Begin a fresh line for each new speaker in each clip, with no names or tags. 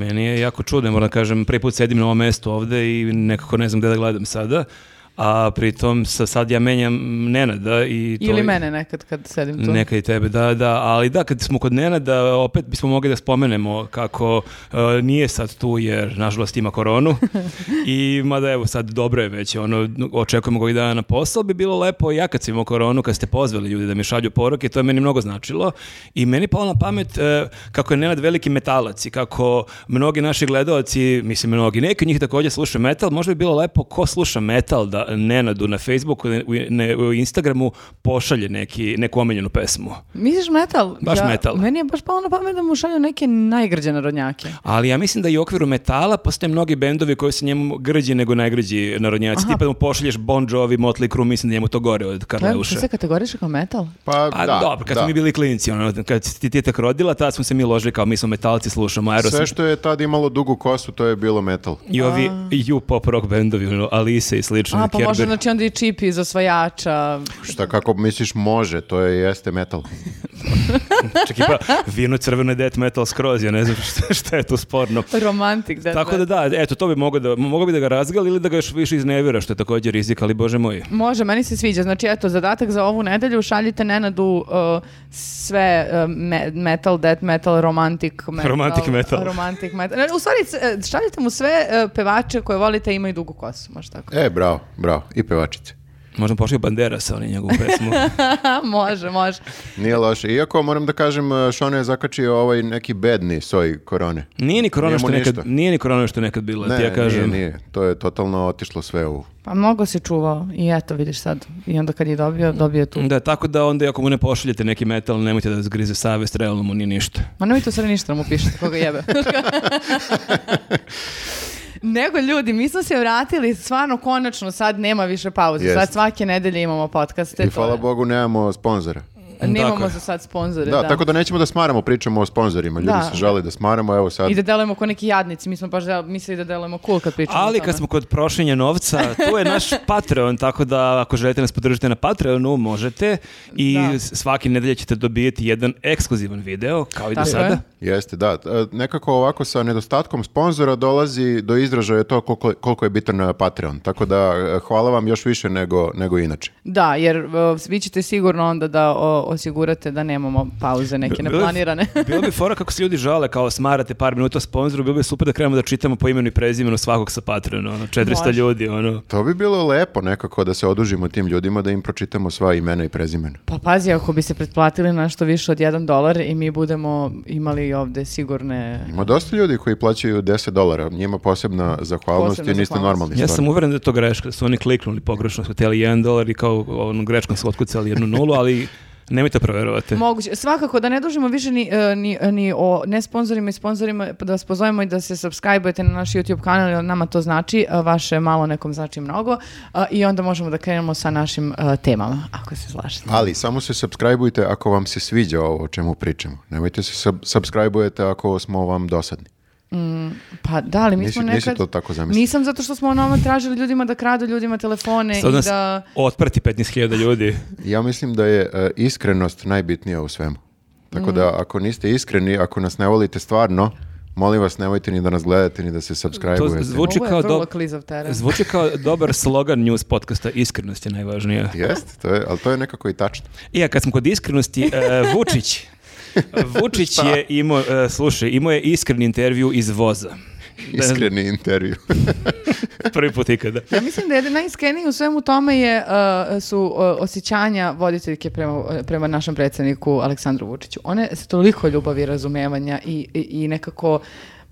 Meni je jako čudno, moram da kažem, prvi put sedim na ovom mestu ovde i nekako ne znam gde da gledam sada, a pritom sa sad ja menjam Nenada i to...
Ili mene nekad kad sedim tu.
Neka i tebe, da, da, ali da, kad smo kod Nenada, opet bismo mogli da spomenemo kako e, nije sad tu jer nažalost ima koronu i mada evo sad dobro je već, ono, očekujemo koji dana na posao, bi bilo lepo ja kad sam imao koronu, kad ste pozvali ljudi da mi šalju poruke, to je meni mnogo značilo i meni palo na pamet e, kako je Nenad veliki metalac i kako mnogi naši gledaoci, mislim mnogi, neki od njih također slušaju metal, možda bi bilo lepo ko sluša metal da Nenadu na Facebooku, ne- u, ne, u Instagramu pošalje neki, neku omenjenu pesmu.
Misliš metal?
Baš metal.
Meni je baš palo na pamet da mu šalju neke najgrđe narodnjake.
Ali ja mislim da i u okviru metala postoje mnogi bendovi koji se njemu grđi nego najgrđi narodnjaci. Tipa da mu pošalješ Bon Jovi, Motley Crue, mislim da njemu to gore od
To je to
Karleuše.
se kategoriše kao metal?
Pa,
Pa
da,
dobro, kad
da.
smo mi bili klinci, ono, kad si ti tetak rodila, tad smo se mi ložili kao mi smo metalci, slušamo Aerosmith.
Sve što je tad imalo dugu kosu, to je bilo metal.
I ovi U-pop rock bendovi, ono, Alice i slično.
A, pa može
Kerber.
znači onda i čip iz osvajača.
Šta kako misliš može, to je jeste metal.
Čak i pa, vino crveno je death metal skroz, ja ne znam šta, šta je tu sporno.
Romantik, da.
Tako da da, eto, to bi mogao da, mogao bi da ga razgali ili da ga još više iznevira, što je također rizik, ali bože moj.
Može, meni se sviđa. Znači, eto, zadatak za ovu nedelju šaljite Nenadu uh, sve uh, me- metal, death metal, romantic metal.
Romantic metal.
Romantic metal. Ne, U stvari, c- e, šaljite mu sve uh, pevače koje volite i imaju dugu kosu, može tako.
E, bravo, bravo. I pevačice.
Možda pošli Bandera sa onim njegovu pesmu.
može, može.
Nije loše. Iako moram da kažem, Šone je zakačio ovaj neki bedni soj korone.
Nije ni korona
Nije
što
mu
nekad,
ništa.
nije ni korona što je nekad bila,
Ne,
ti ja kažem.
nije, nije. To je totalno otišlo sve u...
Pa mnogo si čuvao i eto, vidiš sad. I onda kad je dobio, dobio je tu.
Da, tako da onda ako mu ne pošaljete neki metal, nemojte da zgrize savest, realno mu nije ništa.
Ma nemojte u stvari ništa da mu pišete, koga jebe. Nego ljudi, mi smo se vratili, stvarno konačno sad nema više pauze.
Jest.
Sad svake nedelje imamo podcaste.
I
to je.
hvala Bogu nemamo sponzora.
Tako
Nemamo
je.
za sad sponzore.
Da, tako da nećemo da smaramo, pričamo o sponzorima. Ljudi
Da.
se žale da smaramo, evo sad.
I da delujemo ko neki jadnici, mi smo baš del- mislili da delujemo cool kad pričamo o
Ali
tome.
kad smo kod prošenja novca, tu je naš Patreon, tako da ako želite nas podržati na Patreonu, možete i
Da.
s- svake nedelje ćete dobijeti jedan ekskluzivan video, kao i do
Tako
sada.
je.
Jeste, da. E, Nekako ovako sa nedostatkom sponzora dolazi do izražaja to koliko, koliko je bitan e, Patreon. Tako da e, hvala vam još više nego, nego inače.
Da, jer uh, vi ćete sigurno onda da o, osigurate da nemamo pauze neke
Bilo bi-
neplanirane.
bilo bi fora kako se ljudi žale, kao smarate par minuta sponzoru, bilo bi super da krenemo da čitamo po imenu i prezimenu svakog sa Patreona, ono, 400
Može.
ljudi, ono.
To bi bilo lepo nekako da se odužimo tim ljudima, da im pročitamo sva imena i prezimena.
Pa pazi, ako bi se pretplatili na što više od 1 dolar i mi budemo imali ovdje sigurne...
Ima dosta ljudi koji plaćaju 10 dolara, njima posebna zahvalnost
Posebna
i niste
zahvalnost.
normalni.
Ja
stvarno.
sam uveren da je to greška, da su oni kliknuli pogrešno, su htjeli 1 dolar i kao ono, greškom su otkucali jednu nulu, ali nemojte proverovati.
Moguće. Svakako da ne dužimo više ni, e, ni, ni o ne sponzorima i sponzorima, pa da vas pozovemo i da se subscribe-ujete na naš YouTube kanal, jer nama to znači, a vaše malo nekom znači mnogo, a, i onda možemo da krenemo sa našim e, temama, ako se slažete.
Ali samo se subscribeujte ako vam se sviđa ovo o čemu pričamo. Nemojte se sub subscribeujete ako smo vam dosadni.
Pa da, ali mi
Nisi-
smo
nisi
nekad...
to tako zamislio.
Nisam zato što smo ono tražili ljudima da kradu ljudima telefone
Sad
i
nas
da...
otprati 15.000 ljudi.
Ja mislim da je e, iskrenost najbitnija u svemu. Tako da ako niste iskreni, ako nas ne volite stvarno, molim vas nemojte ni da nas gledate ni da se
To
subscribeujete.
zvuči
Ovo je
kao,
vrlo
do-
klizav teren.
zvuči kao dobar slogan news podcasta, iskrenost je najvažnija.
Jeste, to je, ali to je nekako i tačno.
I ja kad smo kod iskrenosti, e, Vučić, Vučić
Pa.
je imao, e, slušaj, imao je iskreni intervju iz voza.
Iskreni intervju.
Prvi put ikada.
Ja mislim da je najiskreniji u svemu tome je, uh, su uh, osjećanja voditeljke prema, uh, prema našem predsjedniku Aleksandru Vučiću. One se toliko ljubavi, razumevanja i, i, i nekako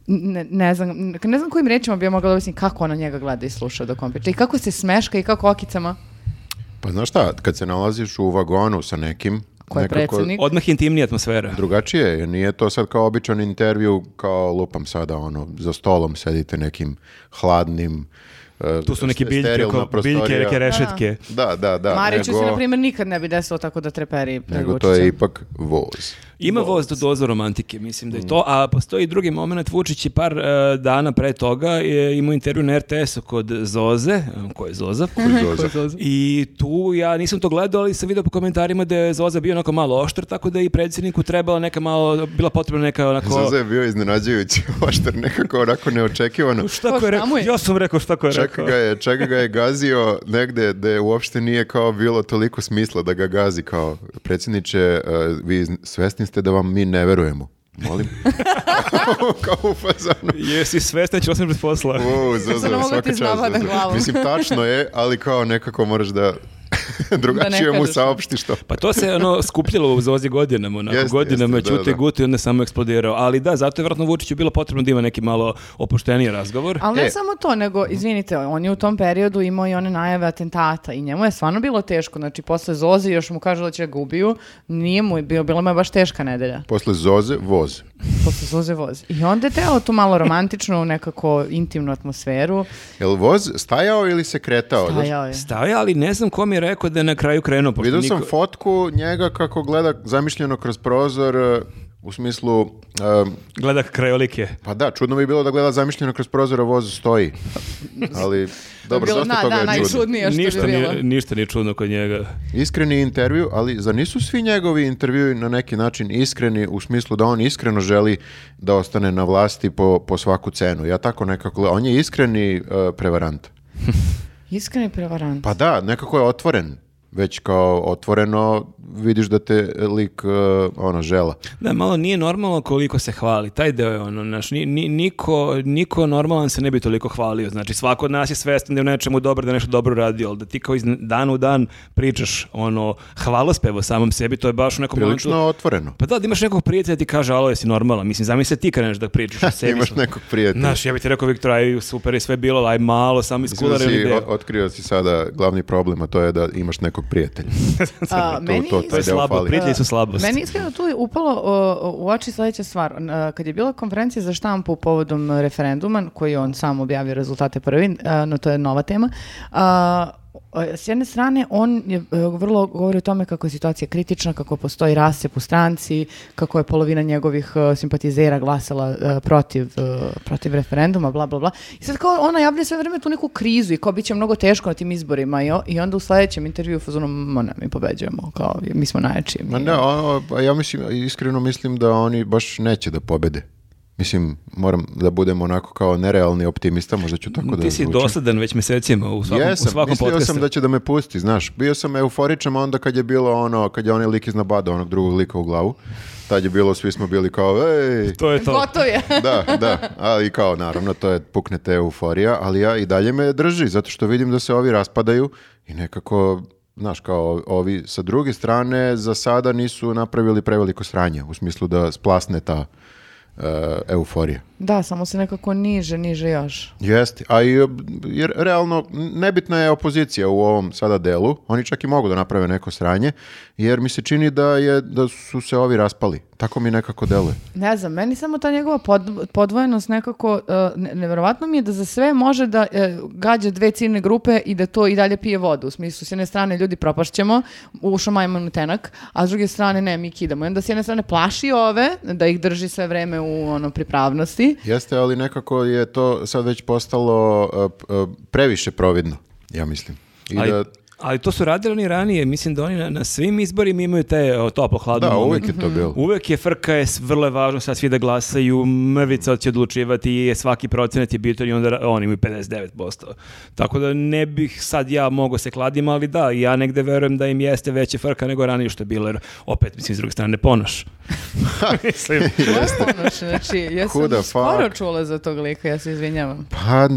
ne, ne znam, ne znam kojim rečima bi ja mogla da objasnim kako ona njega gleda i sluša dok on priča i kako se smeška i kako okicama.
pa znaš šta, kad se nalaziš u vagonu sa nekim,
Ko je predsednik?
Odmah intimnija atmosfera.
drugačije je. Nije to sad kao običan intervju, kao lupam sada, ono, za stolom sedite nekim hladnim, e, e,
Tu su neke biljke,
sterilna
kao biljke,
prostorija.
neke rešetke.
Da, da, da.
Mariću
nego-
se, na primjer, nikad ne bi desilo tako da treperi
Nego to je ipak voz.
Ima voz do doza romantike, mislim da je
Mm.
to, a postoji i drugi moment, Vučić je par e, dana pre toga je imao intervju na RTS-u kod Zoze, e, ko je Zoza,
Mhm.
Zoza.
I tu ja nisam to gledao, ali sam vidio po komentarima da je Zoza bio onako malo oštar, tako da je i predsjedniku trebala neka malo, bila potrebna neka onako...
Zoza je bio iznenađujući, oštar nekako onako neočekivano.
Šta ko je
Pa, šta
rekao?
mu je?
Ja sam rekao šta ko je
Čak
rekao.
ga je, čak ga je gazio negde da uopšte nije kao bilo toliko smisla da ga gazi kao predsjedniče, eh, vi zn- svesni ste da vam mi ne verujemo. Molim. kao u fazonu.
Jesi svestan ću osim bez posla.
Wow, Zozo,
Stvarno mogu
svaka
ti
čast,
iznabadam
Zozo.
glavom.
Mislim, tačno je, ali kao nekako moraš da drugačije mu
kažeš.
saopštiš to.
Pa to se ono skupljalo u Zozi godinama, onako,
Jeste,
godinama
jeste, da,
ćute i
da.
guti i onda je samo eksplodirao. Ali da, zato je vjerojatno Vučiću bilo potrebno da ima neki malo opušteniji razgovor.
Ali ne
E.
samo to, nego, izvinite, on je u tom periodu imao i one najave atentata i njemu je stvarno bilo teško. Znači, posle Zoze još mu kažu da će ga ubiju, nije mu, bio, bila mu je baš teška nedelja.
Posle Zoze, voz.
Posle Zoze voz. I onda je teo tu malo romantičnu, nekako intimnu atmosferu.
Jel voz stajao ili se kretao? Znaš,
Stajao je.
Staje, ali ne znam ko mi je rekao da je na kraju krenuo. pošto
Vidio sam
niko-
fotku njega kako gleda zamišljeno kroz prozor, eh, u smislu, eh,
Gleda krajolike.
pa da, čudno bi bilo da gleda zamišljeno kroz prozor, a voz stoji. Ali, dobro,
Bilo-
dosta
da,
toga
da,
je čudno.
najčudnije što
ništa,
bi bilo.
nije, ništa nije čudno kod njega.
Iskreni intervju, ali za nisu svi njegovi intervjui na neki način iskreni u smislu da on iskreno želi da ostane na vlasti po, po svaku cenu. Ja tako nekako, gledam. on je iskreni eh, prevarant.
Iskreni prevarant.
Pa da, nekako je otvoren. Već kao otvoreno vidiš da te lik eh, ono žela.
Da, malo nije normalno koliko se hvali. Taj deo je ono, znaš, ni, ni- niko, niko normalan se ne bi toliko hvalio. Znači, svako od nas je svestan da je u nečemu dobar, da je nešto dobro radio, ali da ti kao iz dan u dan pričaš ono, hvalospevo samom sebi, to je baš u nekom
Prilično
momentu...
otvoreno.
Pa da, da imaš nekog prijatelja da ti kaže, alo, jesi normalan. Mislim, zamisli ti kreneš da pričaš o sebi.
Imaš nekog prijatelja.
Znaš, ja bih ti rekao, Viktor, aj, super je sve bilo, aj malo, samo
Mislim da
iskulari
si
deo.
o- otkrio si sada glavni problem, a to je da imaš nekog prijatelja.
A,
To,
meni
to,
To
taj
je
deo
slabo,
fali.
prijatelji su slabost.
Meni iskreno tu je upalo o, o, u oči sledeća stvar. N- a, Kad je bila konferencija za štampu povodom e, referenduma, koji je on sam objavio rezultate prvi, a, no to je nova tema, a, o, s jedne strane, on je e, vrlo govori o tome kako je situacija kritična, kako postoji rasep u stranci, kako je polovina njegovih e, simpatizera glasala e, protiv, e, protiv referenduma, bla, bla, bla. I sad kao ona javlja sve vreme tu neku krizu i kao bit će mnogo teško na tim izborima i, o- i onda u sledećem intervju u fazonu, "Ma ne, mi pobeđujemo, kao mi smo najjači. mi
Ma ne, o- o, pa ja mislim, iskreno mislim da oni baš neće da pobede. Mislim, moram da budem onako kao nerealni optimista, možda ću tako da
Ti si
zvučim.
dosadan već mjesecima u svakom, u
Jesam,
svakom
mislio
podcastu.
sam da će da me pusti, znaš. Bio sam euforičan a onda kad je bilo ono, kad je onaj lik iznabadao onog drugog lika u glavu. Tad je bilo, svi smo bili kao, ej,
To je to.
Gotov je.
da, da, ali kao naravno to je puknete euforija, ali ja i dalje me drži zato što vidim da se ovi raspadaju i nekako, znaš, kao ovi sa druge strane za sada nisu napravili preveliko sranje u smislu da splasne ta e, euforija.
Da, samo se nekako niže, niže još.
Jeste, a i jer, realno nebitna je opozicija u ovom sada delu, oni čak i mogu da naprave neko sranje, jer mi se čini da, je, da su se ovi raspali. Tako mi nekako deluje.
Ne znam, meni samo ta njegova pod- podvojenost nekako, e, ne- neverovatno mi je da za sve može da e, gađa dve ciljne grupe i da to i dalje pije vodu. U smislu, s jedne strane ljudi propašćemo, ušao majman u tenak, a s druge strane ne, mi kidamo. I onda s jedne strane plaši ove, da ih drži sve vreme u ono, pripravnosti.
Jeste, ali nekako je to sad već postalo uh, p- uh, previše providno, ja mislim. I
ali,
da,
ali to su radili oni ranije, mislim da oni na, na svim izborima imaju te o, toplo hladno
da,
moment.
uvijek je to
Mhm.
bilo.
Uvek je frka, je s- vrlo je važno sad svi da glasaju, mrvica će odlučivati, je svaki procenat je bitan i onda ra- oni imaju 59%. Tako da ne bih sad ja mogao se kladim, ali da, ja negde verujem da im jeste veća frka nego ranije što je bilo, jer opet, mislim, s druge strane, ponoš. mislim,
Ponoš, znači, ja sam
Who the
skoro
fuck?
čula za tog lika, ja se izvinjavam.
Pa,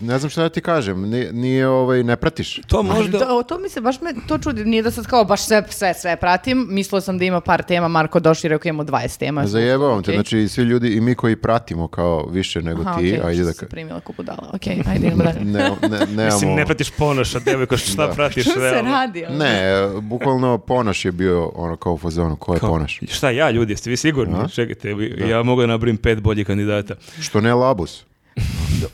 ne znam šta da ti kažem, nije, nije ovaj, ne pratiš.
to možda...
To, to mi se baš me to čudi, nije da sad kao baš sve sve sve pratim. Mislila sam da ima par tema, Marko došli i rekao imamo 20 tema.
Zajebavam te,
Okej.
znači svi ljudi i mi koji pratimo kao više nego
Aha,
ti,
okej,
ajde
što
da
si
ka...
se primila ko budala. Okej, ajde idemo dalje.
Ne, ne,
Mislim,
nemamo-
ne pratiš ponoša, devojko, šta
Da.
pratiš?
Što se
realno?
radi? ono?
Ne, bukvalno Ponoš je bio ono kao u fazonu, ko je Ponoš?
Šta ja, ljudi, jeste vi sigurni? Čekajte, vi- ja mogu da nabrojim pet boljih kandidata.
Što ne Labus?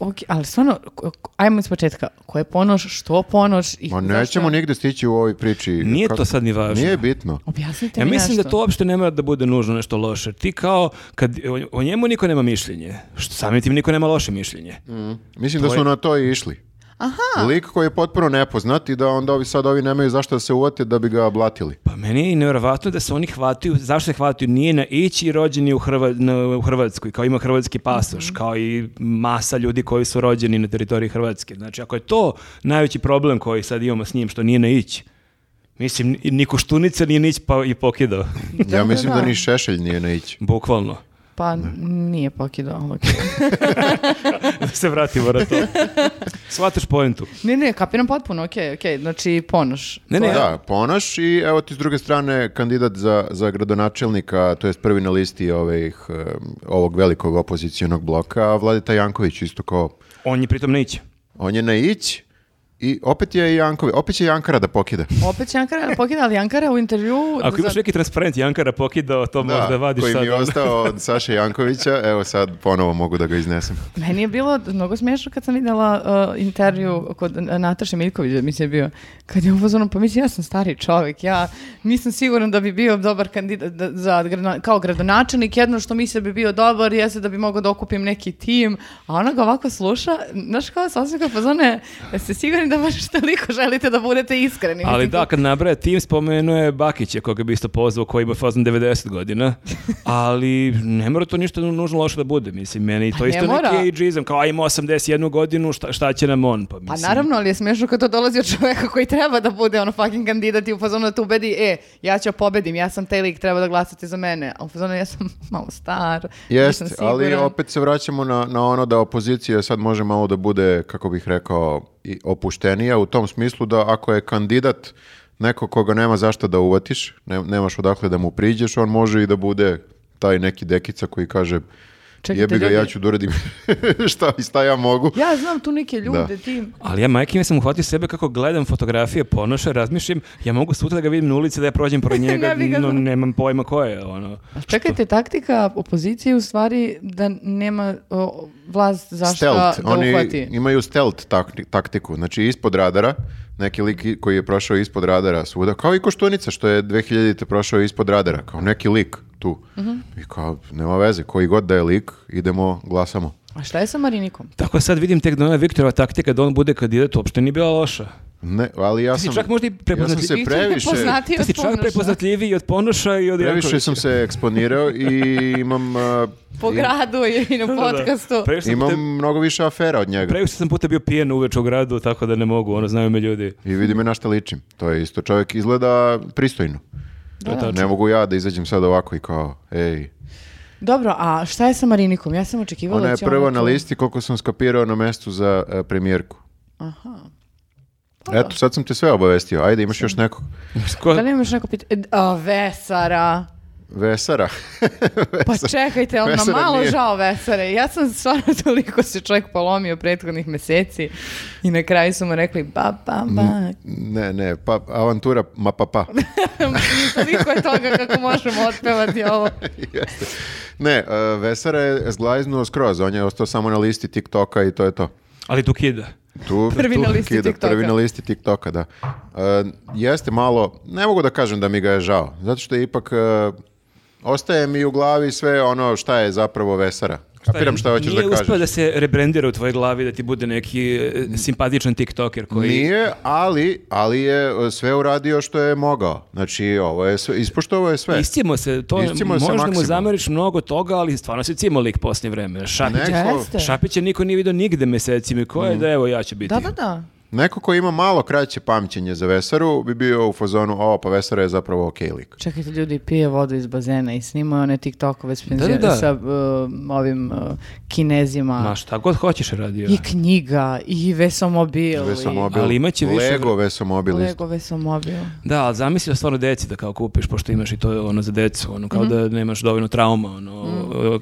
ok, ali stvarno, ko- ko- ajmo iz početka. Ko je ponoš, što ponoš? I
Ma
zašto-
nećemo nigde stići u ovoj priči.
Nije
Kako-
to sad ni važno.
Nije bitno.
Objasnite
Ja
mi
mislim
nešto.
da to uopšte ne mora da bude nužno nešto loše. Ti kao, kad, o- o njemu niko nema mišljenje, što samim tim niko nema loše mišljenje.
Mm. Mislim da su na to i išli. Aha. Lik koji je potpuno nepoznat i da onda ovi sad ovi nemaju zašto da se uvate da bi ga blatili.
Pa meni je nevjerovatno da se oni hvataju, zašto se hvataju, nije na ići rođeni u, Hrva, na- u Hrvatskoj, kao ima hrvatski pasoš, kao i masa ljudi koji su rođeni na teritoriji Hrvatske. Znači, ako je to najveći problem koji sad imamo s njim, što nije na ići, mislim, ni Koštunica nije na ići pa i pokidao,
Ja
da,
mislim da
da.
ni Šešelj nije na ići.
bukvalno.
Pa nije pokidao. ok.
Da se vratimo na to. Shvataš poentu.
ne, ne, kapiram potpuno, okej, okej. Znači, ponoš.
Ne, ne,
Da, ponoš i evo ti s druge strane kandidat za, za gradonačelnika, to jest prvi na listi ovih, em, ovog velikog opozicijonog bloka, Vladeta Janković isto kao,
on je pritom na ići.
on je na ić i opet je i Janković, opet će Jankara da pokida.
Opet će Jankara pokida, ali Jankara u intervju...
Ako imaš
za-
neki transparent Jankara pokidao, to možda vadiš
koji
sad.
mi je ostao od Saše Jankovića, evo sad ponovo mogu da ga iznesem.
Meni je bilo mnogo smiješno kad sam vidjela uh, intervju kod uh, Nataše Miljkovića, mislim je bio, kad je uvozono, pa mislim, ja sam stari čovjek, ja nisam siguran da bi bio dobar kandidat da- za, gradona- kao gradonačelnik, jedno što mislim da bi bio dobar jeste da bi mogao da okupim neki tim, a ona ga ovako sluša, znaš kao sa osmijeka fazone, jeste sigurni da baš toliko želite da budete iskreni.
Ali
Mislim,
da, kad nabraja tim, spomenuo je Bakića, koga bi isto pozvao, koji ima fazon 90 godina, ali ne mora to ništa nužno loše da bude, mislim, meni to
Pa ne
isto
mora.
neki ageizam, kao a ima 81 godinu, šta, šta će nam on, pa
Pa
mislim.
naravno, ali je smešno kad to dolazi od čoveka koji treba da bude ono fucking kandidat i u fazonu da te ubedi, e, ja ću pobedim, ja sam taj lik, treba da glasate za mene. A u fazonu ja sam malo star,
Jest,
nisam
ali
siguran.
opet se vraćamo na, na ono da opozicija sad može malo da bude, kako bih rekao, i opuštenija u tom smislu da ako je kandidat neko koga nema zašto da uvatiš, ne- nemaš odakle da mu priđeš, on može i da bude taj neki dekica koji kaže
Čekajte,
jebi ga, ja
ljudi."
ću da uradim šta, šta ja mogu.
Ja znam tu neke ljude,
Da.
ti...
Ali ja majke mi sam uhvatio sebe kako gledam fotografije ponoša, razmišljam, ja mogu sutra da ga vidim na ulici da ja prođem pored njega,
Ne bi ga
no,
znao.
nemam pojma ko je, ono.
A Čekajte, taktika opozicije je u stvari da nema o, vlast zašto da
Stealth, oni
uhvati.
imaju stealth takti- taktiku, znači ispod radara, neki lik i- koji je prošao ispod radara svuda, kao i Koštunica što je 2000-te prošao ispod radara, kao neki lik tu.
Mhm.
I kao, nema veze, koji god da je lik, idemo, glasamo.
A šta je sa Marinikom?
Tako sad vidim tek da ona Viktorova taktika da on bude kandidat uopšte nije bila loša.
Ne, ali ja
si
sam,
čak možda i
ja sam
prepoznatljiv-
se
Vi ste
previše,
poznatiji
Ti
od
si čak
Ponoša.
prepoznatljiviji od Ponoša i od
previše
Jankovića.
sam se eksponirao i imam, uh,
Po gradu i na
Da, da, da.
podcastu.
Previše sam
imam
te-
mnogo više afera od njega.
Previše sam puta bio pijen uveč u gradu, tako da ne mogu, ono, znaju me ljudi.
I vidi me na šta ličim. To je isto, čovjek izgleda pristojno.
To je tačno.
Ne mogu ja da izađem sad ovako i kao, ej,
Dobro, a šta je sa Marinikom? Ja sam očekivala
Ona
da
je
će ona
prva na
tu-
listi koliko sam skapirao na mestu za e, premijerku.
Aha.
Eto, sad sam te sve obavestio. Ajde, imaš još nekog.
Ko-
Da li imaš neko pitanje? A, Vesara.
Vesara.
Pa čekajte, ali nam
Vesara
malo
nije.
žao Vesare. Ja sam stvarno toliko se čovjek polomio prethodnih meseci i na kraju su mu rekli ba, ba, ba.
Mm. ne, ne, pa avantura, ma pa pa.
I toliko je toga kako možemo otpevati ovo.
Jeste. ne, e, Vesara je zglajznuo skroz. On je ostao samo na listi TikToka i to je to.
Ali tu kida.
Tu,
Prvi
tu
na listi
kida,
TikToka.
Prvi na listi TikToka, da. E, jeste malo, ne mogu da kažem da mi ga je žao. Zato što je ipak... e, Ostaje mi u glavi sve ono šta je zapravo Vesara. Kapiram šta hoćeš da
Nije
kažeš.
uspeo da se rebrendira u tvojoj glavi, da ti bude neki e, simpatičan tiktoker koji...
Nije, ali, ali je e, sve uradio što je mogao. Znači, ovo je sve, ispoštovao je sve.
Iscimo se, to
Iscimo se
možda mu
maksimalno.
zameriš mnogo toga, ali stvarno se cimo lik posljednje vreme. Šapić,
Ne.
Jeste.
Šapića niko nije vidio nigde mesecima i ko
Mm.
je da evo ja ću biti.
Da, da, da.
Neko ko ima malo kraće pamćenje za Vesaru bi bio u fazonu, o, pa Vesara je zapravo okej lik.
Čekajte, ljudi pije vodu iz bazena i snimaju one TikTokove s,
da, da.
sa um, ovim uh, kinezima.
Ma šta god hoćeš radio.
I knjiga, i Vesomobil.
Vesomobil.
Ali imaće više
Lego
vre-
I...
Vesomobil. isto.
Lego Vesomobil.
Da, ali zamisli da stvarno deci da kao kupiš, pošto imaš i to ono za decu, ono kao da nemaš dovoljno trauma, ono,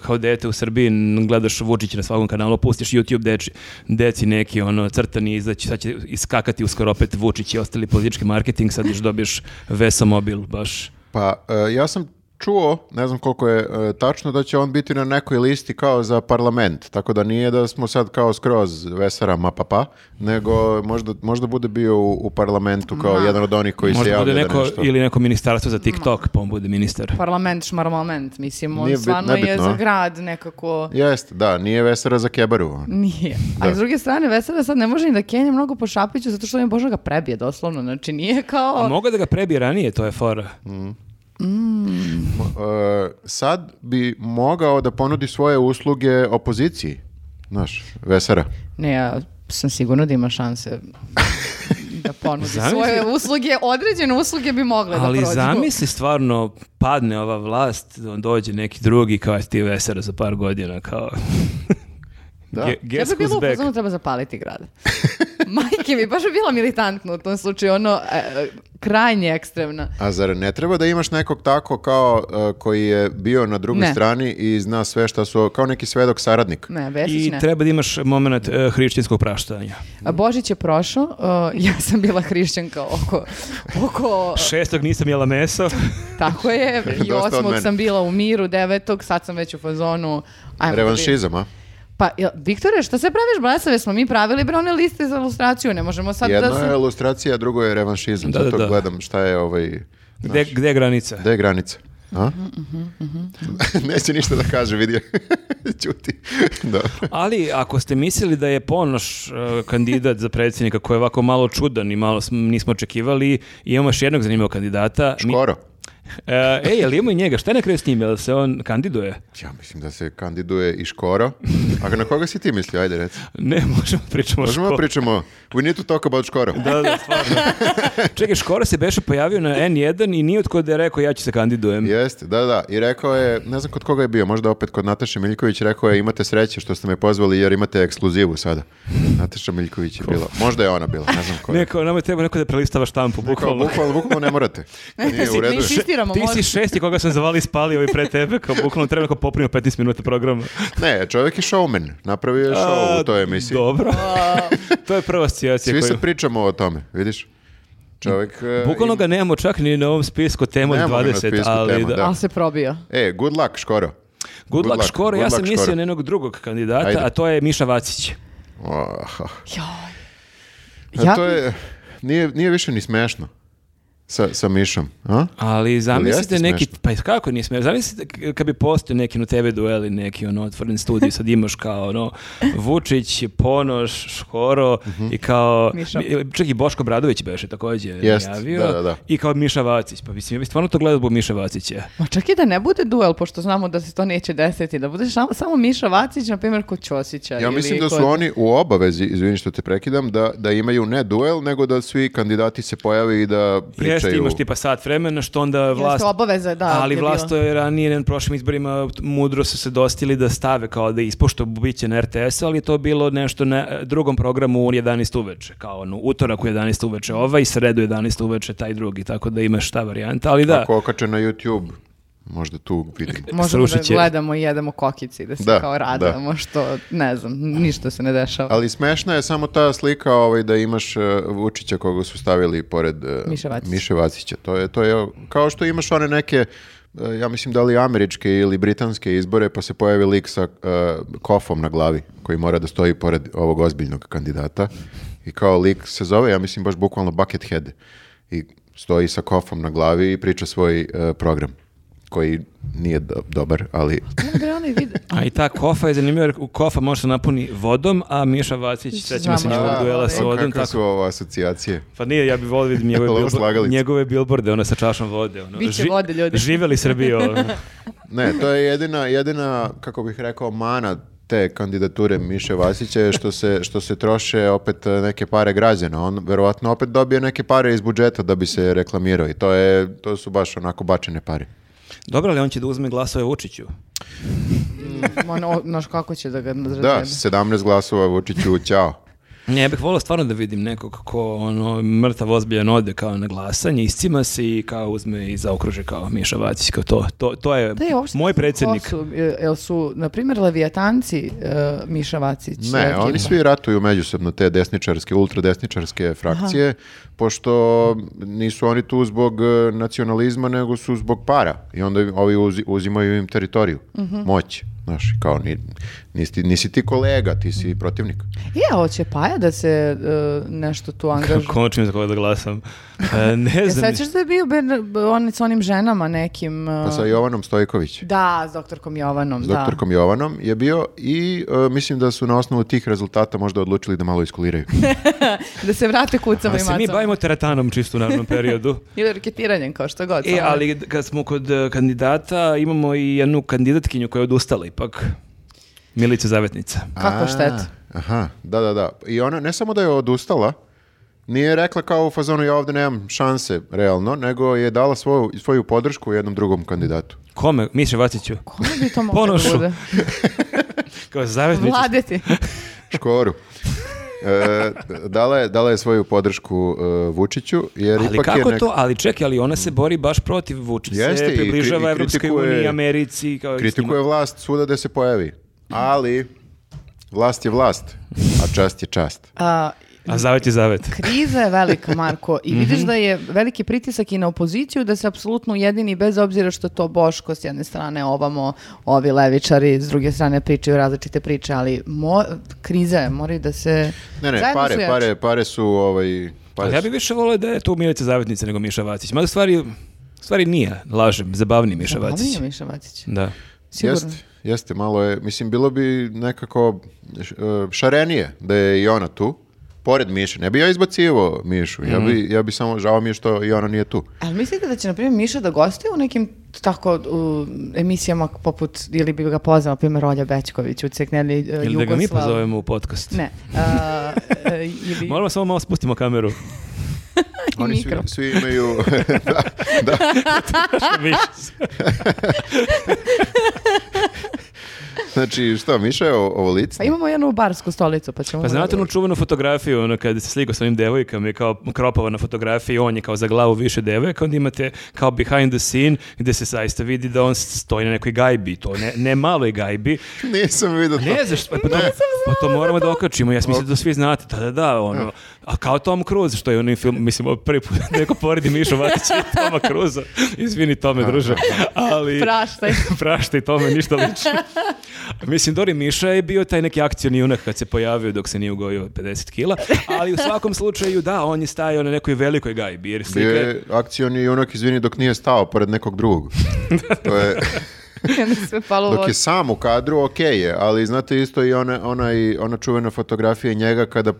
kao dete u Srbiji n- gledaš Vučić na svakom kanalu, pustiš YouTube deči, deci neki ono crtani izaći, sad će iskakati uskoro opet Vučić i ostali politički marketing, sad još dobiješ Vesa mobil, baš.
Pa, e, ja sam čuo, ne znam koliko je e, tačno, da će on biti na nekoj listi kao za parlament, tako da nije da smo sad kao skroz Vesara Mapapa, nego možda, možda bude bio u, u parlamentu kao jedan od onih koji se
Možda
javlja
bude
da
neko,
nešto...
ili neko ministarstvo za TikTok, pa on bude ministar.
Parlament, šmarmament, mislim, on
Nije bit-
stvarno je
nebitno,
za
a?
grad nekako...
Jeste, da, nije Vesara za kebaru. ono.
Nije. A s druge strane, Vesela sad ne može ni da kenja mnogo po Šapiću zato što on je Boža ga prebije doslovno. Znači nije
A
kao...
mogu da ga prebije ranije, to je fora.
E, sad bi mogao da ponudi svoje usluge opoziciji. Znaš, Vesara.
Ne, ja sam sigurna da ima šanse da ponudi
Zamisli-
svoje usluge. Određene usluge bi mogle
Ali
da prođu.
zamisli stvarno, padne ova vlast, on dođe neki drugi kao ti Vesara za par godina, kao...
Da.
Ge-
Ja
guess
bi bila
who's
u
back.
fazonu, treba zapaliti grad. Majke mi, baš je bila militantna u tom slučaju, ono, e, e, krajnje ekstremna.
A zar ne treba da imaš nekog tako kao e, koji je bio na drugoj
Ne.
strani i zna sve šta su, kao neki svedok saradnik.
Ne, Vesić
I
ne.
treba da imaš moment uh, hrišćinskog praštanja.
A Božić je prošao, e, ja sam bila hrišćanka oko, oko
Šestog nisam jela meso.
tako je, i
Dosta od
osmog
mene.
sam bila u miru, devetog, sad sam već u fazonu. Ajmo da vidimo.
Revanšizam, a?
Pa, jel, Viktore, šta se praviš blesave? Smo mi pravili bre one liste za ilustraciju, ne možemo sad
Jedno
Pa da se...
je ilustracija, a drugo je revanšizam.
Da, da,
Zato
da.
gledam šta je ovaj...
Gde, gde je granica?
Gde je granica? A?
Mhm,
Neće ništa da kaže, vidi. Ćuti. da.
Ali ako ste mislili da je Ponoš e, kandidat za predsjednika koji je ovako malo čudan i malo sm- nismo očekivali, imamo još jednog zanimljivog kandidata. Mi-
Škoro.
E, ej, ali imamo i njega. Šta je na kraju s njim? Jel se on kandiduje?
Ja mislim da se kandiduje i Škoro. A na koga si ti mislio? Ajde, reci.
Ne, možemo pričamo o
Možemo da
ško-
pričamo, we need to talk about Škoro.
Da, da, stvarno. Čekaj, Škora se beše pojavio na N1 i nije od da je rekao ja ću se kandidujem.
Jeste, da, da. I rekao je, ne znam kod koga je bio, možda opet kod Nataše Miljković, rekao je imate sreće što ste me pozvali jer imate ekskluzivu sada. Nataša Miljković je bila. Možda je ona bila, ne znam ko je.
Neko, nama treba neko da prelistava štampu,
Kao,
bukvalno.
bukvalno, bukvalno ne morate. Nije u
Mi
redu.
insistiramo,
Ti si
može.
šesti koga sam zavali spali ovi pre tebe, kao bukvalno treba neko poprimio 15 minuta programa.
Ne, čovjek je showman. Napravio je show
A,
u toj emisiji.
Dobro. to je prva asocijacija
Svi
koju...
se pričamo o tome, vidiš? Čovjek... e,
Bukvalno
im-
ga nemamo čak ni na ovom spisku tema od
Nemamo ga na
20,
spisku
ali
tema,
da.
da.
Ali se probio.
E, good luck, Škoro.
Good,
Good
luck,
luck,
Škoro,
good
ja sam
luck,
mislio
Škoro.
na jednog drugog kandidata,
Ajde.
a to je Miša Vacić.
Oh,
Joj.
a
Ja
to
bi-
je... Nije, nije više ni smešno sa, sa Mišom. A?
Ali zamislite
jeste
neki,
smešno.
pa kako nije smiješno, zamislite k- kad bi postao neki na TV dueli, neki ono otvoren studij, sad imaš kao ono Vučić, Ponoš, Škoro
Mhm.
i kao,
Miša.
mi- čak i Boško Bradović beše takođe
Jest,
najavio
da, da, da.
i kao Miša Vacić, pa mislim, ja bi stvarno to gledao zbog Miša Vacića.
Ma čak i da ne bude duel, pošto znamo da se to neće desiti, da bude samo, samo Miša Vacić, na primjer, kod Ćosića.
Ja
ili
mislim da su
kod-
oni u obavezi, izvini što te prekidam, da, da imaju ne duel, nego da svi kandidati se pojave i da pričaju.
Jeste, imaš tipa sat vremena, što onda
Jeste,
vlast...
obaveza, je, da.
ali
je
vlast
bilo.
to je ranije na prošlim izborima mudro su se dostili da stave kao da ispošto biće na RTS, ali je to bilo nešto na e, drugom programu u 11 uveče, kao ono utorak u 11 uveče ovaj, sredu u 11 uveče taj drugi, tako da imaš ta varijanta, ali da.
Ako okače na YouTube, možda tu vidim.
Možemo da
Srušit će.
gledamo i jedemo kokici, da se
Da,
kao
da.
radamo, što ne znam, ništa se ne dešava.
Ali smešna je samo ta slika ovaj, da imaš e, Vučića koga su stavili pored e,
Miše Vacića.
Miše Vacića. To je, to je kao što imaš one neke, e, ja mislim da li američke ili britanske izbore, pa se pojavi lik sa e, kofom na glavi koji mora da stoji pored ovog ozbiljnog kandidata. I kao lik se zove, ja mislim baš bukvalno Buckethead. I stoji sa kofom na glavi i priča svoj e, program koji nije do- dobar, ali
Ne, bre, onaj vid-
A i ta kofa je zanimljiva, jer u kofa može se napuni vodom, a Miša Vacić, sećamo se
Znamo.
njegovog
Da, ovaj.
duela sa
ali-
vodom,
kakve su
tako.
ovo asocijacije?
Pa nije, ja bih volio vidim njegove,
Lovo
bilbo-
slagalice.
njegove bilborde, ono sa čašom vode. Ono.
Biće vode, ljudi.
Živeli ono. Srbijo.
Ne, to je jedina, jedina, kako bih rekao, mana te kandidature Miše Vasića je što se, što se troše opet e, neke pare građana. On verovatno opet dobije neke pare iz budžeta da bi se reklamirao i to, je, to su baš onako bačene pare.
Dobro, ali on će da uzme glasove Vučiću.
ono, znaš kako će da ga razređe?
Da, 17 glasova Vučiću, ćao.
Ne, ja bih volio stvarno da vidim nekog ko ono, mrtav ozbiljan ode kao na glasanje, iscima se i kao uzme i zaokruže kao Miša Vacić, kao to. To, to je
Da je uopšte
moj
ne znam
predsjednik.
ko Su, e, jel su, na primjer, Leviatanci e, Miša Vacić? e,
Ne,
ekipa?
oni svi ratuju međusobno te desničarske, ultradesničarske frakcije, pošto nisu oni tu zbog e, nacionalizma, nego su zbog para. I onda im- ovi uzi- uzimaju im teritoriju, moć. Znaš, kao ni, nisi, nisi ti kolega, ti si protivnik.
I ja, hoće Paja da se e, nešto tu angažuje.
Konačno za koga da glasam. E, ne
Jel
znam.
sećaš da je bio Berna- on s onim ženama nekim... e,
Pa sa Jovanom Stojković,
Da, s doktorkom Jovanom,
s
da.
doktorkom Jovanom je bio i e, mislim da su na osnovu tih rezultata možda odlučili da malo iskuliraju.
Da se vrate kucama
A
i
se mi
macama.
bavimo teratanom čisto u narednom periodu.
Ili raketiranjem, kao što god.
E,
samo-
ali kad smo kod e, kandidata, imamo i jednu kandidatkinju koja je odustala ipak. Milica Zavetnica.
Kakva
A,
šteta.
Aha, da, da, da. I ona ne samo da je odustala, nije rekla kao u fazonu ja ovdje nemam šanse realno, nego je dala svoju, svoju podršku jednom drugom kandidatu.
Kome? Miše Vaciću.
Kome bi to moglo
Ponošu.
da bude?
Kao Zavetnica.
Vladeti.
Škoru. E, dala, je, dala je svoju podršku e, Vučiću, jer
Ali
ipak je
kako
nek-
to? Ali čekaj, ali ona se bori baš protiv Vučića.
Jeste,
se
i kri-
približava
i
Evropskoj
kritikuje-
uniji, Americi. Kao i s njima.
kritikuje vlast svuda gde se pojavi. Ali vlast je vlast, a čast je čast.
A,
A zavet je zavet.
kriza je velika, Marko,
Mhm.
i vidiš da je veliki pritisak i na opoziciju da se apsolutno ujedini bez obzira što to Boško s jedne strane ovamo, ovi levičari s druge strane pričaju različite priče, ali mo, kriza je, moraju da se...
Ne, ne,
zajedno su
pare,
jači.
pare, pare su ovaj... Pare
Ali ja bih više volio da je tu Milica Zavetnica nego Miša Vacić. Mada u stvari, u stvari nije, lažem, zabavni Miša
Zabavniji
Vacić.
je Miša Vacić.
Da.
Sigurno.
Jeste, jeste, malo je, mislim, bilo bi nekako š- e, šarenije da je i ona tu, pored Miše. Ne bi ja izbacivao Mišu, ja,
Mhm.
bi, ja bi samo, žao mi je što i ona nije tu.
Ali mislite da će, na primjer, Miša da gostuje u nekim tako u, emisijama poput, ili bi ga pozvao, na primjer, Olja Bećković, ucekneli uh,
Ili da ga mi pozovemo u podcast.
Ne. a, e, ili...
Moramo samo malo spustimo kameru.
I
Oni svi,
mikro.
svi imaju, znači, što, Miša je o-
Pa
ovolicna?
imamo jednu barsku stolicu, pa ćemo...
Pa znate onu čuvenu fotografiju, ono kada se sligo s onim devojkama i kao kropava na fotografiji, on je kao za glavu više devojka, onda imate kao behind the scene gdje se zaista vidi da on stoji na nekoj gajbi, to ne, ne maloj gajbi.
Pa-
Nisam vidio to.
Ne znaš, pa, pa to, pa to moramo da okačimo, ja mislim da to svi znate, da, da, da, ono. A kao Tom Cruise, što je onaj film, mislim, prvi put neko poredi Mišu Vatića i Toma Cruza, izvini Tome, druže, ali...
Praštaj.
Prašta i tome ništa lično. Mislim, Dori Miša je bio taj neki akcioni junak kad se pojavio dok se nije ugojio od 50 kila, ali u svakom slučaju da, on je stajao na nekoj velikoj gajbi, jer slika
Bio
je...
je akcioni junak, izvini, dok nije stao pored nekog drugog. To je,
Onda sve palo u
dok
vodu.
je sam u kadru, okej je, ali znate isto i ona, ona, ona čuvena fotografija njega kada e,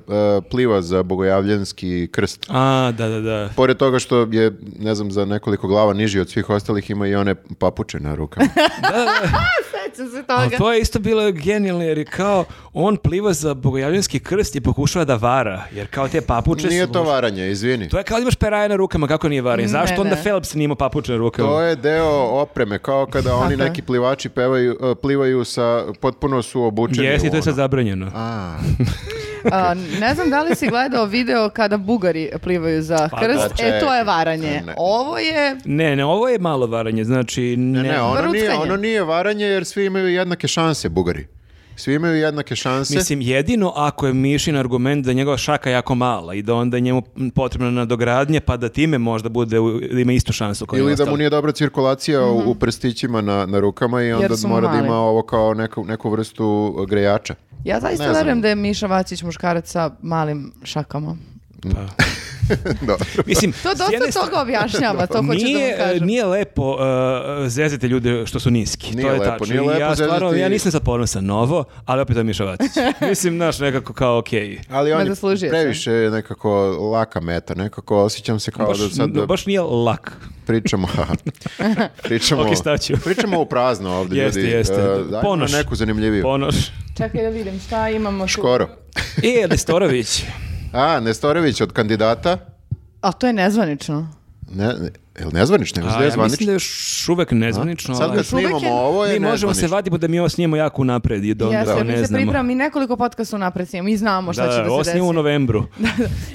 pliva za bogojavljenski krst.
A, da, da, da.
Pored toga što je, ne znam, za nekoliko glava niži od svih ostalih, ima i one papuče na rukama.
Sećam se
Ali
toga.
to je isto bilo genijalno jer je kao on pliva za bogojavljenski krst i pokušava da vara, jer kao te papuče
Nije
su-
to varanje, izvini.
To je kao da imaš peraje na rukama, kako nije varanje?
Ne,
Zašto onda
ne.
Phelps nije imao papuče na rukama?
To je deo opreme, kao kada oni
Tako je.
neki plivači pevaju, e, plivaju sa, potpuno su obučeni
Jesi,
u
to je sad
ono.
zabranjeno.
A,
A, ne znam da li si gledao video kada Bugari plivaju za
Pa
krst.
da,
e, to je
čekaj.
varanje.
Ne.
Ovo je...
Ne, ne, ovo je malo varanje, znači... Ne,
ne, ono nije,
Ruckanje.
ono nije varanje jer svi imaju jednake šanse, bugari. Svi imaju jednake šanse.
Mislim, jedino ako je Mišin argument da je njegova šaka jako mala i da onda je njemu potrebna nadogradnje, pa da time možda bude, u- da ima istu šansu kao i
Ili da mu
ostali.
nije dobra cirkulacija u- u prstićima na, na rukama i onda
Mhm. su mu
mora da
mali.
ima ovo kao neku, neku vrstu grejača.
Ja zaista
Ne znam.
verujem da je Miša Vacić muškarac sa malim šakama.
Dobro.
Pa, Mislim,
To
s
dosta
jedne strane-
toga objašnjava, to hoću da vam
Nije,
kažem.
nije lepo uh, zezati ljude što su niski.
Nije
to je
lepo,
tačno.
nije
I
lepo
ja, stvarno,
zezati-
ja nisam sad ponosan na ovo, ali opet to je Miša Vacić. Mislim, znaš, nekako kao okej.
Ali on je
zaslužio sam.
previše je nekako laka meta, nekako osjećam se kao
Baš,
da sad da
baš nije lak.
pričamo pričamo,
Ok, staću.
pričamo u prazno ovdje
Jeste,
ljudi.
jeste.
E, dajmo
Ponoš.
neku zanimljiviju.
Ponoš.
Čekaj da vidim šta imamo tu.
Škoro.
E, Nestorović.
A, Nestorović od kandidata.
A to je nezvanično.
Ne, ne, Jel nezvanično,
A,
jel je
ja mislim da
zvanično?
je još uvek nezvanično.
Sad
ali-
ga
Još uvek
snimamo,
je-
ovo je
Mi možemo se
nezvanično.
vadimo da mi ovo snijemo jako napred i da onda
Jeste, mi
ne
se
znamo.
pripremamo i nekoliko podcasta unapred snijemo i znamo šta
da,
će da
ovo
se
snimamo
desi.
u novembru.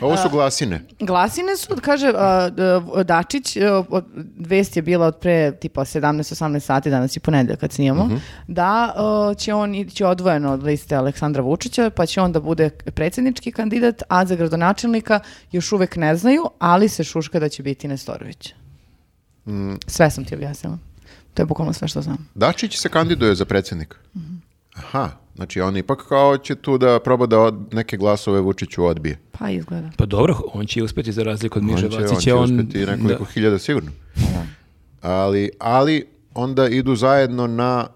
Ovo su glasine.
Glasine su, kaže a, d- Dačić, e, od- vest je bila od pre tipa 17-18 sati, danas je ponedeljak kad snijamo, da e, će on ići odvojeno od liste Aleksandra Vučića, pa će on da bude predsjednički kandidat, a za gradonačelnika još uvek ne znaju, ali se šuška da će biti Nestorović. Sve sam ti objasnila. To je bukvalno sve što znam.
Dačić se kandiduje za predsjednika. Aha, znači on ipak kao će tu da proba da od, neke glasove Vučiću odbije.
Pa izgleda.
Pa dobro, on će uspjeti za razliku od Miže
on će, on
Vacića.
će uspjeti nekoliko hiljada sigurno. Ali, ali onda idu zajedno na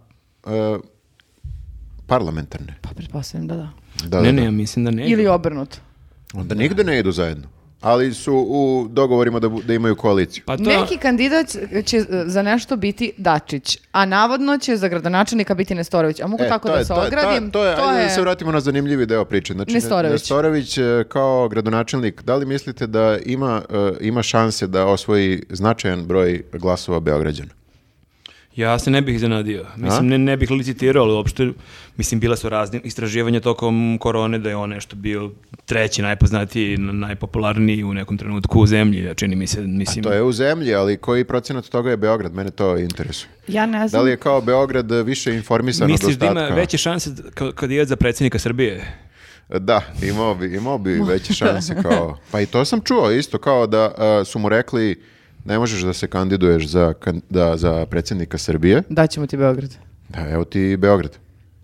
e, parlamentarne.
Pa pretpostavljam da da.
Da,
Da, ne,
da, da.
ne, ja mislim da ne.
Ili obrnuto.
Onda nigde ne idu zajedno. Ali su u dogovorima da, bu- da imaju koaliciju.
Pa to,
Neki kandidat će e, za nešto biti Dačić, a navodno će za gradonačelnika biti Nestorović. A mogu
E,
tako
to
da
je-
se
to je-
ogradim?
To je, ajde da se vratimo na zanimljivi deo priče. Znači, Ne-
Nestorović.
Nestorović e, kao gradonačelnik, da li mislite da ima, e, ima šanse da osvoji značajan broj glasova Beograđana?
ja se ne bih iznenadio. Mislim, ne, ne bih licitirao, ali uopšte, mislim, bila su razne istraživanja tokom korone da je on nešto bio treći, najpoznatiji, n- najpopularniji u nekom trenutku u zemlji, ja čini mi se, mislim.
To je u zemlji, ali koji procenat toga je Beograd? Mene to interesuje.
Ja ne
Da
znam.
li je kao Beograd e, više informisan od
Misliš da
ostatka?
ima veće šanse d- ka- kad je za predsjednika Srbije?
Da, imao bi, imao bi veće šanse kao... Pa i to sam čuo isto, kao da e, su mu rekli ne možeš da se kandiduješ za, kan- da, za predsjednika Srbije.
Daćemo ti Beograd.
Da, evo ti i Beograd.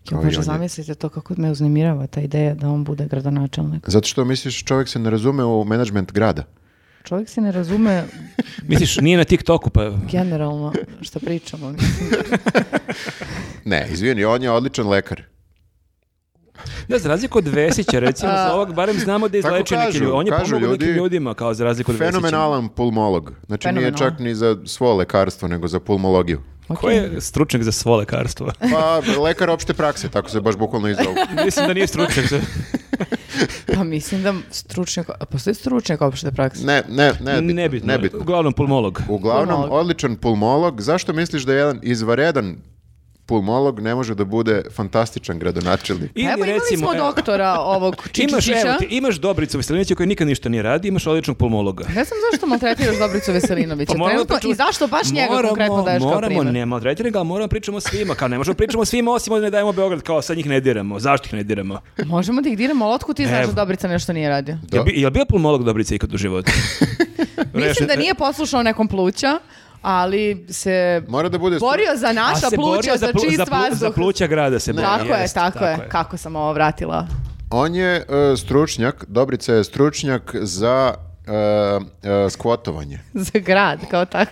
Kao
Ja,
i
Bože,
on je-
zamislite to kako me uznemirava ta ideja da on bude gradonačelnik.
Zato što misliš čovjek se ne razume u menadžment grada.
Čovjek se ne razume
Misliš, nije na TikToku, pa
generalno šta pričamo.
Ne, izvini, on je odličan lekar.
Da, za razliku od Vesića, recimo, za ovog barem znamo da
Tako
izleče neke
kažu,
ljudi. On je
kažu
pomogao nekim
ljudi,
ljudima, kao za razliku od Vesića.
Fenomenalan pulmolog. Znači nije
Fenomenalan.
čak ni za svo lekarstvo, nego za pulmologiju.
Ko je stručnjak za svo lekarstvo?
Pa, lekar opšte prakse, tako se baš bukvalno i zovu.
Mislim da nije stručnjak za...
Pa mislim da stručnjak, a postoji stručnjak opšte prakse.
Ne, ne, ne,
Nebitno.
bitno,
Nebitno.
nebitno.
Uglavnom pulmolog.
Uglavnom,
Pulmolog.
odličan pulmolog. Zašto misliš da jedan izvaredan pulmolog ne može da bude fantastičan gradonačelnik?
Ili,
Evo imali smo
evo,
doktora ovog
Imaš,
Čičića.
evo ti, imaš Dobricu Veselinića koji nikad ništa nije radi, imaš odličnog pulmologa. Pa
Ne znam zašto maltretiraš Dobricu Veselinovića
moramo
Znači, trenutno
pričamo-
i zašto baš njega
Moramo-
konkretno daješ kao
Moramo,
primjer.
ne maltretiraj ga, ali moramo pričamo svima. Kao ne možemo pričamo svima, osim da ne dajemo Beograd, kao sad njih ne diramo. Zašto ih ne diramo?
Možemo da ih diramo, ali otkud ti znaš
Evo.
da Dobrica nešto nije radio?
Da.
Jel, bi, jel bio pulmolog Dobrica ikad u životu?
Mislim
Rešen-
da nije poslušao nekom pluća, ali se
Mora da bude...
borio za
A
naša
se
pluća,
borio
za,
plu-
čist
za, plu-
vazduh.
za pluća grada se borio.
Tako je,
jest,
tako, je. Kako sam ovo vratila?
On je e, stručnjak, Dobrica je stručnjak za e, e, skvotovanje.
Za grad, kao tako.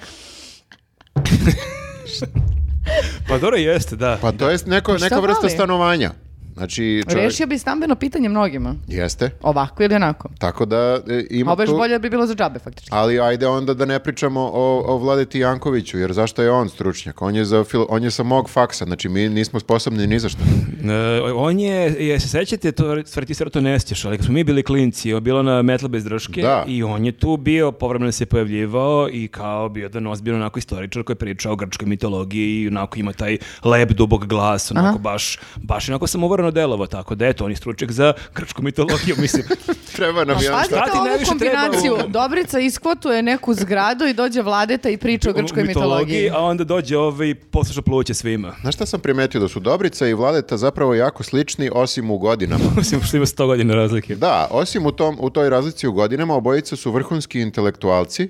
Pa dobro jeste, da.
Pa to je neko,
šta
neka vrsta
fali?
stanovanja. Znači, čovjek...
Rešio bi stambeno pitanje mnogima.
Jeste.
Ovako ili onako.
Tako da e, ima
A Ovo još
tu...
bolje bi bilo za džabe, faktički.
Ali ajde onda da ne pričamo o, o Vladeti Jankoviću, jer zašto je on stručnjak? On je, za fil- on je sa mog faksa, znači mi nismo sposobni ni za što.
E, on je, je se sećate, to stvari ti stvarno to ne sjećaš, ali kad smo mi bili klinci, je bilo na metla bez drške
Da.
i on je tu bio, povremeno se pojavljivao i kao bio jedan ozbiljno onako istoričar koji priča o grčkoj mitologiji i onako ima taj lep, dubog glas, onako baš, baš onako sam uvoreno delovo, tako da eto, on je stručnjak za grčku mitologiju, mislim.
Pa
Treba nam jedan
šta
Pazite
ti
ovu
najviše treba
kombinaciju.
u-
Dobrica iskvotuje neku zgradu i dođe vladeta i priča o grčkoj mitologiji.
A onda dođe ovaj i posluša pluće svima.
Znaš šta sam primetio? Da su Dobrica i Vladeta zapravo jako slični, osim u godinama.
Mislim što ima 100 godina razlike.
Da, osim u, tom, u toj razlici u godinama, obojica su vrhunski intelektualci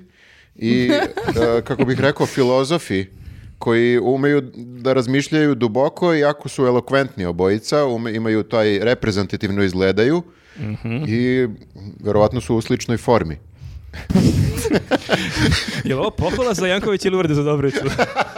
i, e, kako bih rekao, filozofi koji umeju da razmišljaju duboko i jako su elokventni obojica, ume- imaju taj reprezentativno izgledaju
Mhm.
i verovatno su u sličnoj formi.
Je li ovo pohvala za Janković ili uvrede za Dobricu?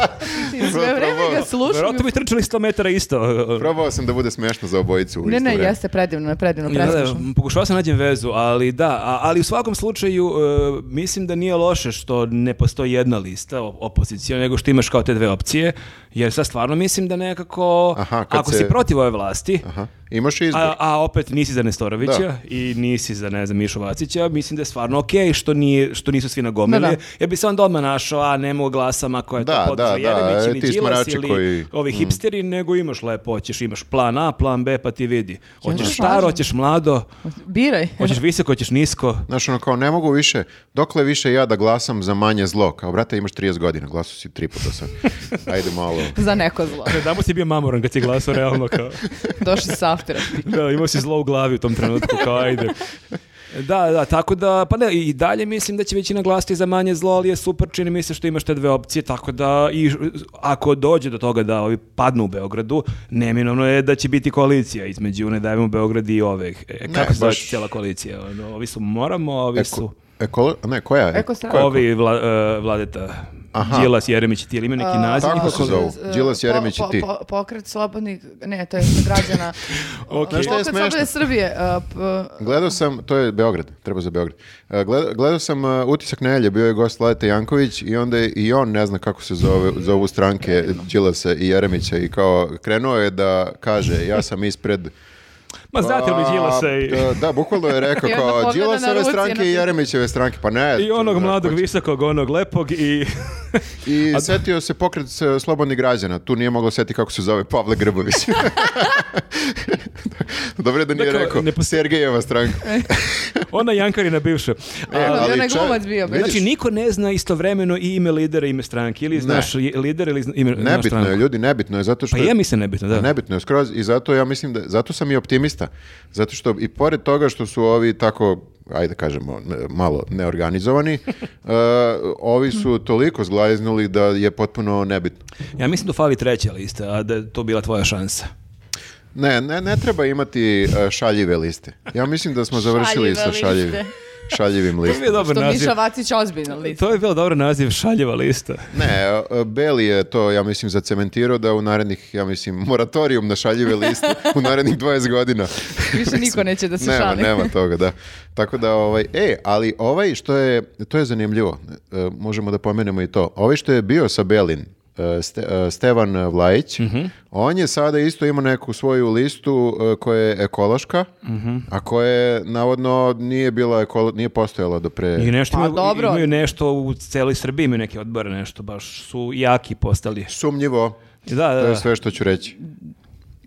Sve vreme ga
Probao-
slušam.
Verovatno bi trčali 100 metara isto.
Probao sam da bude smešno za obojicu u
Ne,
isto
ne,
vreme.
jeste predivno, je predivno,
Ja, da,
preslušam.
pokušavao sam nađem vezu, ali da, a- ali u svakom slučaju e, mislim da nije loše što ne postoji jedna lista opozicija, nego što imaš kao te dve opcije, jer sad stvarno mislim da nekako,
Aha, kad
ako
se-
si protiv ove vlasti,
Aha. Imaš izbor.
a, a opet nisi za Nestorovića i nisi za, ne znam, Mišu Vacića, mislim da je stvarno okej što, nije, što nisu nisu svi nagomili.
Da, da.
Ja bi se onda odmah našao, a ne mogu glasam ako je
Da,
to
da,
potpuno
da,
Jeremić
e,
ili
ti
Đilas
smarači
ili
koji- Mm.
ovi hipsteri, nego imaš lepo, hoćeš, imaš plan A, plan B, pa ti vidi. Hoćeš
se
staro,
slažem.
hoćeš mlado,
Biraj.
hoćeš visoko, hoćeš nisko.
Znaš, ono kao, ne mogu više, dokle više ja da glasam za manje zlo? Kao, brate, imaš 30 godina, glasu si tri puta sad. Ajde malo.
Za neko zlo.
Da mu si bio mamoran kad si glasao realno kao.
Došli sa aftera. ti.
Da, imao si zlo u glavi u tom trenutku, kao ajde. Da, da, tako da, pa ne, i dalje mislim da će većina glasiti za manje zlo, ali je super, čini mi se što imaš te dve opcije, tako da i š- ako dođe do toga da ovi padnu u Beogradu, neminovno je da će biti koalicija između Ne dajemo Beograd i ove. E,
Ne,
kako se zove
baš-
cijela koalicija? Ono, ovi su Moramo, ovi su...
Eko, ekolo, ne, koja je?
Eko strana.
Koja je ko-
Ovi vla, e, vladeta,
Aha.
Đilas, Jeremić i ti, ili ima neki naziv?
tako
njihov
se
koali-
zovu.
Z-
Đilas,
po-
Jeremić i
po-
ti.
po- pokret slobodnih, ne, to je građana.
Ok.
Znaš šta je
Pokret
smešno?
slobodne Srbije. a, p-
Gledao sam, to je Beograd, treba za Beograd. E, Gledao, gledao sam e, utisak nelje, bio je gost Lajeta Janković i onda je- i on ne zna kako se zove, zovu stranke Đilasa i Jeremića i kao krenuo je da kaže ja sam ispred
Ma Pa znate li
A,
Đilasa i...
e, Da, bukvalno je rekao
I onda
kao
pogleda na
Đilasove
ruci,
stranke i
ono-
Jeremićeve stranke, pa ne.
I onog
znaš,
mladog,
ko će-
visokog, onog lepog i...
I setio se pokret e, slobodnih građana, tu nije moglo setiti kako se zove Pavle Grbović. Dobro je da nije
Dakle,
rekao
ne postoji-
Sergejeva stranka.
Ona Jankarina bivša.
E,
Ono,
ali
onaj
čak-
glumac bio, bre.
vidiš,
Znači, niko ne zna istovremeno i ime lidera i ime stranke. Ili znaš je- lider ili zna- ime znaš
Nebitno
stranku.
je, ljudi, nebitno je, zato što
Pa ja mislim nebitno, da.
Nebitno je skroz i zato ja mislim da, zato sam i optimista. Zato što i pored toga što su ovi tako, ajde kažemo, ne- malo neorganizovani, uh, ovi su toliko zglajeznuli da je potpuno nebitno.
Ja mislim da fali treća lista, a da je to bila tvoja šansa.
Ne, ne, ne treba imati uh, šaljive liste. Ja mislim da smo završili sa
Šaljive
šaljivim,
liste.
šaljivim
To je bio
listom.
dobar
Što
naziv.
Miša Vacić ozbiljno lice.
To je bio dobar naziv, šaljeva lista.
Ne, uh, Beli je to, ja mislim, zacementirao da u narednih, ja mislim, moratorijum na šaljive liste u narednih 20 godina.
Više niko neće da se
nema,
šali.
Nema toga, da. Tako da, ovaj, e, ali ovaj što je, to je zanimljivo, E, možemo da pomenemo i to. Ovaj što je bio sa Belin, e, Ste- e, Stevan Vlajić,
Mhm.
on je sada isto imao neku svoju listu e, koja je ekološka,
Mhm.
a koja je, navodno, nije bila ekolo- nije postojala do pre...
I nešto
Pa
imaju,
dobro.
imaju nešto u celoj Srbiji, imaju neke odbore, nešto baš su jaki postali.
Sumnjivo,
Da, da,
to je
da.
sve što ću reći.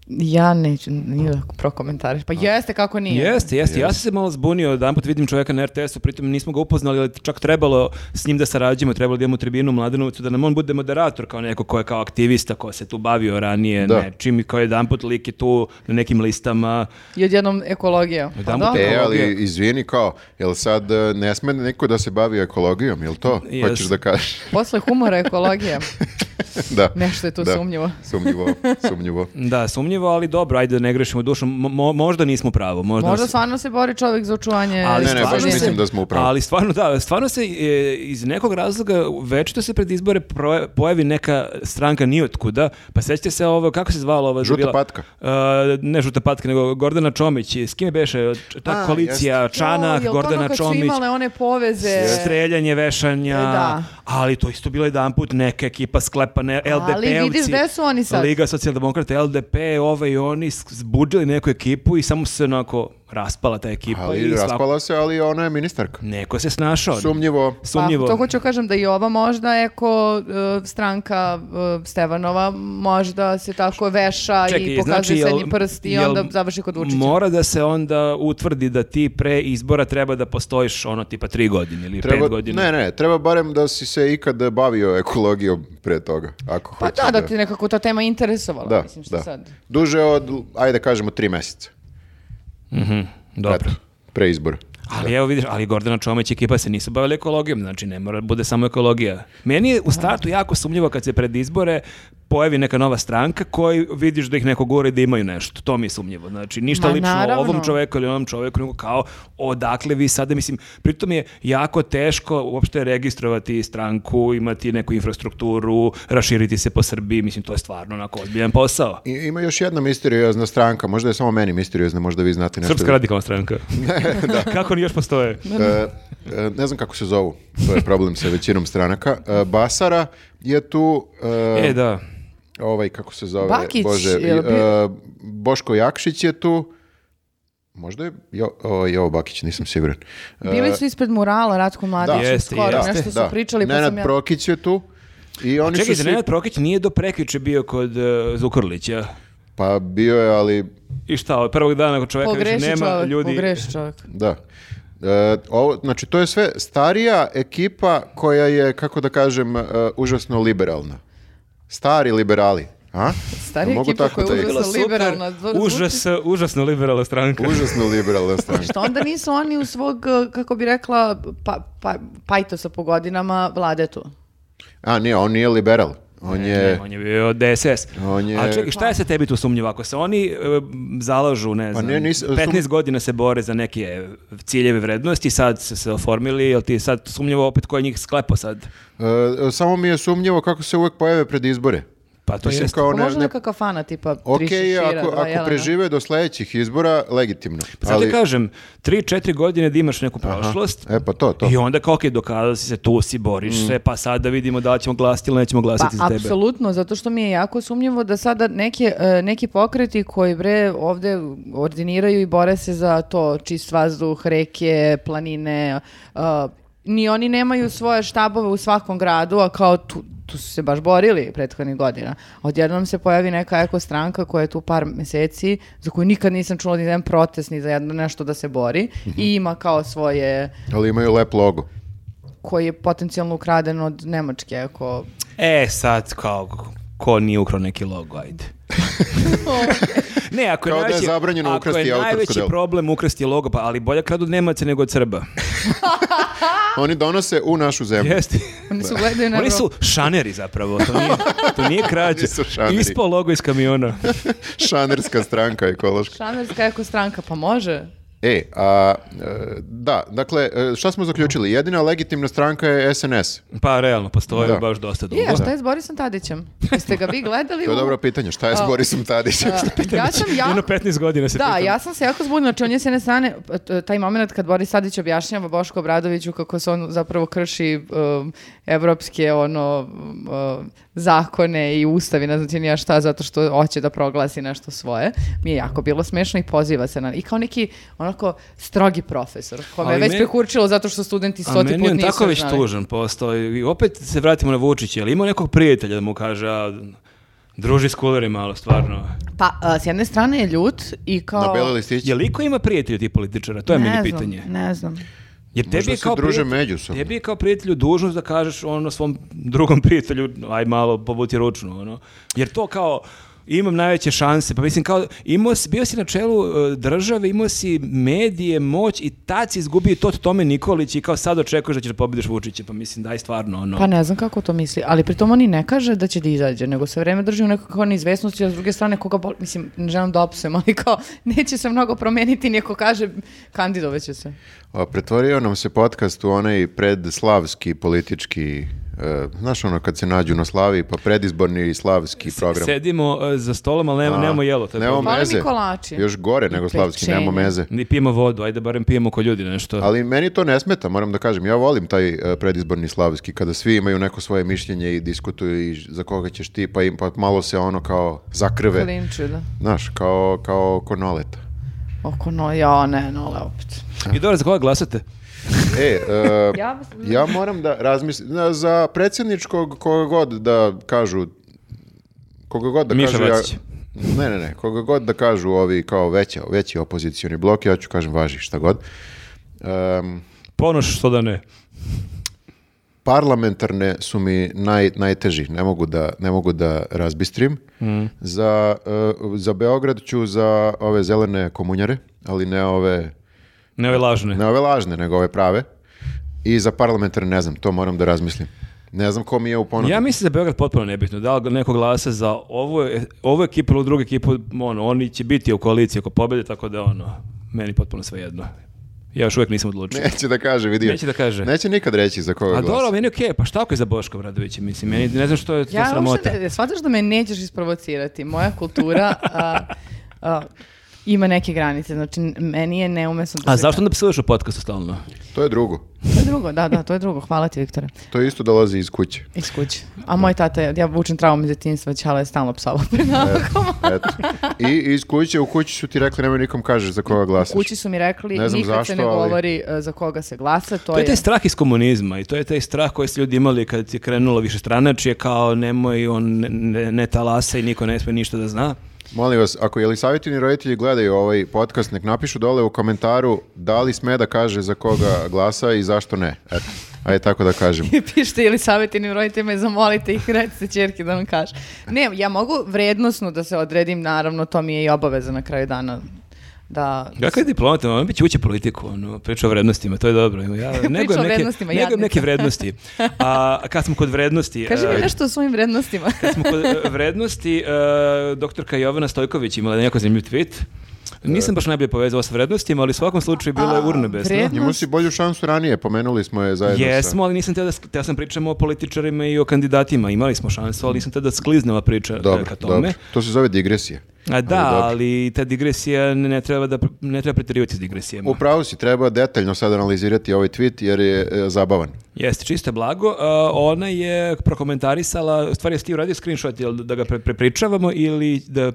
Ja neću, nije da prokomentariš. Pa jeste, kako nije.
Jeste, jeste. Ja sam se malo zbunio, jedan put vidim čovjeka na RTS-u, pritom nismo ga upoznali, ali čak trebalo s njim da sarađujemo, trebalo da idemo u tribinu u Mladenovcu, da nam on bude moderator kao neko ko je kao aktivista, ko se tu bavio ranije
Da.
nečim i kao jedan put lik je tu na nekim listama.
I odjednom ekologija. Pa
Odjedanput
dobro.
E, ali
Ekologija.
izvini kao, jel sad e, ne sme niko da se bavi ekologijom, jel to?
Jes.
Hoćeš da kažeš?
Posle humora ekologija.
da.
Nešto je tu
da.
sumnjivo.
Sumnjivo, sumnjivo.
Da, sumnjivo, ali dobro, ajde da ne grešimo dušom. Mo- možda nismo pravo. Možda,
Možda
s-
stvarno se bori čovjek za očuvanje.
Pa Ali
E, Ne, ne, baš
stvarno se-
mislim da smo u pravu.
Ali stvarno, da, stvarno se e, iz nekog razloga večito se pred izbore proje- pojavi neka stranka nijotkuda, pa sećate se ovo, kako se zvala ova?
Žuta
bila-
patka.
E, ne Žuta patka, nego Gordana Čomić. S kim je beše? Č- Ta
A,
koalicija, Čanak,
Joj, jel to ono
Gordana
kad su
Čomić.
imale one poveze.
streljanje, vešanja,
E, da.
ali to isto bilo jedan put neka ekipa sklepa, ne, LDP-ovci.
vidiš gde su oni sad?
Liga socijaldemokrata, LDP, ove i ovaj, oni sk- zbudili neku ekipu i samo se onako raspala ta ekipa. i
Ali
svako-
raspala se, ali ona je ministarka.
Neko se snašao.
Sumnjivo.
Sumnjivo.
Pa, to hoću kažem da i ova možda eko e, stranka e, Stevanova možda se tako veša i pokazuje
znači, jel-
srednji prst i
jel
onda završi kod Vučića.
Mora da se onda utvrdi da ti pre izbora treba da postojiš ono tipa tri godine ili
Treba,
pet godina.
ne, ne, treba barem da si se ikad bavio ekologijom pre toga. Ako
pa
hoćeš
da, da ti nekako ta tema interesovala.
Da,
mislim, što
da.
sad.
Duže od, ajde kažemo, tri meseca.
Dobro.
Eto, pre izbora.
Ali evo vidiš, ali Gordana Čomić i ekipa se nisu bavili ekologijom, znači ne mora da bude samo ekologija. Meni je u startu jako sumnjivo kad se pred izbore pojavi neka nova stranka koji vidiš da ih neko gore da imaju nešto. To mi je sumnjivo. Znači ništa
Ma,
lično
naravno.
ovom čoveku ili onom čoveku, nego kao odakle vi sada, mislim, pritom je jako teško uopšte registrovati stranku, imati neku infrastrukturu, raširiti se po Srbiji, mislim, to je stvarno onako ozbiljan posao.
I, ima još jedna misteriozna stranka, možda je samo meni misteriozna, možda vi znate nešto.
Srpska radikalna stranka. Kako oni još postoje?
E, e, ne znam kako se zovu, to je problem sa većinom stranaka. E, Basara je tu... e,
E, da.
ovaj kako se zove
Bakić,
Bože
jel
i,
bi-
e, Boško Jakšić je tu Možda je jo, o, Jovo Bakić, nisam siguran. E,
Bili su ispred murala Ratko Mladić
Da. Jeste,
skoro,
jeste.
nešto su pričali, pa
Nenad
sam ja...
Prokić je tu. I oni
Čekajte,
su svi...
Nenad Prokić nije do prekjuče bio kod uh, Zukorlića.
Pa bio je, ali
I šta, od prvog dana ako čoveka više
Pogreši
nema,
čovjek,
ljudi...
pogreši čovjek.
Da. E, ovo, znači, to je sve starija ekipa koja je, kako da kažem, e, užasno liberalna. Stari liberali. A?
Stari
Mogu
ekipa
tako
koja
da
je
ih-
Bila
užasno
super,
liberalna. zvu- zvuči-
Užas, užasno liberalna stranka.
Užasno liberalna stranka.
Što onda nisu oni u svog, e, kako bi rekla, pa, pa, pajtosa po godinama vlade tu?
A, nije, on nije liberal. On je...
Ne, on je bio DSS.
On je-
A čekaj, šta je sa tebi tu sumnjivo? Ako se oni e, zalažu, ne
Pa
znam,
ne, nis- sum-
15 godina se bore za neke ciljeve vrednosti, sad su se oformili, jel ti je sad sumnjivo opet ko je njih sklepo sad?
E, samo mi je sumnjivo kako se uvek pojave pred izbore.
Pa to
Mislim,
jest.
kao
Pa
ne-
može
ne-
neka kafana tipa
Ok,
tri šešira,
ako,
dva
ako
jelena.
prežive do sledećih izbora, legitimno.
Pa sad ti kažem, 3-4 godine da imaš neku prošlost,
E, pa to, to. Mm.
I onda kao, okej, dokazao si se, tu si, boriš se, pa sad da vidimo da li ćemo glasiti ili nećemo
Pa,
glasiti za tebe.
apsolutno, zato što mi je jako sumnjivo da sada neke, e, neki pokreti koji bre ovde ordiniraju i bore se za to čist vazduh, reke, planine, e, ni oni nemaju svoje štabove u svakom gradu, a kao tu, tu su se baš borili prethodnih godina. A Odjednom se pojavi neka eko stranka koja je tu par meseci, za koju nikad nisam čula ni za jedan protest, ni za jedno nešto da se bori
Mhm.
i ima kao svoje,
Ali imaju lep logo.
koji je potencijalno ukraden od Nemačke, ako
E, sad kao, ko nije ukrao neki logo, ajde. ne, ako je
Kao da je
najveći,
zabranjeno
ako
ukrasti
je
autorsko
najveći
delo.
problem ukrasti logo, pa ali bolje kradu od Nemaca nego od Srba.
Oni donose u našu zemlju.
Jeste.
Oni su gledaju na
Oni
Evropu.
su šaneri zapravo, to nije, to nije krađa.
Oni su šaneri.
Ispao logo iz kamiona.
Šanerska stranka ekološka.
Šanerska eko stranka, pa može?
E, a, e, da, dakle, e, šta smo zaključili? Jedina legitimna stranka je SNS.
Pa realno, postoje
Da.
baš dosta dugo.
Je, a šta je s Borisom Tadićem? Jeste ga vi gledali?
To je
u-
dobro pitanje. Šta je s
A,
Borisom Tadićem?
A, ja sam ja...
Jedno 15 godina se
Da,
pitam.
ja sam se jako zbunila. Znači, on je s jedne strane, t- taj moment kad Boris Tadić objašnjava Boško Obradoviću kako se on zapravo krši um, evropske ono, um, zakone i ustavi, ne znam ti ni ja šta, zato što hoće da proglasi nešto svoje. Mi je jako bilo smešno i poziva se na... I kao neki onako strogi profesor, kome je
Ali
već
me-
prekurčilo zato što studenti
A
stoti put
meni
nisu
je on
znali.
tako već tužan postao. I opet se vratimo na Vučića. Jel ima nekog prijatelja da mu kaže, a, druži s kulerima, malo, stvarno.
Pa, a, s jedne strane je ljut i kao...
Na beli listić?
Je li ko ima prijatelja ti političara? To je
ne
meni
znam,
pitanje.
Ne znam.
Jer tebi
Možda
je
se
kao
druže
prijatelj-
međusobno.
Tebi je kao prijatelju dužnost da kažeš ono svom drugom prijatelju, aj malo povuti ručnu, ono. Jer to kao imam najveće šanse, pa mislim kao imao si, bio si na čelu e, države, imao si medije, moć i tad si izgubio to Tome Nikolić i kao sad očekuješ da ćeš da pobediš Vučića, pa mislim daj stvarno ono.
Pa ne znam kako to misli, ali pritom oni ne kaže da će da izađe, nego se vreme drži u nekakvoj neizvesnosti, a s druge strane koga boli, mislim, ne želim da opsujem, ali kao neće se mnogo promeniti, niko kaže kandidovaće se.
A, Pretvorio nam se podcast u onaj predslavski politički, e, znaš ono kad se nađu na slavi, pa predizborni slavski program.
Sedimo e, za stolom, ali nema,
A,
nemamo jelo. To je
nemamo
problem.
Fale mi
meze.
kolači.
Još gore nego slavski,
pečenje.
nema meze.
Ni pijemo vodu, ajde barem pijemo ko ljudi nešto.
Ali meni to ne smeta, moram da kažem. Ja volim taj e, predizborni slavski, kada svi imaju neko svoje mišljenje i diskutuju i za koga ćeš ti, pa, im, pa malo se ono kao zakrve.
Klinču, da.
Znaš, kao, kao oko noleta.
Oko no, ja, ne, nole opet.
I dobro, za koga glasate?
E, e,
Ja-
ja, moram da razmislim, na- za predsjedničkog koga god da kažu, koga god da
Miša
kažu... ja-
Vacić.
ne, ne, ne, koga god da kažu ovi kao veća, veći opozicioni blok, ja ću kažem važi šta god. Em,
Ponoš što da ne.
parlamentarne su mi naj, najteži, ne mogu da, ne mogu da razbistrim. Za, e, za Beograd ću za ove zelene komunjare, ali ne ove,
Ne ove lažne.
ne ove lažne, nego ove prave. I za parlamentarne ne znam, to moram da razmislim. Ne znam ko mi je u ponudi.
Ja mislim da je Beograd potpuno nebitno. Da li neko glasa za ovu, e, ovu ekipu ili drugu ekipu, ono, oni će biti u koaliciji ako pobede, tako da ono, meni potpuno sve jedno. Ja još uvijek nisam odlučio.
Neće da kaže, vidio.
Neće da kaže.
Neće nikad reći za koga
A
glasa.
dobro, meni je okej, pa šta ako je za Boška Obradovića? Mislim, meni, ne znam što je to
Ja
sramota.
uopšte, ne- shvataš da me nećeš isprovocirati, moja kultura... a, a, ima neke granice. Znači, n- meni je neumesno da
A
se-
zašto onda psuješ o podcastu stalno?
To je drugo.
To je drugo, da, da, to je drugo. Hvala ti, Viktore.
To isto dolazi iz kuće.
Iz kuće. A moj tata, je- ja vučem traumu iz djetinjstva, Ćala je stalno psao pred nama.
Eto. I iz kuće, u kući su ti rekli nemoj nikom kažeš za koga glasaš.
Kući su mi rekli,
Ne znam
nikad se
zašto,
ne
ali-
govori e, za koga se glasa, to,
To je
je...
taj strah iz komunizma i to je taj strah koji su ljudi imali kad je krenulo više stranačije kao nemoj, on ne, ne, ne talasa i niko ne sme ništa da zna.
Molim vas, ako je li savjetivni roditelji gledaju ovaj podcast, nek napišu dole u komentaru da li sme da kaže za koga glasa i zašto ne. Eto, ajde tako da kažem.
pišite ili savjetinim roditeljima i zamolite ih, recite čerke da vam kaže. Ne, ja mogu vrednostno da se odredim, naravno, to mi je i obaveza na kraju dana. Da,
Kakav je diplomata, on bit će ući politiku, ono, priča o vrednostima, to je dobro. Ja, negujem
o
neke-
vrednostima,
negujem
jadnica.
neke vrednosti. A a kad smo kod vrednosti...
Kaži mi
e,
nešto o svojim vrednostima.
Kad smo kod e, vrednosti, e, doktorka Jovana Stojković imala jako zanimljiv tweet. Nisam baš najbolje povezao sa vrednostima, ali u svakom slučaju bila je
E. A,
urnebesna.
vred-
Njemu si bolju šansu ranije, pomenuli smo je zajedno
Jesmo, ali nisam teo da, sk- teo sam pričamo o političarima i o kandidatima. Imali smo šansu, ali nisam teo da skliznula priča
sa...
e,
Dobro,
ka tome.
dobro. To se zove digresija.
A da,
dobro.
ali ta digresija ne, ne treba da pr- ne treba preterivati s digresijama.
Upravo si, treba detaljno sad analizirati ovaj tweet jer je e, zabavan.
Jeste, čiste blago. Uh, ona je prokomentarisala, u stvari jesi ti uradio screenshot, jel da ga pre- prepričavamo ili da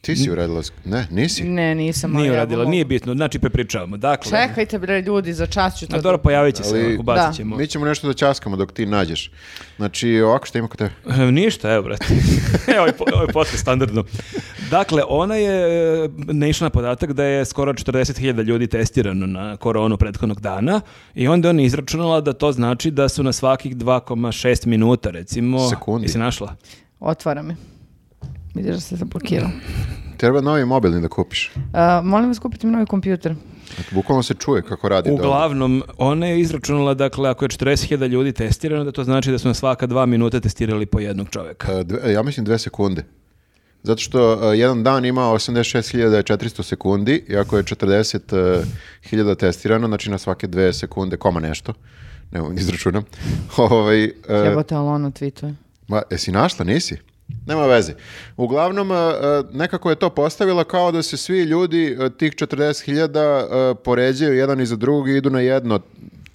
Ti si uradila... sk- Ne, nisi.
Ne, nisam. ali
nije
evo
uradila,
mogu.
nije bitno, znači prepričavamo. Dakle,
Čekajte bre ljudi, za čas ću to.
A dobro, pa- pojavit će
Ali-
se, ubacit
Da.
ćemo.
Mi ćemo nešto da časkamo dok ti nađeš. Znači, ovako što ima kod tebe.
E, Ništa, evo, brate. evo je, po- ovo je podcast standardno. Dakle, ona je e, naišla na podatak da je skoro 40.000 ljudi testirano na koronu prethodnog dana i onda je ona izračunala da to znači da su na svakih 2,6 minuta, recimo...
Sekundi.
Jesi našla?
Otvara me. Vidiš da se zablokirao.
Treba novi mobilni da kupiš. Znači,
A, E, molim vas kupite mi novi kompjuter.
Bukvalno se čuje kako radi. dole.
Uglavnom, ona je izračunala, dakle, ako je 40.000 ljudi testirano, da to znači da su na svaka dva minuta testirali po jednog čoveka.
E, dve- ja mislim dve sekunde. Zato što e, jedan dan ima 86.400 sekundi, iako je 40.000 testirano, znači na svake dve sekunde koma nešto. Ne mogu da izračunam. Ovaj, e,
Jebote, ali ono tweetuje.
ma, jesi našla, nisi? Nema veze. Uglavnom, e, e, nekako je to postavila kao da se svi ljudi, e, tih 40.000, e, poređaju jedan iza drugog i idu na jedno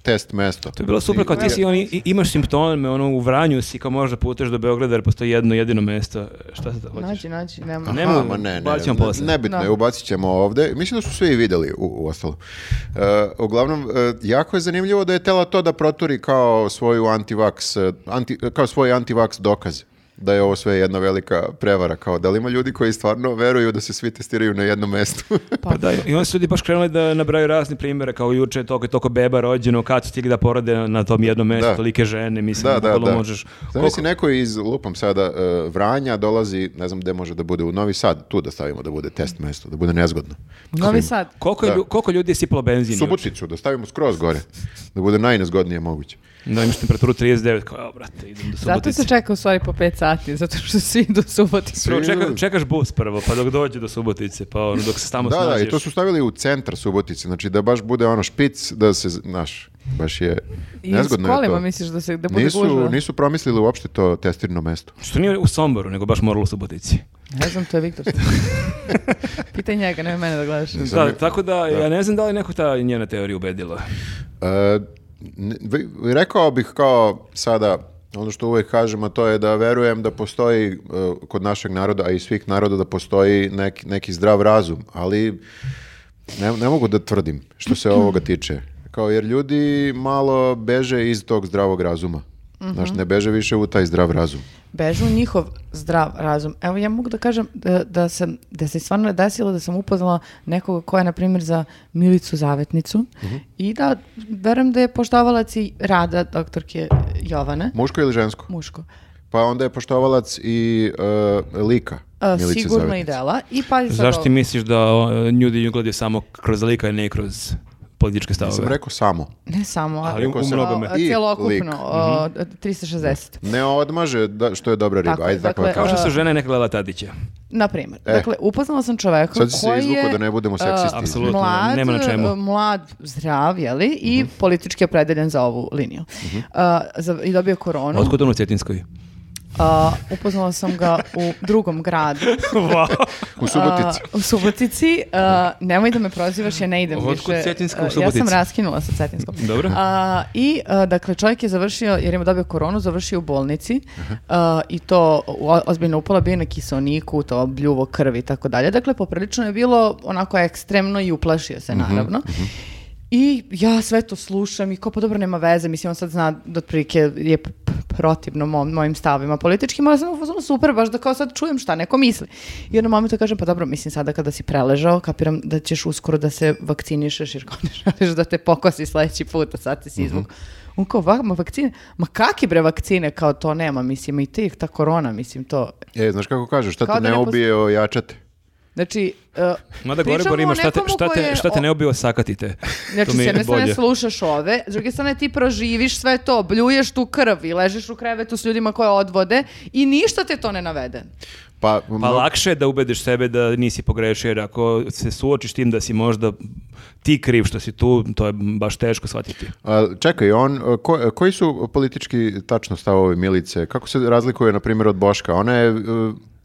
test mesto.
To je bilo super, kao ti si, oni, i- imaš simptome, ono, u Vranju si, kao možda puteš do Beograda, jer postoji jedno jedino mesto. e, Šta se to hoćeš?
Nađi, nađi, nema.
Ne.
Aha,
mogu,
ma ne, ne,
bacimo
ne,
posle.
nebitno je,
Da.
ubacit ćemo ovde. Mislim da su svi videli u, u ostalo. uglavnom, e, jako je zanimljivo da je tela to da proturi kao svoju antivaks, e, anti, kao svoj antivaks dokaz da je ovo sve jedna velika prevara. Kao, da li ima ljudi koji stvarno veruju da se svi testiraju na jednom mestu?
Pa da, i onda su ljudi baš krenuli da nabraju razne primjere, kao juče je toliko i toliko beba rođeno, kad su stigli da porode na tom jednom mjestu,
Da.
tolike žene, mislim,
da, da, da.
možeš...
Zamisli,
koliko-
neko iz, lupam sada, e, Vranja dolazi, ne znam gde može da bude, u Novi Sad, tu da stavimo da bude test mesto, da bude nezgodno.
Novi Sad.
Koliko, je, lju- koliko ljudi je sipalo benzin? juče?
Suboticu, da stavimo skroz gore, da bude najnezgodnije moguće.
Da imaš temperaturu 39, kao, evo, brate, idem do
Zato
Subotice.
se čeka u stvari po 5 sati, zato što svi idu u Suboticu.
Prvo čeka- čekaš bus prvo, pa dok dođe do Subotice, pa ono, dok se tamo
Da,
snađeš.
da, i to su stavili u centar Subotice, znači da baš bude ono špic, da se, znaš, baš je
I s
nezgodno je
kolima
to.
misliš da se da bude
Nisu,
gužva?
nisu promislili uopšte to testirno mesto.
Što nije u Somboru, nego baš moralo u Subotici.
Ne znam, to je Viktor. Pitaj njega, nemoj mene da gledaš.
Nisam
Da,
je-
tako da, ja ne znam da li neko ta njena teorija ubedila.
E, ne- vi- vi- rekao bih kao sada, ono što uvek kažem, a to je da verujem da postoji e, kod našeg naroda, a i svih naroda, da postoji neki, neki zdrav razum, ali ne, ne mogu da tvrdim što se ovoga tiče. Kao jer ljudi malo beže iz tog zdravog razuma. Znaš, ne beže više u taj zdrav razum.
Bežu u njihov zdrav razum. Evo ja mogu da kažem da, da, sam, da se stvarno desilo da sam upoznala nekoga koja je, na primjer, za Milicu Zavetnicu
Mhm.
i da verujem da je poštovalac i rada doktorke Jovane,
Muško ili žensko?
muško.
Pa onda je poštovalac i e, lika.
A,
Milice
sigurno i
Zavetnice.
dela. I pazi sad
Zašto ti
ovo.
misliš da o, ljudi nju gledaju samo kroz lika i ne kroz političke stavove?
Sam rekao samo.
Ne samo,
Ali u-
a-
u mnogome.
a- a
I lik.
Cjelokupno, o, 360.
Ne odmaže da, što je dobra riba.
Tako je,
Ajde, tako
dakle,
da
Kao
kažem.
što su žene neka gledala Tadića.
Na primjer,
E.
dakle, upoznala sam čoveka
Sad si se
koji
izvukao
je...
da ne budemo
e,
seksisti.
Apsolutno,
mlad,
nema na čemu.
e, Mlad, zdrav, jeli, i
Mhm.
politički opredeljen za ovu liniju. E, za- I dobio koronu.
Otkud on u Cetinskoj?
a, upoznala sam ga u drugom gradu.
wow.
U Subotici.
A, u Subotici. A, nemoj da me prozivaš, ja ne idem
Ovo je kod Cetinska u
A, Ja sam
Subotici.
raskinula sa Cetinskom.
Dobro.
A, I, a, dakle, čovjek je završio, jer ima dobio koronu, završio u bolnici a, i to o- ozbiljno upala, bio je na kiselniku, to bljuvo krvi i tako dalje. Dakle, poprilično je bilo onako ekstremno i uplašio se, naravno. I ja sve to slušam i kao pa dobro nema veze, mislim on sad zna da otprilike je p- p- protivno mom, mojim stavima političkim, ali sam u fazonu super, baš da kao sad čujem šta neko misli. I onda mami to kažem, pa dobro, mislim sada kada si preležao, kapiram da ćeš uskoro da se vakcinišeš jer kao ne želiš da te pokosi sledeći put, a sad
Mhm.
ti si izvuk. On kao, va, ma vakcine, ma kaki bre vakcine, kao to nema, mislim, i tih, ta korona, mislim, to.
E, znaš kako kažeš, šta
Kao
te
da ne
ne
postoji.
ubije, ojačate.
Znači, uh,
Mada gore
pričamo
gore ima
o
šta te,
nekomu
šta
ko
te,
je
šta te
o-
ne obio sakatite.
Znači,
To mi je
s jedne strane
bolje.
slušaš ove, s druge strane ti proživiš sve to, bljuješ tu krv i ležiš u krevetu s ljudima koje odvode i ništa te to ne navede.
Pa,
Pa
mno-
lakše je da ubediš sebe da nisi pogrešio, jer ako se suočiš tim da si možda ti kriv što si tu, to je baš teško shvatiti.
a, čekaj, on, a, ko- a, koji su politički tačno stavovi Milice? Kako se razlikuje, na primjer, od Boška? Ona je e,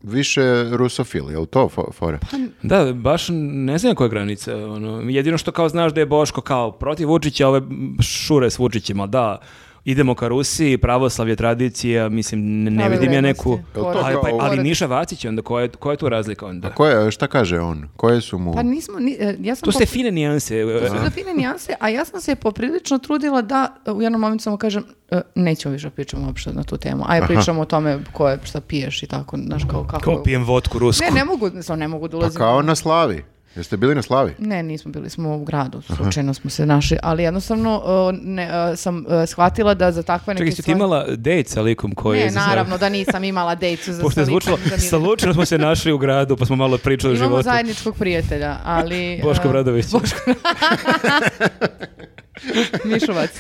više rusofil, je li to fo- fora?
Pa
Da, baš ne znam koja je granica. Ono, jedino što kao znaš da je Boško kao protiv Vučića, a ove šure s Vučićima, ali da, idemo ka Rusiji, pravoslavlje, tradicija, mislim, ne, ne
Prave
vidim ja neku...
vrednosti.
Jel to
Ali,
kao-
pa, ali
Pored-
Niša Vacić je onda, koja je, koja je tu razlika onda?
Ko je, šta kaže on? Koje su mu...
Pa nismo, ni, e, ja sam
To su te
pop-
fine nijanse. e,
to su te fine nijanse, a ja sam se poprilično trudila da e, u jednom momentu samo kažem e, nećemo više pričamo uopšte na tu temu. Aj pričamo o tome ko je, šta piješ i tako, znaš kao kako.
Kao pijem vodku rusku.
ne, ne mogu, ne, ne mogu da
Pa
ulazim.
kao na Slavi. Jeste bili na Slavi?
Ne, nismo bili smo u gradu, slučajno smo se našli, ali jednostavno e, ne, e, sam e, shvatila da za takve neke
Čekaj, si ti
stvari-
imala dejt sa likom koji...
Ne,
je-
naravno da nisam imala dejcu za
Pošto je zvučilo, sa Lučinom smo se našli u gradu, pa smo malo pričali o
Imamo
životu.
zajedničkog prijatelja, ali... e,
Boško
a,
Bradović.
Mišovac.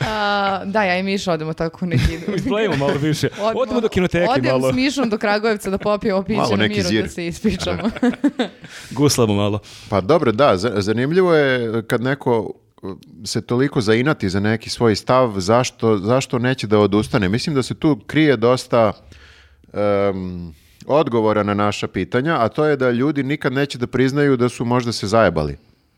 A, da, ja i Miša odemo tako u neki...
Izblejimo malo više. Odemo do kinoteki
odem
malo.
s Mišom do Kragujevca da popijemo piće
Malo
na
neki
miru
zir.
da se ispričamo.
Guslamo malo.
Pa dobro, da, za- zanimljivo je kad neko uh, se toliko zainati za neki svoj stav, zašto, zašto neće da odustane. Mislim da se tu krije dosta um, odgovora na naša pitanja, a to je da ljudi nikad neće da priznaju da su možda se zajebali.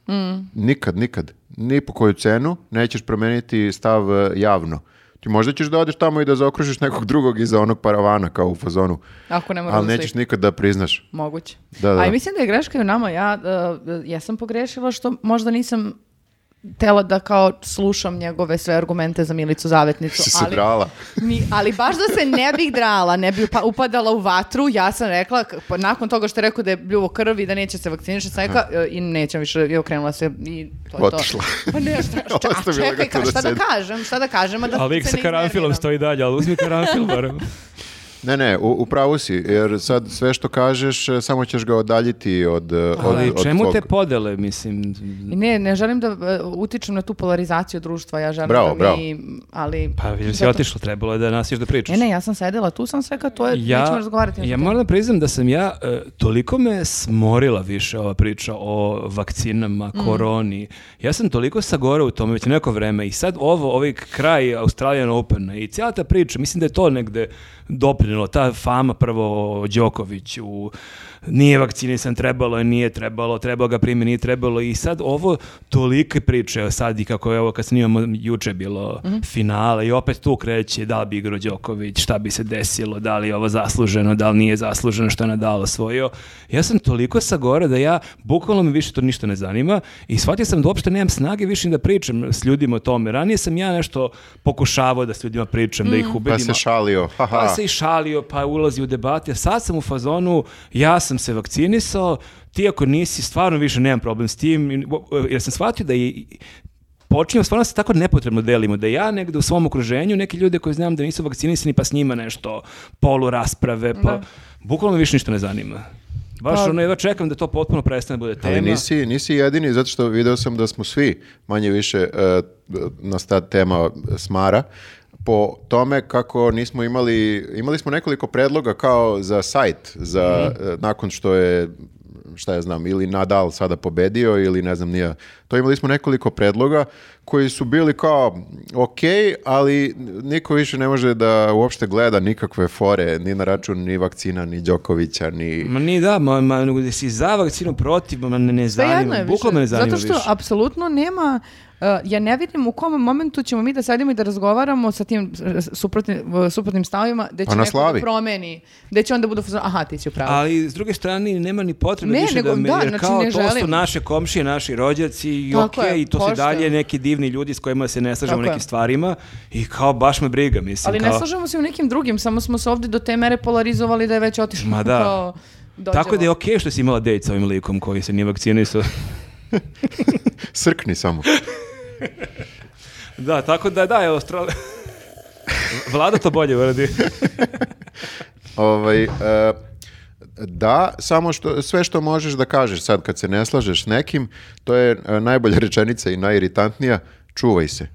Mm.
Nikad, nikad. Ni po koju cenu nećeš promeniti stav uh, javno. Ti možda ćeš da odeš tamo i da zaokružiš nekog drugog iza onog paravana kao u fazonu.
Ako ne moram
Ali
da se-
nećeš nikad da priznaš.
Moguće.
Da, da.
A i mislim da je greška i u nama. Ja, uh, ja sam pogrešila što možda nisam tela da kao slušam njegove sve argumente za Milicu Zavetnicu.
Si se
ali,
drala.
Ni, ali baš da se ne bih drala, ne bih upa- upadala u vatru, ja sam rekla, k- pa nakon toga što je rekao da je bljuvo krv i da neće se vakcinišati, sam rekla "E, i nećem više, i okrenula se i to je to.
Otišla.
Pa ne, šta, šta, a
Ostavila ga
čekaj,
tu
ka-
da
šta da
sedi.
kažem, šta da kažem, a da
A lik
se
sa
ne
karanfilom
iznerviram.
stoji dalje, ali uzmi karanfil barem.
Ne, ne, u, u pravu si, jer sad sve što kažeš e, samo ćeš ga odaljiti od, e, od,
Ali
od
čemu
tvog-
te podele, mislim?
I Ne, ne želim da e, utičem na tu polarizaciju društva, ja želim
Bravo,
da mi,
bravo.
ali...
Pa vidim si
Zato-
otišla, trebalo je da nasiš da pričaš.
Ne, ne, ja sam sedela, tu sam sve kad to je, nećemo razgovarati. na
ja
tu temu.
moram da priznam da sam ja, e, toliko me smorila više ova priča o vakcinama, koroni. Ja sam toliko sagorao u tome već neko vreme i sad ovo, ovaj kraj Australian Open i cijela ta priča, mislim da je to negde doprinilo, ta fama prvo o Đokoviću, nije vakcinisan, trebalo je, nije trebalo, trebalo ga primiti, nije trebalo i sad ovo tolike priče, evo sad i kako je ovo kad snimamo juče je bilo finale i opet tu kreće da li bi igrao Đoković, šta bi se desilo, da li je ovo zasluženo, da li nije zasluženo što je Nadal osvojio. Ja sam toliko sagora da ja, bukvalno me više to ništa ne zanima i shvatio sam da uopšte nemam snage više ni da pričam s ljudima o tome. Ranije sam ja nešto pokušavao da s ljudima pričam, da ih ubedim.
Pa se šalio, haha.
Pa se i šalio, pa ulazi u debate. A Sad sam u fazonu, ja sam se vakcinisao, ti ako nisi, stvarno više nemam problem s tim. I- u- Jer sam shvatio da i počinjem, stvarno se tako nepotrebno delimo, da ja negde u svom okruženju, neki ljude koji znam da nisu vakcinisani, pa s njima nešto, polu rasprave, pa bukvalno više ništa ne zanima. Baš
Pa- E,
ono, jedva čekam da to potpuno prestane da bude tema.
Ali nisi, nisi jedini, zato što video sam da smo svi manje više e, nas ta tema smara po tome kako nismo imali, imali smo nekoliko predloga kao za sajt, za, e, nakon što je šta ja znam, ili Nadal sada pobedio ili ne znam nije. To imali smo nekoliko predloga koji su bili kao ok, ali niko više ne može da uopšte gleda nikakve fore, ni na račun ni vakcina, ni Đokovića, ni...
Ma ni da, ma, ma nego da si za vakcinu protiv, ma ne, ne
Sve jedno
zanima.
je
Bukvalno me ne
više.
zanima
Zato što
više.
apsolutno nema uh, ja ne vidim u kom momentu ćemo mi da sedimo i da razgovaramo sa tim uh, suprotnim, uh, suprotnim stavima da će
Pa na
neko
slavi.
da promeni, da će onda budu fuzon, aha ti si u pravu.
Ali s druge strane nema ni potrebe
Ne,
više da
nego
me,
da,
jer
znači,
kao
ne
to su
želim.
naše komšije, naši rođaci i
Tako
okej,
je,
i to su i
poštujem.
dalje neki divni ljudi s kojima se ne slažemo u
Tako je.
nekim stvarima i kao baš me briga, mislim.
Ali
kao,
ne slažemo se u nekim drugim, samo smo se ovdje do te mere polarizovali da je već otišlo.
Ma da.
Kao, dođemo.
Tako da je okej što si imala dejt sa ovim likom koji se nije vakcinisao.
Srkni samo.
da, tako da da, evo, stro... Vlada to bolje uradi.
Ovaj, e, da, samo što, sve što možeš da kažeš sad kad se ne slažeš s nekim, to je e, najbolja rečenica i najiritantnija, čuvaj se.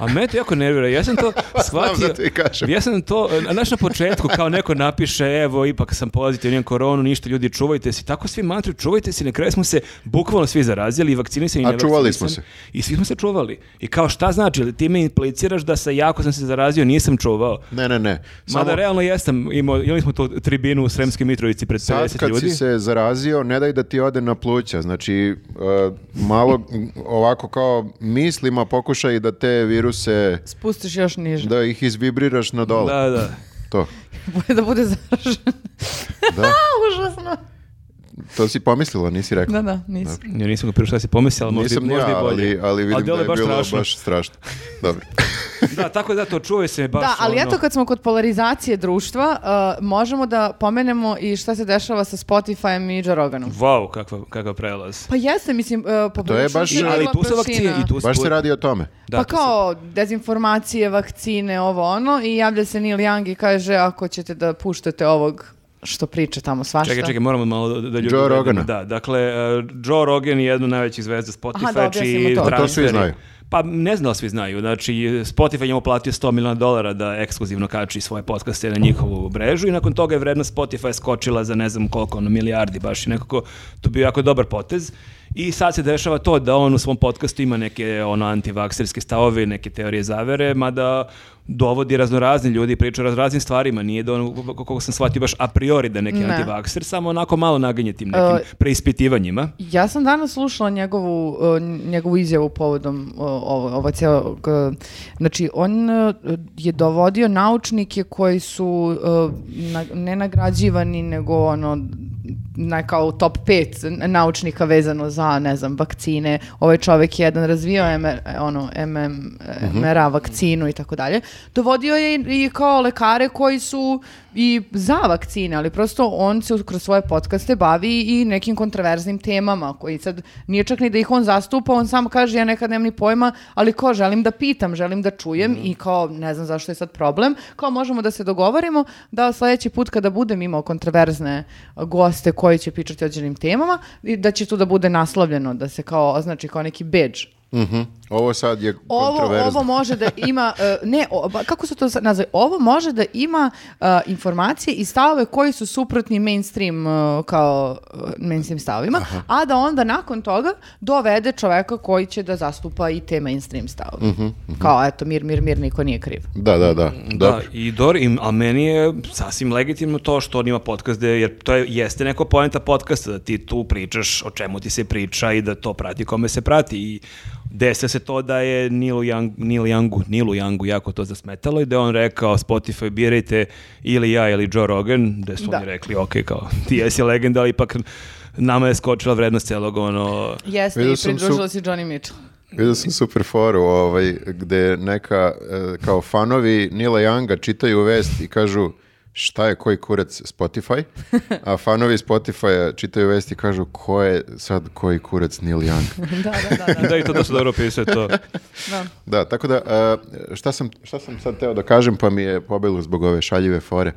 A me to jako nervira. Ja sam to shvatio.
zato i kažem.
Ja sam to, e, znaš na početku kao neko napiše, evo ipak sam pozitiv, imam koronu, ništa ljudi, čuvajte se. Tako svi mantri, čuvajte se. Na kraju smo se bukvalno svi zarazili i vakcinisani i
A čuvali smo
nevakcinisani. I svi smo se čuvali. I kao šta znači, Jel ti me impliciraš da se jako sam se zarazio, nisam čuvao.
Ne, ne, ne.
Mada realno jesam, imao, imali smo tu tribinu u Sremskoj Mitrovici pred
Sad
50
kad
ljudi.
si se zarazio, ne daj da ti ode na pluća. Znači, e, malo m, ovako kao mislima pokušaj da te viruse,
Spustiš još niže.
da ih izvibriraš na dole.
Da, da.
To,
Da, da bude zaražen.
da.
Užasno.
To si pomislila, nisi
Da,
rekla.
da, nisam.
Ja nisam ga prvo šta si pomislio, ali možda,
Nisam ni
možda
ja,
i bolje.
ali, ali vidim da
delo
je bilo
strašno.
baš strašno. Dobro.
Da, tako da to čuvaj se baš
Da, ali
ono.
eto kad smo kod polarizacije društva, uh, možemo da pomenemo i šta se dešava sa Spotify-em i Joe Roganom.
Wow, kakav, kakav prelaz.
Pa jeste, mislim, uh, poprilično
baš-
I,
širila
ali tu su vakcine
prašina.
i tu su...
Baš se radi o tome.
Da,
pa
tu su-
kao dezinformacije, vakcine, ovo ono i javlja se Neil Young i kaže ako ćete da puštate ovog što priča tamo svašta.
Čekaj, čekaj, moramo malo da, da ljudi...
Joe
uvedemo.
Rogana.
Da, dakle, eh, Joe Rogan je jedna od najvećih zvezda
Aha, da
Spotify,
objasnimo
čiji
to. A to
transferi-
svi znaju.
Pa ne znam da li svi znaju, znači Spotify je njemu platio 100 miliona dolara da ekskluzivno kači svoje podcaste na njihovu mrežu i nakon toga je vrednost Spotify skočila za ne znam koliko, ono milijardi baš i nekako to bio jako dobar potez. I sad se dešava to da on u svom podcastu ima neke ono antivakserske stavove, neke teorije zavere, mada dovodi raznorazni ljudi, priča o raznoraznim stvarima, nije da on, kako sam shvatio, baš a priori da je neki
Ne.
antivakser, samo onako malo naginje tim nekim
E,
preispitivanjima.
Ja sam danas slušala njegovu, uh, njegovu izjavu povodom uh, ovo, ovo cijelog, uh, znači on uh, je dovodio naučnike koji su uh, na, ne nagrađivani nego ono na kao top 5 naučnika vezano za, ne znam, vakcine. Ovaj čovjek je jedan razvio MR, ono, MM, MRA vakcinu i tako dalje. Dovodio je i, i kao lekare koji su i za vakcine, ali prosto on se kroz svoje podcaste bavi i nekim kontroverznim temama koji sad nije čak ni da ih on zastupa, on samo kaže ja nekad nemam ni pojma, ali ko želim da pitam, želim da čujem i kao ne znam zašto je sad problem, kao možemo da se dogovorimo da sljedeći put kada budem imao kontroverzne a, goste koji će pričati o određenim temama i da će tu da bude naslovljeno, da se kao označi kao neki badge.
Mhm. Ovo sad je
Ovo,
kontroverzno.
ovo može da ima, e, ne, o- ba- kako su to sad nazvali, ovo može da ima e, informacije i stavove koji su suprotni mainstream e, kao e, mainstream stavovima, a da onda nakon toga dovede čoveka koji će da zastupa i te mainstream stavove.
Mhm,
Kao eto, mir, mir, mir, niko nije kriv.
Da, da, da.
Da,
Dobro.
i Dor, im, a meni je sasvim legitimno to što on ima podcast, gde- jer to je, jeste neko poenta podcasta, da ti tu pričaš o čemu ti se priča i da to prati kome se prati. I desilo se to da je Nilu, Young, Nilu Youngu, Nilu Youngu jako to zasmetalo i da je on rekao Spotify birajte ili ja ili Joe Rogan, da su
Da.
oni rekli ok, kao ti jesi legenda, ali ipak nama je skočila vrednost celog ono...
Jeste,
Vidio
i
sam su-
pridružila si Johnny Mitchell.
Vidio sam super foru, ovaj, gde neka, e, kao fanovi Nila Younga čitaju vest i kažu šta je koji kurac Spotify, a fanovi Spotify čitaju vest i kažu ko je sad koji kurac Neil Young.
da, da, da, da.
Da i to da su dobro pisao to.
da.
Da, tako da, e, šta sam, šta sam sad teo da kažem, pa mi je pobilo zbog ove šaljive fore.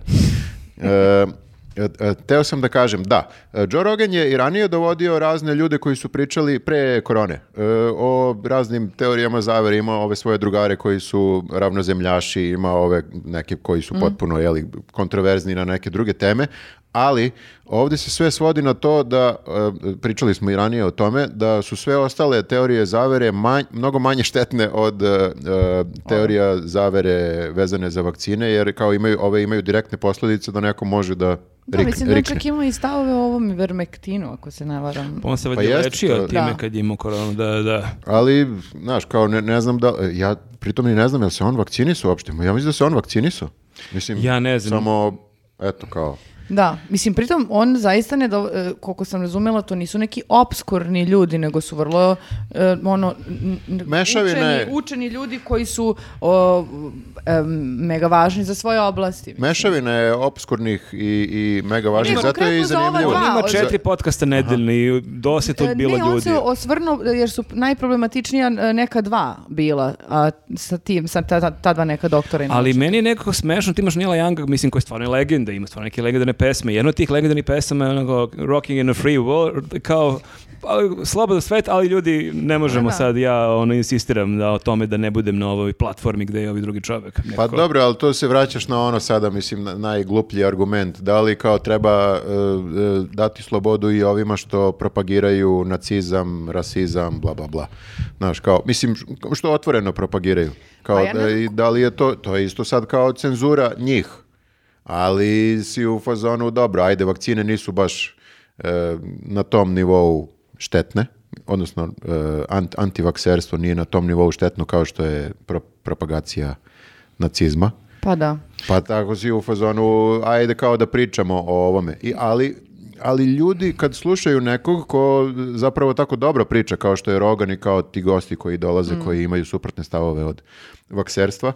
E, e, e, Teo sam da kažem, da, e, Joe Rogan je i ranije dovodio razne ljude koji su pričali pre korone e, o raznim teorijama zavere, imao ove svoje drugare koji su ravnozemljaši, ima ove neke koji su potpuno jeli, kontroverzni na neke druge teme, Ali ovdje se sve svodi na to da, e, pričali smo i ranije o tome, da su sve ostale teorije zavere manj- mnogo manje štetne od e, e, teorija zavere vezane za vakcine, jer kao imaju, ove imaju direktne posljedice da neko može da,
Da,
rik-
mislim da on
rikne.
čak ima i stavove o ovom vermektinu, ako se ne varam.
Pa On se
Pa
valjda
jeste
lečio
to. Mm.
time
Da.
kad je imao koronu, da, da.
Ali, znaš, kao ne, ne znam da, ja pritom ni ne znam je li se on vakcinisao uopšte, ja mislim da se on vakcinisao. Mislim,
Ja ne znam.
Samo, eto kao,
Da, mislim, pritom on zaista ne, do- e, koliko sam razumela, to nisu neki obskurni ljudi, nego su vrlo, e, ono, n- n-
Mešavine.
učeni, učeni ljudi koji su o, em, mega važni za svoje oblasti. mislim.
mešavina je obskurnih i, i mega važnih,
Ne,
zato je i
konkretno za ova
zanimljivo.
dva,
On ima
od-
četiri podcasta nedeljni i dosta je tu
E,
bilo
ne, on
ljudi.
se osvrnuo, e, jer su najproblematičnija e, neka dva bila, a sa tim, sa ta, ta, ta dva neka doktora. i
Ali
naučnika.
meni je nekako smešno, ti imaš Nila Younga, mislim, koji je stvarno legenda, ima stvarno neke legendarne pesme. Jedna od tih legendarnih pesama je onako Rocking in a Free World, kao pa, slobodan svet, ali ljudi, ne možemo
Da.
sad, ja ono, insistiram da o tome da ne budem na ovoj platformi gde je ovi drugi čovek.
Pa
Nekako.
dobro, ali to se vraćaš na ono sada, mislim, na- najgluplji argument. Da li kao treba e, e, dati slobodu i ovima što propagiraju nacizam, rasizam, bla, bla, bla. Znaš, kao, mislim, š- što otvoreno propagiraju. Kao,
Pa ja ne
da,
znam
i da li je to, to je isto sad kao cenzura njih. Ali si u fazonu, dobro, ajde, vakcine nisu baš e, na tom nivou štetne, odnosno e, ant, antivakserstvo nije na tom nivou štetno kao što je pro- propagacija nacizma.
Pa da.
Pa tako si u fazonu, ajde kao da pričamo o ovome. I, ali, ali ljudi kad slušaju nekog ko zapravo tako dobro priča kao što je Rogan i kao ti gosti koji dolaze, koji imaju suprotne stavove od vakserstva,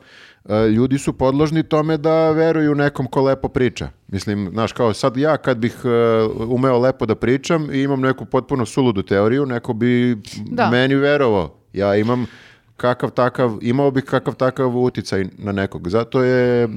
e, ljudi su podložni tome da veruju nekom ko lepo priča. Mislim, znaš, kao sad ja kad bih e, umeo lepo da pričam i imam neku potpuno suludu teoriju, neko bi
Da.
meni verovao. Ja imam kakav takav, imao bih kakav takav uticaj na nekog. Zato je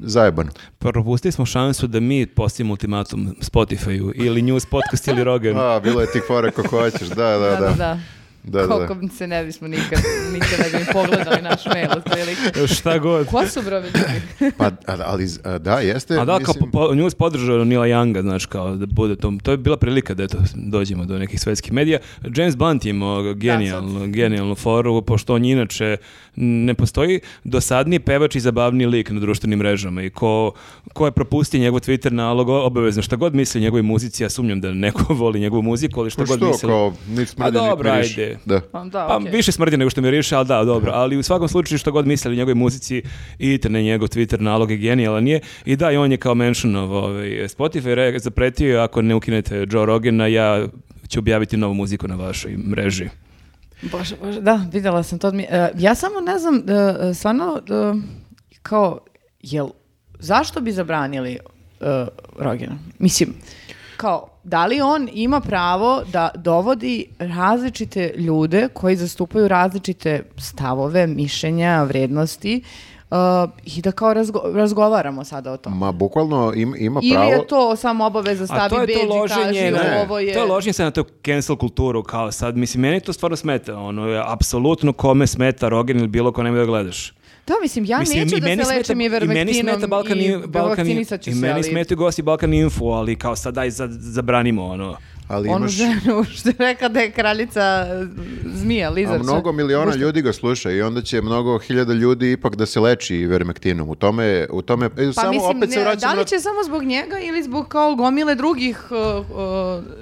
zajebano.
Propustili smo šansu da mi postavimo ultimatum Spotify-u ili News Podcast ili Rogan.
A, bilo je tih fora kako hoćeš, da, da, da.
Da, da, da.
Da, da.
Koliko se ne bismo nikad, nikada bi pogledali naš mail, otprilike.
Šta god.
Ko su brovi ljudi?
Pa, a- ali, z- a, da, jeste.
A da, kao
mislim,
po, po, nju podržao Nila Younga, znaš, kao da bude tom. To je bila prilika da eto, dođemo do nekih svetskih medija. James Blunt je imao genijalnu, genijalnu foru, pošto on inače ne postoji dosadniji pevač i zabavni lik na društvenim mrežama i ko, ko je propustio njegov Twitter nalog obavezno. Šta god misli o njegovoj muzici, ja sumnjam da neko voli njegovu muziku, ali šta
pa
god
što,
misli.
kao, nit smrdi,
A
nit
Pa dobro,
miriši.
ajde.
Da.
Pa da,
Pa
okej.
više smrdi nego što miriše, ali da, dobro. Ali u svakom slučaju što god mislili o njegovoj muzici, idite na njegov Twitter nalog je genijalan je. I da, i on je kao mentionov ovaj, Spotify re- zapretio je, ako ne ukinete Joe Rogana, ja ću objaviti novu muziku na vašoj mreži.
Bože, bože, da, vidjela sam to. od mi- e, ja samo ne znam, e, e, stvarno, e, kao, jel, zašto bi zabranili e, Rogena? Mislim, kao, da li on ima pravo da dovodi različite ljude koji zastupaju različite stavove, mišljenja, vrednosti e, i da kao razgo- razgovaramo sada o tom?
Ma, bukvalno im- ima
Ili
pravo...
je to samo obaveza
A
stavi
to je
bedž
to
i
loženje,
kaži
ne.
ovo je...
to je loženje sad na tu cancel kulturu kao sad. Mislim, meni to stvarno smeta. Ono, apsolutno kome smeta Rogan ili bilo ko nemoj da gledaš.
Da, mislim, ja
Mislim,
Pa neću
i
da
meni
se
smeta-
lečim i
i meni
vermektinom
smeta Balkan,
i
Balkan,
vakcinisat ću
I
se,
meni
ali
smetaju gosti Balkan Info, ali kao sad daj za- zabranimo ono.
Ali
onu
imaš...
ženu što je rekla da je kraljica e, zmija,
A
lizarca.
mnogo miliona ljudi ga sluša i onda će mnogo hiljada ljudi ipak da se leči vermektinom. U tome, je- u tome, e,
Pa
samo
mislim,
opet se
ne,
vraćam
da
na-
li će samo zbog njega ili zbog kao gomile drugih e,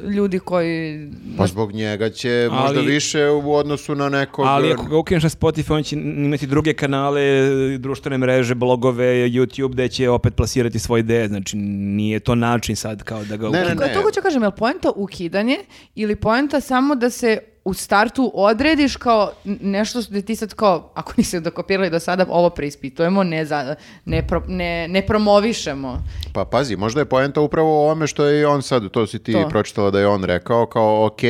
e, ljudi koji...
Pa zbog njega će možda
Ali-
više u odnosu na nekog...
Ali ako ga ukineš na Spotify, on će imati druge kanale, društvene mreže, blogove, YouTube, gde će opet plasirati svoje ideje. Znači, nije to način sad kao da ga
Ne,
ukineš.
ne,
Ko-
ne.
Toga ću kažem, je li poenta ukidanje ili poenta samo da se u startu odrediš kao n- nešto što ti sad kao, ako niste dokopirali do sada, ovo preispitujemo, ne, za, ne, pro- ne, ne promovišemo.
Pa pazi, možda je poenta upravo o ovome što je i on sad, to si ti
To.
pročitala da je on rekao, kao ok,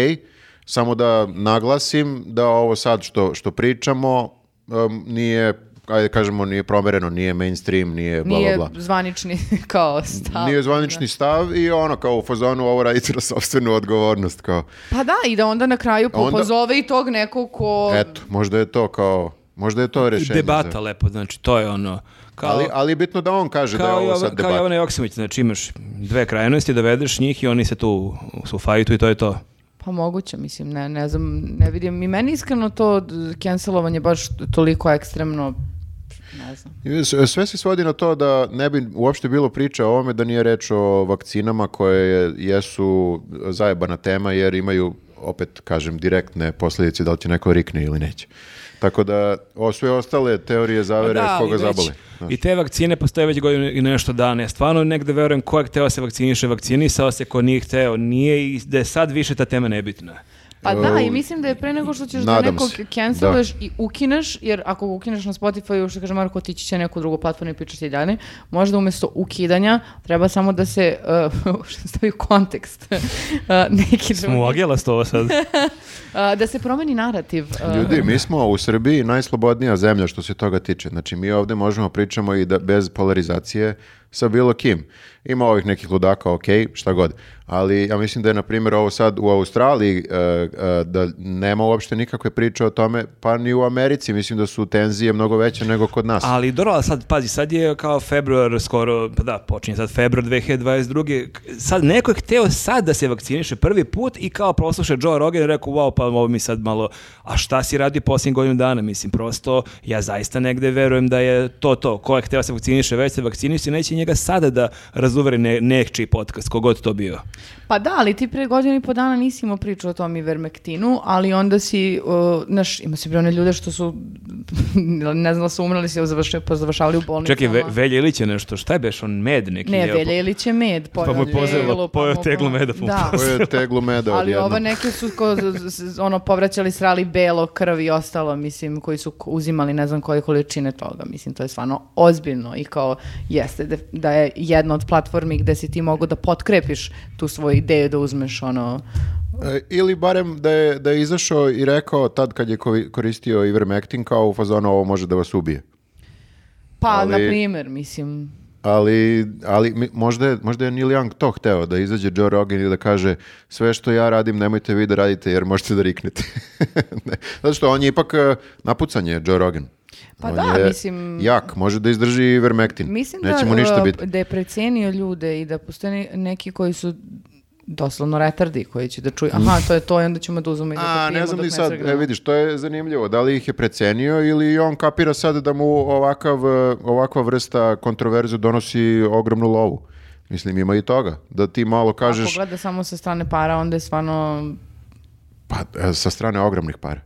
samo da naglasim da ovo sad što, što pričamo em, nije, ajde kažemo, nije promereno, nije mainstream, nije bla
Nije
bla bla.
zvanični kao stav.
Nije zvanični stav i ono kao u fazonu ovo radite na sobstvenu odgovornost, kao
Pa da, i da onda na kraju po-
Onda-
pozove i tog nekog ko...
eto, možda je to kao Možda je to rešenje.
Debata
za-
lepo, znači to je ono. Kao,
Ali, ali je bitno da on kaže da je
kao,
ovo
Jovan,
sad
kao
debata.
Jovana Joksimović, znači imaš dve krajnosti, dovedeš njih i oni se tu su u fajtu i to je to.
Pa moguće, mislim, ne, ne znam, ne vidim. I meni iskreno to d- cancelovanje baš toliko ekstremno, ne znam.
S- e, Sve se svodi na to da ne bi uopšte bilo priče o ovome da nije reč o vakcinama koje je- jesu zajebana tema jer imaju opet kažem direktne posljedice da li će neko rikne ili neće. Tako da o sve ostale teorije zavere
Pa Da, ali
koga
već
Pa zabole. Znaš.
I te vakcine postoje već godinu i nešto dana. Ja stvarno negde verujem ko je hteo se vakciniše, vakcinisao se, ko nije hteo, nije i da je sad više ta tema nebitna.
Pa da,
E,
i mislim da je pre nego što ćeš da
nadam
nekog
se,
canceluješ i ukineš, jer ako ga ukineš na Spotify, što kaže Marko, otići će na neku drugu platformu i pričati i dalje, možda umjesto ukidanja treba samo da se uh, stavi u kontekst uh, neki drugi,
Smo ogelast ovo sad.
uh, da se promeni narativ. uh,
Ljudi, mi smo u Srbiji najslobodnija zemlja što se toga tiče. Znači, mi ovdje možemo pričamo i da bez polarizacije sa bilo kim. Ima ovih nekih ludaka, ok, šta god. Ali ja mislim da je, na primjer, ovo sad u Australiji, e, e, da nema uopšte nikakve priče o tome, pa ni u Americi. Mislim da su tenzije mnogo veće nego kod nas.
Ali dobro, ali sad, pazi, sad je kao februar skoro, pa da, počinje sad februar 2022. K- Sad neko je hteo sad da se vakciniše prvi put i kao prosluša Joe Rogan i rekao, wow, pa ovo mi sad malo, a šta si radio posljednjih godinu dana? Mislim, prosto, ja zaista negde verujem da je to to. Ko je hteo da se vakciniše, već se vakciniše, neće njega sada da razuveri ne, nečiji podcast, kogod to bio.
Pa da, ali ti pre godinu i po dana nisi imao priču o tom ivermektinu, ali onda si, uh, znaš, ima si bre one ljude što su, ne znam da su umrali, si završili, pa završavali u bolnicama.
Čekaj, ve, Velja Ilić je nešto, šta je beš, on med neki?
Ne,
je,
velje ili će med, pojeo
mu je pozelo,
teglu, pa
pojeo
mu-
teglu meda, pa mu
Da,
Ovo je teglu meda
ali
odjednom.
ovo neke su ko, z- z- z- ono, povraćali, srali belo, krv i ostalo, mislim, koji su k- uzimali ne znam koje količine toga, mislim, to je stvarno ozbiljno i kao jeste def- da je jedna od platformi gde si ti mogu da potkrepiš tu svoju ideju da uzmeš ono,
E, Ili barem da je, da je izašao i rekao tad kad je kovi- koristio Ivermectin kao u fazonu ovo može da vas ubije.
pa,
Ali-
na primjer, mislim,
Ali, ali mi- možda, je, možda je Neil Young to hteo, da izađe Joe Rogan i da kaže sve što ja radim nemojte vi da radite jer možete da riknete. Ne. Zato što on je ipak eh, napucan je Joe Rogan.
Pa
On
da,
je
mislim-
Jak, može da izdrži i vermektin.
Mislim
Neće
da,
mu ništa
uh,
biti.
da je precenio ljude i da postoje ne- neki koji su doslovno retardi koji će da
Mm.
čuju, aha, to je to i onda ćemo da uzmemo i da
A,
popijemo
ne znam
dok
ni sad,
sregnemo.
e, vidiš, to je zanimljivo. Da li ih je precenio ili on kapira sad da mu ovakav, eh, ovakva vrsta kontroverzu donosi ogromnu lovu? Mislim, ima i toga. Da ti malo
Ako
kažeš,
gleda samo sa strane para, onda je stvarno...
pa, eh, sa strane ogromnih para.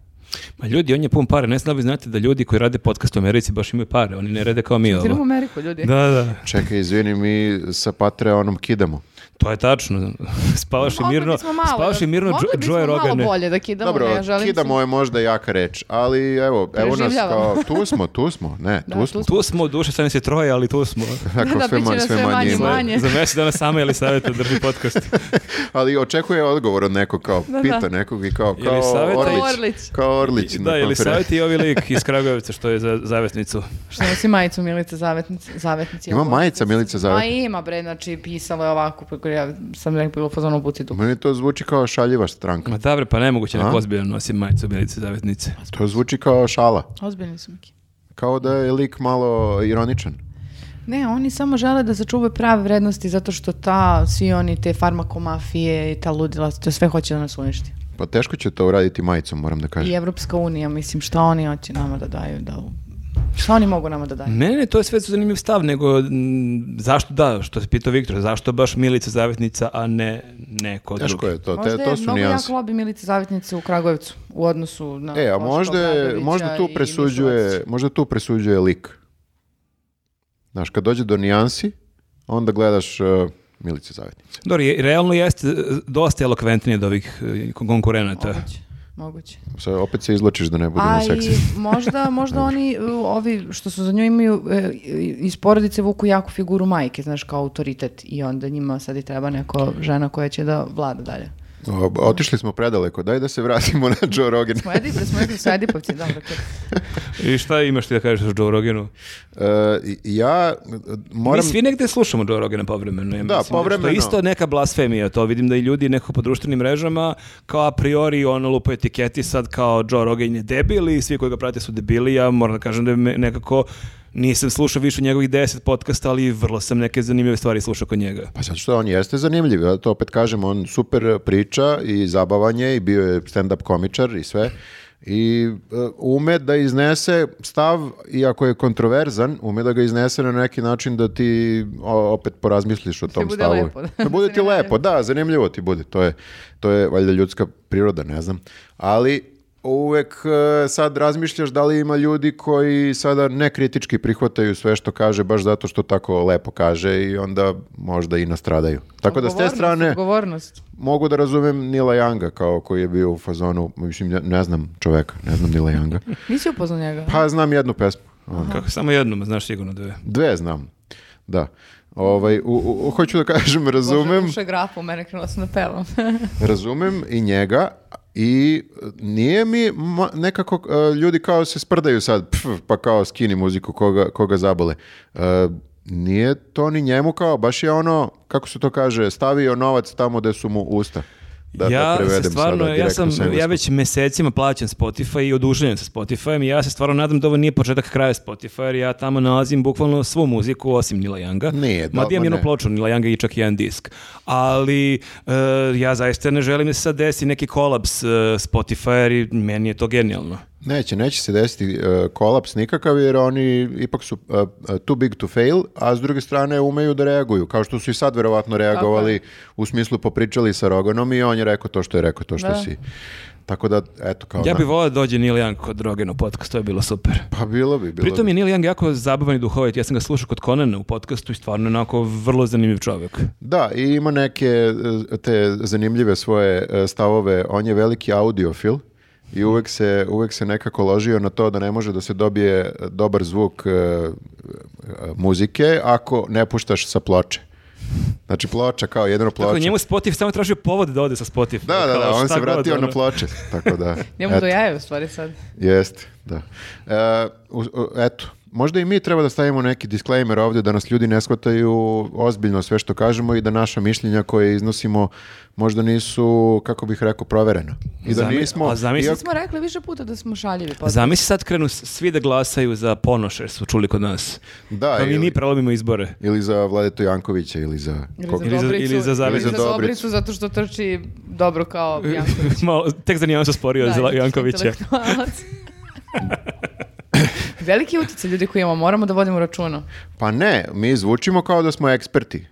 Ma ljudi, on je pun pare. Ne znam da vi znate da ljudi koji rade podcast u Americi baš imaju pare. Oni ne rade kao mi ono.
Idemo
ovo.
u Ameriku, ljudi.
Da, da.
Čekaj, izvini, mi sa Patreonom kidamo.
To je tačno. Spavaš i
Mogli
mirno,
bismo malo
spavaš i
da-
mirno
mogli
Dž-
bismo
Joe Rogane.
malo bolje da kidamo,
Dobro,
ne želim
kidamo
se-
je možda jaka reč, ali evo, evo nas kao,
Preživljavamo.
tu smo, tu smo, ne,
Da,
tu smo.
Tu smo, duše, sad nas je troje, ali tu smo.
Tako
Da,
sve,
bit će
manje,
nas
sve
sve
manje,
manje i
i manje.
manje.
Za mjesec dana sama ili savjeta drži podcast.
Ali očekuje odgovor od nekog, kao,
da.
pita nekog i kao,
Ili
kao
savjeta-
Orlić.
Orlić.
Kao Orlić. na
da, ili
konferenciji.
savjeti i ovi lik iz Kragujevca što je za zavesnicu.
Što nosi majicu Milica Zavetnici. zavetnici
Ima
ovo.
majica Milica
Ma
Zavet.
ima bre, znači pisalo je ovako, preko ja sam rekao bilo pozvano buci tu.
Meni to zvuči kao šaljiva stranka.
Ma da bre, pa nemoguće
A?
neko ozbiljno nosi majicu Bjelice Zavetnice.
To zvuči kao šala.
Ozbiljni su Miki.
Kao da je lik malo ironičan.
Ne, oni samo žele da sačuvaju prave vrednosti zato što ta, svi oni te farmakomafije i ta ludila, to sve hoće da nas uništi.
Pa teško će to uraditi majicom, moram da
I
kažem.
Evropska unija, mislim, šta oni hoće nama da daju? Da... Šta oni mogu nama da
Mm,
daju?
Ne, ne, to je sve zanimljiv stav, nego m, zašto da, što se pitao Viktor, zašto baš Milica Zavetnica, a ne neko drugi?
Teško je to,
Možda
te, to
je
su
mnogo
nijanse.
jako lobby Milice Zavetnice u Kragujevcu u odnosu na...
E, a
Boška
možda, je-
Obradovića
možda tu
i
presuđuje,
Mišovac.
možda tu presuđuje lik. Znaš, kad dođe do nijansi, onda gledaš uh, Milicu Zavetnicu.
Dobro, je- realno jeste e, dosta elokventnije od ovih e, kon- konkurenata.
Moguće, moguće.
Sad opet se izločiš da ne budemo
A i
seksi.
možda, možda oni, uh, ovi što su za nju imaju, e, iz porodice vuku jaku figuru majke, znaš, kao autoritet i onda njima sad i treba neko žena koja će da vlada dalje.
O, otišli smo predaleko, daj da se vratimo na Joe Rogan.
Smo Edip, smo rekli su Edipovci, dakle, dobro. kad-
I šta imaš ti da kažeš o Joe Roganu?
E, ja moram...
Mi svi negde slušamo Joe Rogana povremeno. Ja
Da,
mislim,
povremeno.
Što je isto neka blasfemija, to vidim da i ljudi nekako po društvenim mrežama kao a priori ono lupa etiketi sad kao Joe Rogan je debil i svi koji ga prate su debili, ja moram da kažem da je me- nekako nisam slušao više njegovih 10 podcasta, ali vrlo sam neke zanimljive stvari slušao kod njega.
Pa zato što on jeste zanimljiv, ja to opet kažem, on super priča i zabavanje i bio je stand-up komičar i sve. I e, ume da iznese stav, iako je kontroverzan, ume da ga iznese na neki način da ti o, opet porazmisliš o tom
bude
stavu.
lepo, da.
Da bude ti
Zanimljivo.
lepo, da, zanimljivo ti bude. To je, to je valjda ljudska priroda, ne znam. Ali uvek e, sad razmišljaš da li ima ljudi koji sada nekritički prihvataju sve što kaže baš zato što tako lepo kaže i onda možda i nastradaju. Tako da s te
Odgovornost,
strane
Odgovornost.
mogu da razumem Nila Janga kao koji je bio u fazonu, mislim, ne, ne znam čoveka, ne znam Nila Janga.
Nisi upoznao njega?
Pa znam jednu pesmu. ono.
Kako samo jednom, znaš sigurno dve.
Dve znam, da. Ovaj, u, u- u- hoću da kažem, razumem.
Bože, grafu, mene krenula sam da pevam.
Razumem i njega i e, nije mi ma- nekako e, ljudi kao se sprdaju sad pf, pa kao skini muziku koga, koga zabole. E, nije to ni njemu kao, baš je ono, kako se to kaže, stavio novac tamo gde su mu usta. Da, da
ja
prevedem
se stvarno,
sada
ja
direktno
sam,
sa engleskog.
ja već mesecima plaćam Spotify i oduševljen sa Spotifyem i ja se stvarno nadam da ovo nije početak kraja Spotify jer ja tamo nalazim bukvalno svu muziku osim Nila Younga.
Nije, da,
Mada imam
ma
jednu
ne.
ploču Nila Younga i čak i jedan disk. Ali e, ja zaista ne želim da se sad desi neki kolaps e, Spotify jer i meni je to genijalno.
Neće, neće se desiti e, kolaps nikakav jer oni ipak su e, e, too big to fail, a s druge strane umeju da reaguju, kao što su i sad verovatno reagovali u smislu popričali sa Roganom i on je rekao to što je rekao, to što
Da.
si. Tako da, eto kao...
Ja
na-
bih volao da dođe Neil Young kod Rogan u podcast, to je bilo super.
Pa bilo bi, bilo
Pritom
bi.
je Neil Young jako zabavan i duhovit, ja sam ga slušao kod Conana u podcastu i stvarno je onako vrlo zanimljiv čovjek.
Da, i ima neke e, te zanimljive svoje e, stavove. On je veliki audiofil i uvek se, uvek se nekako ložio na to da ne može da se dobije e, dobar zvuk e, e, muzike ako ne puštaš sa ploče. Znači ploča kao jedino
Tako da
ploča.
njemu Spotify samo tražio povod da ode sa Spotify.
Da, da, da,
Kao
on
šta
se
god,
vratio
ono.
na ploče. Tako da,
Njemu
eto,
do jaja u stvari sad.
jeste, da. E, u- u- eto, možda i mi treba da stavimo neki disclaimer ovdje da nas ljudi ne shvataju ozbiljno sve što kažemo i da naša mišljenja koje iznosimo možda nisu, kako bih rekao, proverena. I da
Zami-
nismo...
a zamisli-
Mi smo rekli više puta da smo šaljivi. Pa
Zamisli sad krenu s- svi da glasaju za Ponoš, jer su čuli kod nas.
Da,
Pa mi mi
ili,
prelomimo izbore.
ili za Vladetu Jankovića ili za... ko-
ili za- ili za Zavicu.
Ili za
Dobricu.
Dobricu, zato što trči dobro kao Janković.
Malo, tek za nijansu sporio za
Da,
Jankovića.
intelektualac. Veliki utjecaj ljudi koji imamo, moramo da vodimo računa.
Pa ne, mi zvučimo kao da smo eksperti.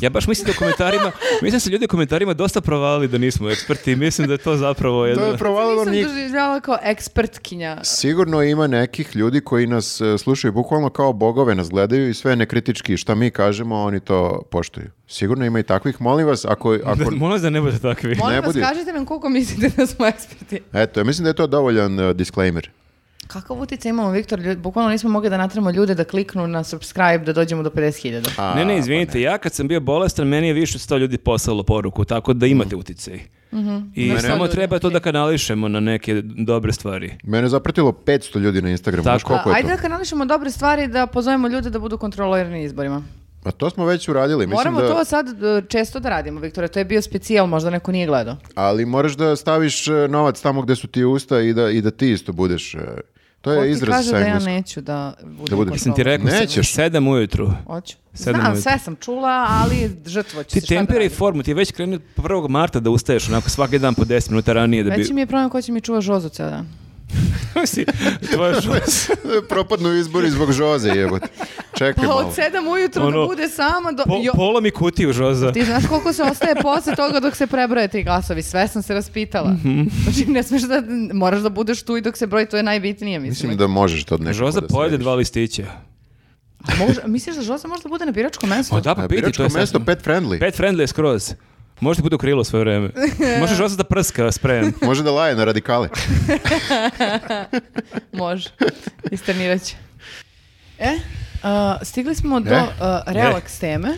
Ja baš mislim da u komentarima, mislim da su ljudi u komentarima dosta provalili da nismo eksperti i mislim da je to zapravo
To
jedno...
je provalilo
Nisam
njih.
doživljavala kao ekspertkinja.
Sigurno ima nekih ljudi koji nas e, slušaju bukvalno kao bogove, nas gledaju i sve nekritički šta mi kažemo, oni to poštuju. Sigurno ima i takvih, molim vas, ako... ako...
Molim vas da ne budete takvi.
Molim vas,
budi.
kažite nam koliko mislite da smo eksperti.
Eto, ja mislim da je to dovoljan e, disclaimer.
Kakav utjecaj imamo, Viktor? Ljud- Bukvalno nismo mogli da natramo ljude da kliknu na subscribe da dođemo do 50.000.
A,
ne, ne, izvinite,
pa
ja kad sam bio bolestan, meni je više od 100 ljudi poslalo poruku, tako da
Mm.
imate uticaj. I
Mhm. Mene-
samo
Ljudi,
treba to
okej.
da kanališemo na neke dobre stvari.
Mene je zapratilo 500 ljudi na Instagramu, znaš
Tako.
koliko
A,
je
ajde
to?
da kanališemo dobre stvari da pozovemo ljude da budu kontrolirani izborima.
Pa to smo već uradili, mislim
Moramo
da...
to sad e, često da radimo, Viktore. To je bio specijal, možda neko nije gledao.
Ali moraš da staviš e, novac tamo gde su ti usta i da, i da ti isto budeš... e, To
Ko ti
je izraz
kaže
sa
da ja
engleskog.
neću da budem
Da budeš.
Sam ti
kontrolor?
rekao, se-
Nećeš.
sedam ujutru.
Hoću.
Sedam
Znam,
ujutru.
sve sam čula, ali žrtvo ću
Ti
se šta da
temperaj
radim.
formu, ti već krenu 1. marta da ustaješ onako svaki dan po 10 minuta ranije da bi...
Veći mi je problem ko će mi čuva žozu ceo dan.
Mislim, tvoja žoza.
Propadnu izbori zbog žoze, jebote. Čekaj
Pa
malo.
od sedam ujutru da
Ono,
bude sama do...
Po,
Jo,
pola mi kutiju žoza.
Ti znaš koliko se ostaje posle toga dok se prebroje tri glasovi. Sve sam se raspitala.
Mhm.
Znači, ne smiješ da... Moraš da budeš tu i dok se broji, to je najbitnije, mislim.
Mislim da možeš to od nekako
Žoza
da
pojede
središ.
dva listića.
Može- misliš da žoza možda bude na biračkom mestu?
O da,
A
pa piti, to
biračko
je
mesto
sasvim.
pet friendly.
Pet friendly je skroz. Možete bude u krilu svoje vreme. Može žoza da prska sprejem.
Može da laje na radikale.
Može. Isternirat će. E, a, uh, stigli smo do
E?
a, relaks teme.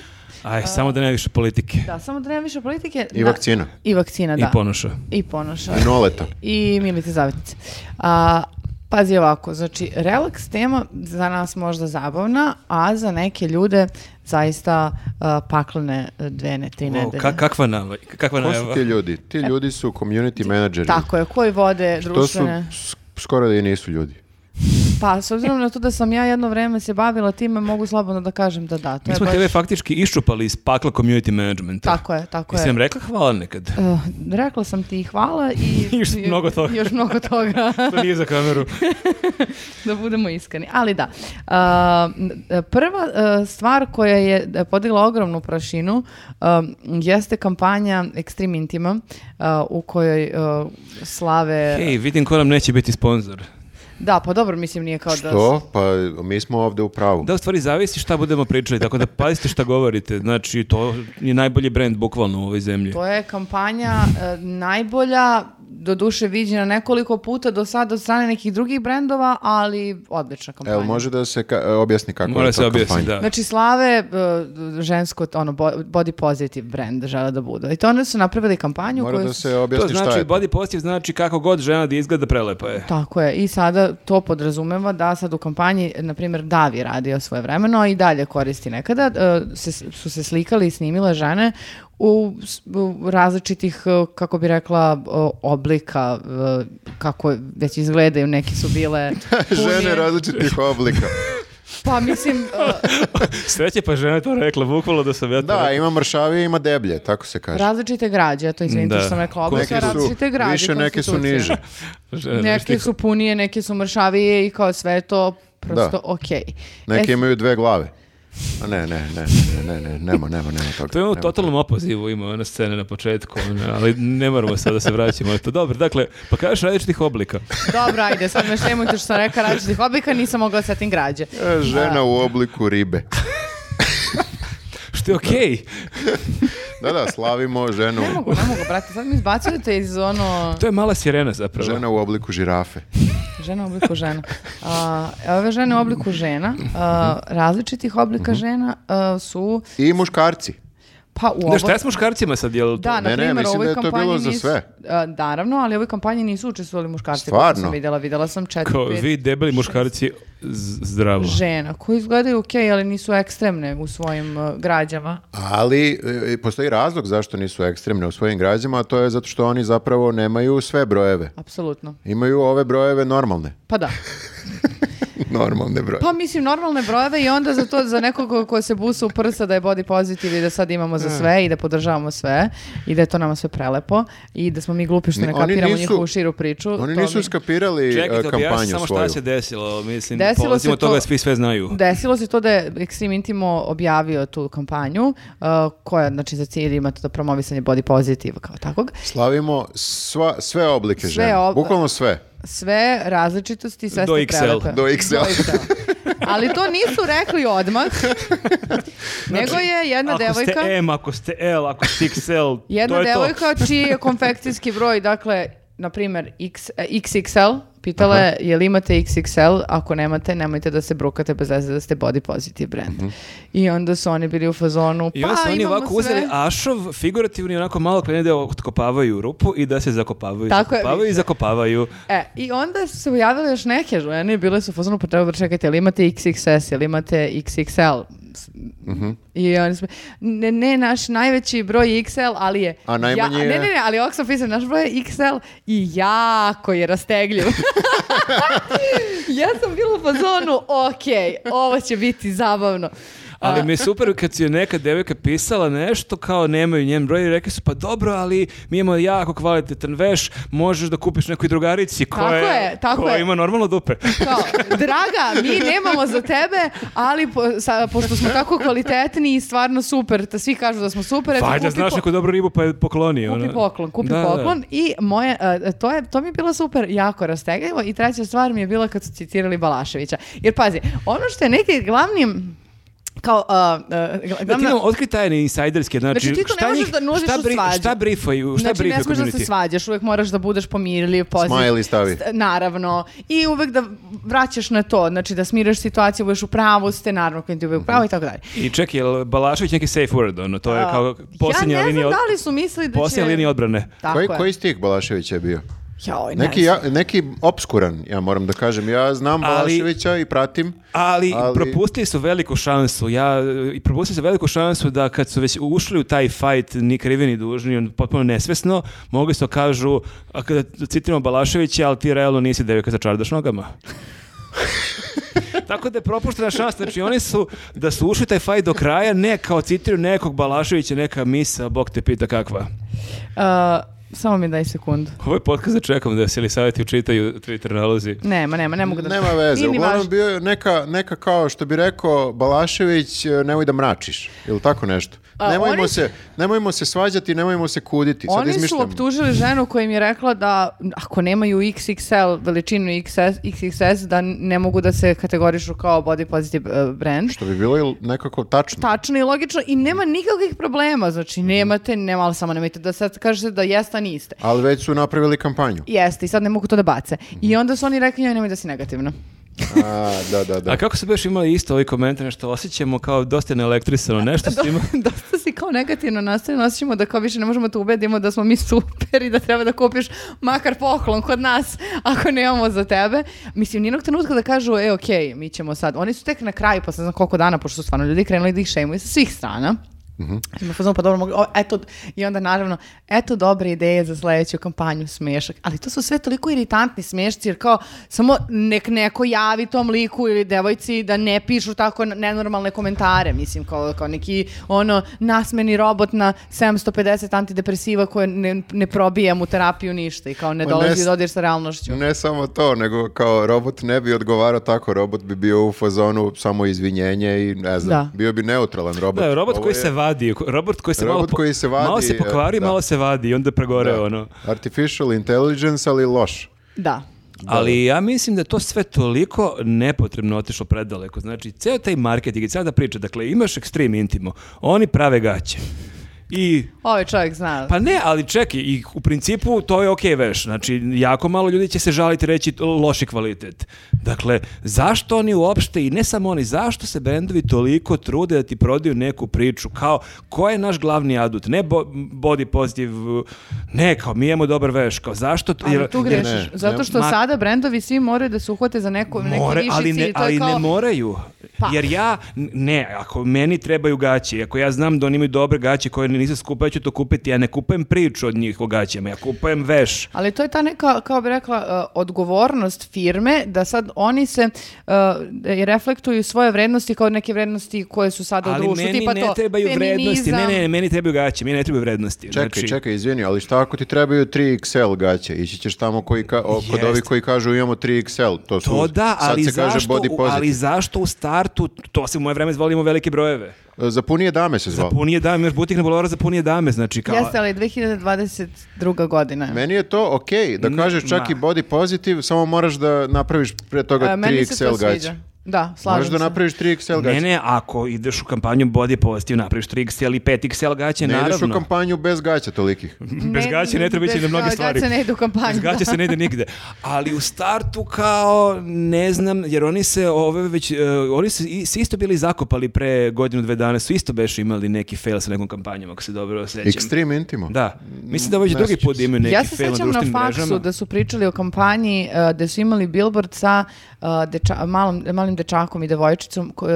Aj, samo da ne više politike.
Da, samo da nema više politike.
I
Na-
vakcina.
I vakcina,
I
da.
ponoša.
I ponoša.
I noleta.
I Milice Zavetnice. A, pazi ovako, znači, relaks tema za nas možda zabavna, a za neke ljude zaista a, paklene dvene, tri
Wow,
nedelje.
ka- kakva nava, kakva
Ko su ti
najava.
ljudi? Ti ljudi su community menadžeri.
Tako je, koji vode
To su
društvene...
s- skoro da i nisu ljudi.
Pa, s obzirom na to da sam ja jedno vreme se bavila time, mogu slobodno da kažem da da. To
Mi
je
smo
baš-
tebe faktički iščupali iz pakla community managementa.
Tako je, tako
Jesi
je.
nam rekla hvala nekad?
Uh, rekla sam ti hvala i...
Još
i-
mnogo toga.
Još mnogo toga.
To nije za kameru.
da budemo iskreni. Ali da, a, n- prva e, stvar koja je e, podigla ogromnu prašinu a, jeste kampanja Extreme Intima a, u kojoj a,
E,
slave...
Ej, vidim ko nam neće biti sponsor.
Da, pa dobro, mislim nije kao da...
Što? Pa mi smo ovde u pravu.
Da, u stvari zavisi šta budemo pričali, tako da pazite šta govorite. Znači, to je najbolji brend bukvalno u ovoj zemlji.
To je kampanja e, najbolja, doduše viđena nekoliko puta do sada od strane nekih drugih brendova, ali odlična kampanja.
Evo, može da se ka- objasni kako
Mora
je to
se objasniti,
kampanja?
da.
Znači, slave e, žensko, ono, bo- body positive brand žele da budu. I to oni su napravili kampanju
Mora
koju
da
su-
se
To
objasni šta
znači,
je. to.
body positive znači kako god žena da izgleda prelepa je.
Tako je. I sada to podrazumeva da sad u kampanji, na primjer, Davi radio svoje vremeno i dalje koristi nekada. e, se, su se slikali i snimile žene u, s- u različitih, e, kako bi rekla, o, oblika, e, kako već izgledaju, neke su bile
Žene
punije.
različitih oblika.
Pa mislim, e,
Sreće pa žena je to rekla, bukvalno da sam ja to
Da,
rekao.
ima mršavije, ima deblje, tako se kaže.
različite građe, to izvinite
Da.
što sam rekla oblika,
Neke su
različite građe.
više, neke su
konstitucije.
niže.
Žena,
Neke su punije, neke su mršavije i kao sve je to prosto okej.
Neki
E,
imaju dve glave. A ne, ne, ne, ne, ne, ne, nema, nema, nema toga.
To je ono u
nema
totalnom opozivu ima ona scena na početku, ona, ali ne moramo sad da se vraćamo na to. Dobro, dakle, pa kažeš različitih oblika.
Dobro, ajde, sad me šlemujte što sam rekla različitih oblika, nisam mogla da setim građe.
toga. E, Žena u obliku ribe.
Što je okej.
Da, da, slavimo ženu,
Ne mogu, ne mogu, brate, sad mi izbacujete iz ono...
To je mala sirena zapravo.
žena u obliku žirafe.
Žena u obliku žena. A, ove žene u obliku žena, a, različitih oblika
Mhm.
žena a, su,
I muškarci.
pa u
Da,
ovoj...
šta je s muškarcima sad, jel? to-
Da, na
Ne, ne,
primjer, u
mislim
ovoj
da je to
kampanji
bilo za
nisu-
sve.
a, naravno, ali u ovoj kampanji nisu učestvovali muškarci. koliko
Stvarno?
Sam vidjela, vidjela sam četiri,
Kao,
pet
vi debeli muškarci, z- zdravo.
žena koji izgledaju okej, ali nisu ekstremne u svojim a, građama.
Ali e, postoji razlog zašto nisu ekstremne u svojim građama, a to je zato što oni zapravo nemaju sve brojeve.
Apsolutno.
Imaju ove brojeve normalne.
Pa da.
Normalne broje.
Pa mislim normalne brojeve i onda za to za nekoga ko se busa u prsa da je body pozitiv i da sad imamo za sve i da podržavamo sve i da je to nama sve prelepo i da smo mi glupi što
Ni-
ne
oni
kapiramo
nisu-
njihovu širu priču.
Oni
to
nisu
mi-
skapirali
Čekajte,
e,
objasni
kampanju
samo
svoju.
šta se desilo, mislim,
Desilo se
polazimo od
to-
toga, svi sve znaju.
Desilo se to da je Extreme Intimo objavio tu kampanju uh, koja znači za cilj ima to da promovisanje body pozitiva kao takvog.
Slavimo sva, sve oblike
Sve
žena.
ob-
Bukvalno sve.
Sve različitosti, sve
Do
ste
XL.
prelepe.
Do XL.
Ali to nisu rekli odmah.
Znači,
nego je jedna
ako
devojka...
ste M, ako ste L, ako ste XL,
Jedna
to je
devojka čiji je konfekcijski broj, dakle, na primjer, X, e, XXL, pitala je, je li imate XXL? Ako nemate, nemojte da se brukate bez veze da ste body positive brand. I onda su oni bili u fazonu,
to. Mhm. I
pa
onda su oni
imamo
ovako
sve.
uzeli ašov, figurativni, onako malo krene da otkopavaju rupu i da se zakopavaju,
Tako je,
zakopavaju i zakopavaju.
E, I onda su se pojavile još neke žene i bile su u fazonu, pa treba da čekajte, jel imate XXS, jel imate XXL? S-
Mhm.
I oni su, ne, ne, naš najveći broj je XL, ali je...
A najmanji
ja,
je-
Ne, ne, ne, ali Oxfam pisao, naš broj je XL i jako je rastegljiv. ja sam bila u fazonu, ok, ovo će biti zabavno.
Ali mi je super kad je neka devojka pisala nešto kao nemaju njen broj i rekli su pa dobro, ali mi imamo jako kvalitetan veš, možeš da kupiš nekoj drugarici koja,
Tako je, tako
koja
je.
ima normalno dupe.
Kao, draga, mi nemamo za tebe, ali po- sa- pošto smo tako kvalitetni i stvarno super, te svi kažu da smo super, eto
Valjda
kupi
znaš
po-
neku dobru ribu pa je pokloni.
Kupi
ono.
poklon, kupi
Da, da.
poklon i moje, e, to, je, to mi je bilo super jako rastegljivo i treća stvar mi je bila kad su citirali Balaševića. Jer pazi, ono što je neki glavni kao... a, a,
Da, ti
glavna-
imamo otkri tajne insajderske, znači,
Znači, ti tu ne
šta
možeš
njih-
da nužiš
šta
u
bri-
svađu.
Šta brifaju, šta
znači,
brifaju
ne smiješ da se
community?
svađaš, uvek moraš da budeš pomirljiv, pozitiv.
Smiley stavi.
St- Naravno. I uvek da vraćaš na to, znači da smiraš situaciju, budeš u pravu, ste naravno klijent je uvek u pravu i tako dalje.
I čekaj, je li Balašević neki safe word, ono, to je
A,
kao posljednja
ja ne znam
linija, od-
da li znači, su mislili da će...
posljednja linija odbrane.
Tako
koji,
je.
koji stih Balaševića je bio?
Joj, ne
Neki,
znam.
ja, neki obskuran, ja moram da kažem. Ja znam
Ali-
Balaševića i pratim.
Ali,
Ali-
propustili su veliku šansu. Ja i propustili su veliku šansu da kad su već ušli u taj fight ni krivi ni dužni, on potpuno nesvesno, mogli su da kažu a kada citiramo Balaševića, ali ti realno nisi devojka za čardaš nogama. Tako da je propuštena šansa. Znači oni su, da su ušli u taj fight do kraja, ne kao citiraju nekog Balaševića, neka misa, Bog te pita kakva.
A, E, samo mi daj sekundu.
Ovo je podcast da čekam da se li savjeti učitaju Twitter nalozi.
Nema, nema, ne mogu da...
Nema veze.
Nije ni
Uglavnom
važno.
bio je neka, neka kao što bi rekao Balašević, e, nemoj da mračiš. Ili tako nešto.
A,
nemojmo,
oni-
se, nemojmo se svađati, nemojmo se kuditi. Sad
Oni su
izmišljam.
optužili ženu koja im je rekla da ako nemaju XXL, veličinu XS, XXS, da ne mogu da se kategorišu kao body positive eh, brand.
Što bi bilo il- nekako tačno.
Tačno i logično i nema nikakvih problema, znači
Mhm.
nemate, nema, ali samo nemojte da sad kažete da jeste, a niste.
Ali već su napravili kampanju.
Jeste i sad ne mogu to da bace.
Mhm.
I onda su oni rekli, joj nemoj da si negativna.
A, da, da, da.
A kako su baš imali isto ovi komentar, nešto osjećamo kao dosta neelektrisano, nešto su imali.
Dosta si kao negativno nastavljeno, osjećamo da kao više ne možemo da ubedimo da smo mi super i da treba da kupiš makar poklon kod nas ako nemamo za tebe. Mislim, nijednog trenutka da kažu, e, okej, mi ćemo sad. Oni su tek na kraju, posle ne znam koliko dana, pošto su stvarno ljudi krenuli da ih šejmuju sa svih strana.
Mhm.
Ima fazon, pa dobro, mogli- o, eto, i onda naravno, eto dobre ideje za sledeću kampanju smešak. Ali to su sve toliko iritantni smešci, jer kao samo nek neko javi tom liku ili devojci da ne pišu tako n- nenormalne komentare, mislim, kao, kao neki ono nasmeni robot na 750 antidepresiva koje ne, ne probija mu terapiju ništa i kao ne
Ma
dolazi
ne-
u dodir sa realnošću.
Ne samo to, nego kao robot ne bi odgovarao tako, robot bi bio u fazonu samo izvinjenje i ne znam,
Da.
bio bi neutralan robot.
Da, robot
Ovo
koji
je-
se vadi, robot koji se, malo,
Robot
po-
koji se vadi,
malo se pokvari,
e, da.
malo se vadi i onda pregore
da.
ono.
Artificial intelligence, ali loš.
Da.
Ali ja mislim da je to sve toliko nepotrebno otišlo predaleko. Znači, ceo taj marketing i sada priča, dakle, imaš ekstrem intimo, oni prave gaće. I
Ovaj čovjek zna.
Pa ne, ali čekaj, i u principu to je okej veš. Znači, jako malo ljudi će se žaliti i reći loši kvalitet. Dakle, zašto oni uopšte, i ne samo oni, zašto se bendovi toliko trude da ti prodaju neku priču? Kao, ko je naš glavni adut? Ne bo- body pozitiv, ne, kao, mi imamo dobar veš. Kao, zašto? to-
Ali
jer-
tu
jer-
grešiš,
ne, ne,
zato što
ma-
sada brendovi svi moraju da se uhvate za neko, neki
More-
viši
ali ne,
cilj, to je
ali
kao-
ne moraju.
Pa.
Jer ja, n- ne, ako meni trebaju gaće, ako ja znam da oni imaju dobre gaće koje nisu skupe, ja ću to kupiti, ja ne kupujem priču od njih o gaćama, ja kupujem veš.
Ali to je ta neka, kao bi rekla, uh, odgovornost firme da sad oni se uh, i reflektuju svoje vrednosti kao neke vrednosti koje su sada u
Ali
društvu.
meni
tipa
ne
to,
trebaju vrednosti. Ne,
feminizam.
ne, meni trebaju gaće, meni ne trebaju vrednosti. znači,
Čekaj, čekaj, izvini, ali šta ako ti trebaju 3XL gaće? Ići ćeš tamo koji ka, o, kod
Jest.
ovih koji kažu imamo 3XL. To, su,
To da,
sad
ali
se kaže
zašto,
body
u,
positive.
ali zašto u startu, to se u moje vreme zvolimo velike brojeve.
E, Za punije dame se zvao.
Za punije dame, još butik na Bolovara za punije dame, znači kao...
Jeste, ali 2022. godina.
Meni je to okej, da kažeš čak
ma.
i body positive, samo moraš da napraviš pre toga
Uh, meni se to
3XL gaće.
sviđa. Da, slažem
Moraš da
se.
napraviš 3XL gaće.
Ne, ne, ako ideš u kampanju body positive, napraviš 3XL i 5XL gaće,
Ne ideš
naravno.
u kampanju bez gaća tolikih.
Bez gaće ne treba ići
bez
na mnoge
gaća
stvari.
ne ide u kampanju,
Bez gaće
da.
se ne ide nigde. Ali u startu kao, ne znam, jer oni se ove već, e, oni su i- se isto bili zakopali pre godinu, dve dana, su isto beš imali neki fail sa nekom kampanjom, ako se dobro sećam.
Extreme intimo.
Da. Mislim da već
Ne
drugi
sjećam
put
se.
imaju neki
ja se
fail na
sećam na
društvenim
faksu
mrežama.
da su pričali o kampanji uh, gde su imali billboard sa uh, deča- malom, malim dečakom i devojčicom. Ko,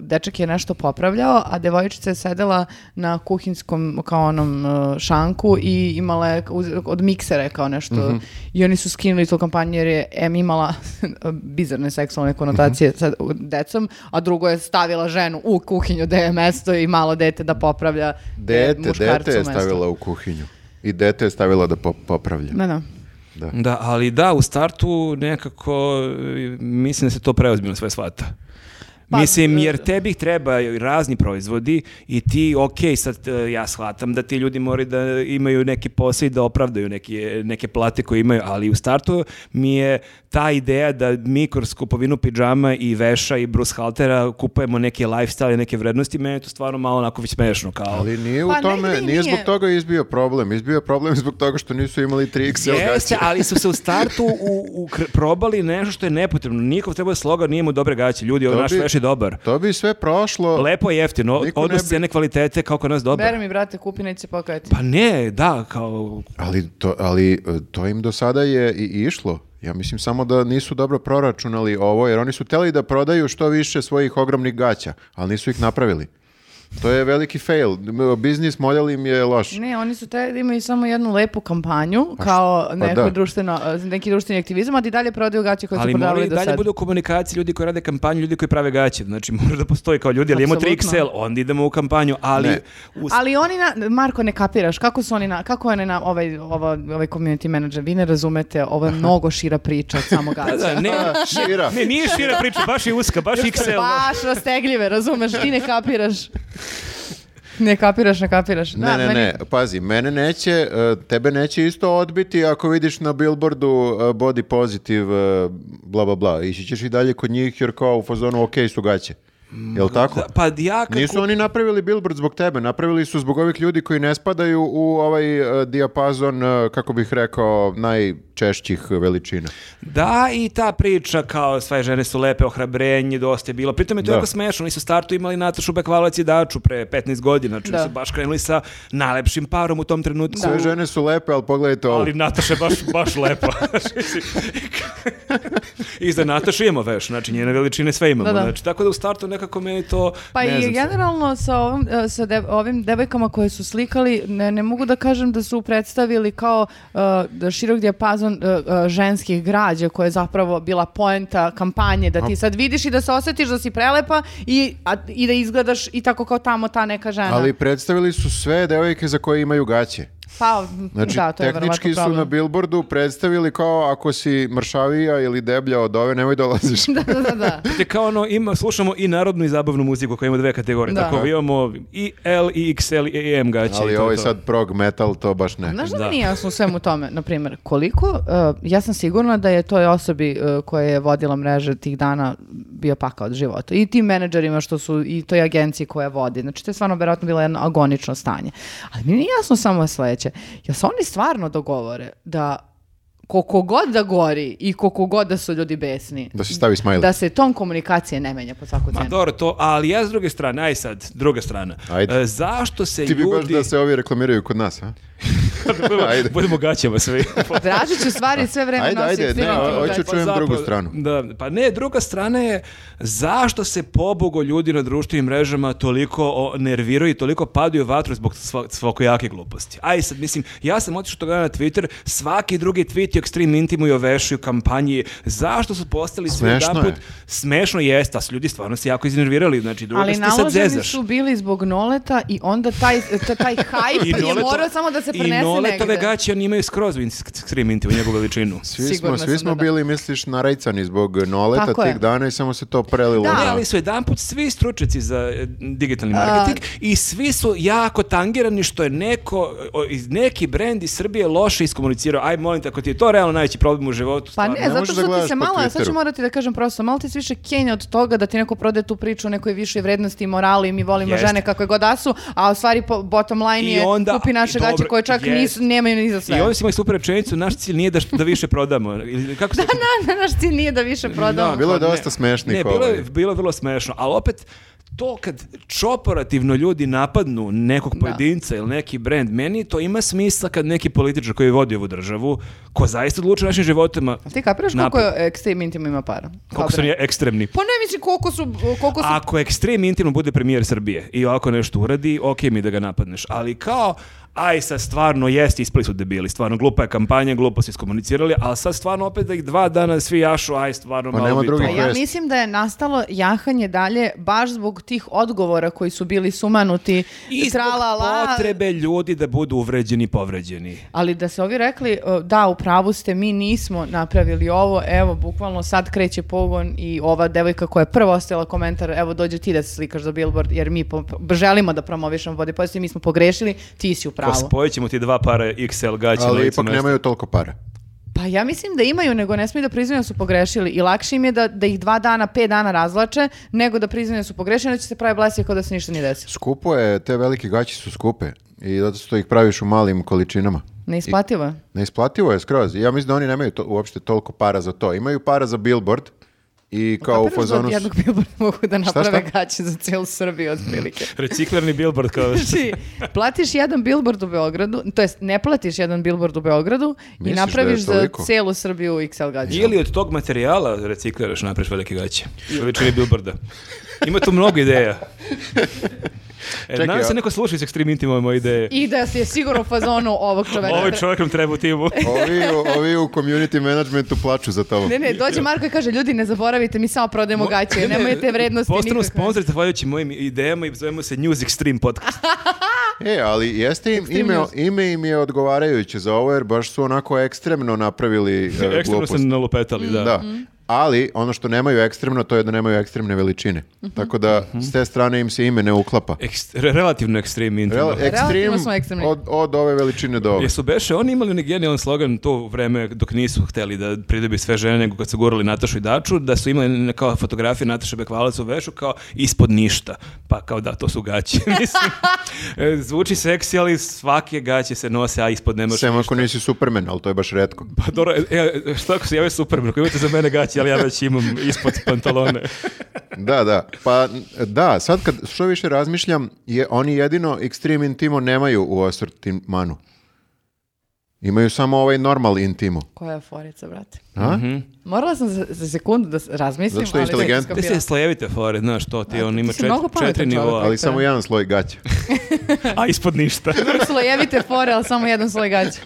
dečak je nešto popravljao, a devojčica je sedela na kuhinskom kao onom uh, šanku i imala je uz- od miksere kao nešto.
Mhm.
I oni su skinuli tu kampanju jer je M imala bizarne seksualne konotacije
Mhm.
sa decom, a drugo je stavila ženu u kuhinju gde je mesto i malo dete da popravlja e,
Dete,
muškarcu
dete je
mesto.
stavila u kuhinju. I dete je stavila da po- popravlja.
Da, da.
Da, ali da, u startu nekako e, mislim da se to preozbiljno sve shvata.
Pa,
Mislim, jer tebi treba razni proizvodi i ti, ok, sad e, ja shvatam da ti ljudi moraju da imaju neki posao i da opravdaju neke, neke plate koje imaju, ali u startu mi je ta ideja da mi kroz kupovinu pidžama i veša i Bruce Haltera kupujemo neke lifestyle i neke vrednosti, meni je to stvarno malo onako već smešno. Kao,
Ali nije u
Pa
tome,
negde i
nije, zbog
nije.
toga izbio problem. Izbio je problem zbog toga što nisu imali 3XL
Jeste,
gaće.
ali su se u startu u, u kr- probali nešto što je nepotrebno. Nikov treba je slogan, nije mu dobre gaće. Ljudi, ovo
To
naš
bi-
veš je dobar.
To bi sve prošlo.
Lepo je jeftino,
Niko ne
odnos
bi-
cene kvalitete kao kod nas dobar.
Bere mi, brate, kupi, neće pokajati.
Pa ne, da, kao...
Ali to, ali e, to im do sada je i išlo. Ja mislim samo da nisu dobro proračunali ovo, jer oni su teli da prodaju što više svojih ogromnih gaća, ali nisu ih napravili. To je veliki fail. Biznis model im je loš.
Ne, oni su te, imaju samo jednu lepu kampanju, kao
pa
neko
da.
društveno, neki društveni aktivizam, a ti dalje prodaju gaće koje su
Ali moraju
prodavali
i
do
dalje
sad.
budu u komunikaciji ljudi koji rade kampanju, ljudi koji prave gaće. Znači, mora da postoji kao ljudi, ali imamo
Apsolutno.
3XL, onda idemo u kampanju, ali...
Ne.
u-
Ali oni, na, Marko, ne kapiraš, kako su oni, na, kako je na, ovaj, ova, ovaj community manager, vi ne razumete, ovo je mnogo šira priča od samo
Da,
gaća.
da, ne,
A, šira.
ne, nije šira priča, baš je uska, baš
Pa-
XL.
Baš rastegljive, razumeš, ti ne kapiraš. Ne kapiraš, ne kapiraš. Da,
Ne, ne,
meni-
ne, pazi, mene neće, e, tebe neće isto odbiti ako vidiš na billboardu e, body positive, e, bla, bla, bla. Ići ćeš i dalje kod njih jer kao u fazonu ok su gaće. Jel tako?
Da, Pa ja kako...
Nisu oni napravili billboard zbog tebe, napravili su zbog ovih ljudi koji ne spadaju u ovaj e, dijapazon, e, kako bih rekao, najčešćih veličina.
Da, i ta priča kao sve žene su lepe, ohrabrenje, dosta je bilo. Pritom je to
Da.
jako smešno. Oni su u startu imali Natašu Bekvalac i Daču pre 15 godina. Znači,
Da.
su baš krenuli sa najlepšim parom u tom trenutku.
Sve žene su lepe, ali pogledajte ovo.
Ali Nataša je baš, baš lepa. I za Natašu imamo veš, znači njene veličine sve imamo.
Da, da.
Znači, tako da u startu nekako meni to...
Pa
ne
i
znam,
generalno sa, ovom, e, sa de- ovim devojkama koje su slikali, ne, ne mogu da kažem da su predstavili kao e, da širok dijapazon e, e, ženskih građa koja je zapravo bila poenta kampanje, da ti sad vidiš i da se osjetiš da si prelepa i, a- i da izgledaš i tako kao tamo ta neka žena.
Ali predstavili su sve devojke za koje imaju gaće.
pa,
Znači,
da, to je verovatno
tehnički su na
problem.
billboardu predstavili kao ako si mršavija ili deblja od ove, nemoj dolaziš.
da, da, da, da.
Te kao ono, ima, slušamo i narodnu i zabavnu muziku koja ima dve kategorije.
Da.
Tako imamo i L, i XL, i AM gaće. i
Ali
Znači, to je
ovaj
to.
sad prog metal, to baš ne.
Znaš da,
Da.
mi nije jasno u svemu tome? Naprimjer, koliko, uh, ja sam sigurna da je toj osobi uh, koja je vodila mreže tih dana bio pakao od života. I tim menadžerima što su, i toj agenciji koja vodi. Znači, to je stvarno verovatno bilo jedno agonično stanje. Ali mi nije jasno samo sledeće. Jel se oni stvarno dogovore da koliko god da gori i koliko god da su ljudi besni,
Da se stavi smajli.
da se ton komunikacije ne menja po svaku
Ma
cenu.
dobro to, ali ja s druge strane, aj sad, druga strana.
Ajde.
E, zašto se
Ti bi baš
ljudi...
da se ovi reklamiraju kod nas, a? Ajde.
Budemo gaćama svi.
Dražić u stvari sve vreme
Ajde,
nosi
ajde, ne,
ekstremno
Pa, hoću
komunikacije.
čuti čujem
zapravo-
drugu stranu.
Da, pa ne, druga strana je zašto se pobogo ljudi na društvenim mrežama toliko o, nerviraju i toliko padaju u vatru zbog sva, svakojake gluposti. Aj sad, mislim, ja sam otišao toga na Twitter, svaki drugi tweet je ekstrem intimu i ovešaju kampanji. Zašto su postali sve
Smešno
jedanput-
je.
Smešno jeste, a su ljudi stvarno se jako iznervirali. Znači, druga,
Ali
si ti sad
naloženi
zezaš.
su bili zbog Noleta i onda taj, ta- taj hype je
Noleto-
morao samo da se prenese negde.
I Noletove gaće, oni imaju skroz ekstrem intimu, njegovu veličinu.
Svi
Sigurna sam
smo, svi
da
smo
da.
bili, misliš, narajcani zbog noleta
Tako je.
tih dana i samo se to prelilo.
Da.
Ne,
na-
ali su jedanput svi stručnjaci za e, digitalni marketing i svi su jako tangirani što je neko, e, o, iz- neki brend iz Srbije loše iskomunicirao. Aj, molim te, ako ti je to realno najveći problem u životu,
Pa
stvarno.
ne,
ne
zato
možeš
što
da
ti
gledaš
se
po
malo, sad ću
Twitteru.
morati da kažem prosto, malo ti se više kenja od toga da ti neko prode tu priču o nekoj višoj vrednosti i morali i mi volimo
Jeste.
žene kakve god da su, a u stvari po- bottom line
I
je
onda-
kupi naše
i dobro,
gaće koje čak
jest.
nisu, nemaju ni za sve.
I onda si imali super rečenicu, naš cilj nije da, š- da više prodamo. Ili kako se...
Na, naš cilj nije da više prodamo.
Da,
Bilo je
pa ne.
dosta smešnih
Ne, bilo je,
ovaj.
bilo je vrlo smešno, ali opet to kad čoporativno ljudi napadnu nekog pojedinca ili neki brend, meni to ima smisla kad neki političar koji vodi ovu državu, ko zaista odlučuje o našim životima,
Ti kapiraš koliko
Napred.
je Extreme Intim ima para?
koliko su
Dobre.
oni ekstremni.
Pa ne mislim koliko su, koliko su
Ako ekstrem intimno bude premijer Srbije i ovako nešto uradi, ok mi je da ga napadneš. Ali kao, aj sad stvarno jeste, ispali su debili, stvarno glupa je kampanja, glupo su iskomunicirali, ali sad stvarno opet da ih dva dana svi jašu, aj stvarno
Pa
malo
nema
bi
drugih
to-
Tako
Ja
jest.
mislim da je nastalo jahanje dalje baš zbog tih odgovora koji su bili sumanuti,
I zbog
tralala,
potrebe ljudi da budu uvređeni i povređeni.
ali da se ovi rekli e, da u pravu ste, mi nismo napravili ovo, evo bukvalno sad kreće pogon i ova devojka koja je prva ostavila komentar, evo dođe ti da se slikaš za billboard jer mi po- po- želimo da promovišemo body positive, mi smo pogrešili, ti si u pravu.
Spojit ćemo ti dva para XL gaća. na
Ali
licu
ipak
mesta.
nemaju toliko para.
Pa ja mislim da imaju, nego ne smiju da priznaju da su pogrešili. I lakše im je da, da ih dva dana, pet dana razlače, nego da priznaju da su pogrešili, onda će se pravi blesije kao da se ništa nije desilo.
Skupo je, te velike gaće su skupe i zato što ih praviš u malim količinama.
Neisplativo. je.
Neisplativo je skroz. Ja mislim da oni nemaju to, uopšte toliko para za to. Imaju para za billboard i kao u
Kapiraš Pa da
fazonu...
od
su-
jednog billboarda mogu da
Šta,
naprave
šta?
gaće za cijelu Srbiju, otprilike.
Reciklarni billboard kao...
Znači, platiš jedan billboard u Beogradu, to jest ne platiš jedan billboard u Beogradu
Misliš
i
da je
napraviš za
toliko?
celu Srbiju XL gaće.
Ili od tog materijala recikliraš, napraviš velike gaće. Veličini billboarda. Ima tu mnogo ideja. E,
Čekaj,
nadam se
a-
neko sluša iz Extreme Intima moje ideje.
I pa da se je sigurno u fazonu ovog čoveka.
Ovaj
Tre-
čovjek nam treba u timu.
Ovi, ovi u community managementu plaću za to.
Ne, ne, dođe Marko i kaže, ljudi, ne zaboravite, mi samo prodajemo gaće, nemojte vrednosti
Postanu
nikakve.
sponsor zahvaljujući mojim idejama i zovemo se News Extreme podcast.
E, ali jeste im, ime,
news.
ime im je odgovarajuće za ovo, jer baš su onako ekstremno napravili e,
Ekstremno
glupost.
se nalupetali,
Mm,
da.
Da.
Mhm.
Ali ono što nemaju ekstremno, to je da nemaju ekstremne veličine.
Mhm.
Tako da
Mhm.
s te strane im se ime ne uklapa.
Ekst- re- relativno Extreme Intima.
Rel- ekstrem
smo ekstremni.
od, od ove veličine do ove.
Jesu beše oni imali onaj genijalan slogan to u vreme dok nisu hteli da pridobi sve žene nego kad su gurali Natašu i Daču da su imali ne- kao fotografije Nataše Bekvalac u vešu kao ispod ništa pa kao da to su gaće mislim e, zvuči seksi ali svake gaće se nose a ispod nemaš
Sem ako nisi Superman, ali to je baš redko.
pa dobro, e, e, šta ako se jave Superman, ako imate za mene gaće, ali ja već imam ispod pantalone.
Da, da. Pa da, sad kad što više razmišljam, je oni jedino Extreme Intimo nemaju u asortimanu. Imaju samo ovaj normal Intimo.
Koja je forica, brate?
A?
Morala sam za, za sekundu da s- razmislim,
Zato što je
ali
inteligent.
sam
Te se
skapirala.
slojevite fore, znaš to, ti
A,
on
ti
ima
si mnogo
četiri,
pametan
četiri
čovjek.
nivoa,
Ali samo jedan sloj gaća.
a ispod ništa.
Slojevite fore, ali samo jedan sloj gaća.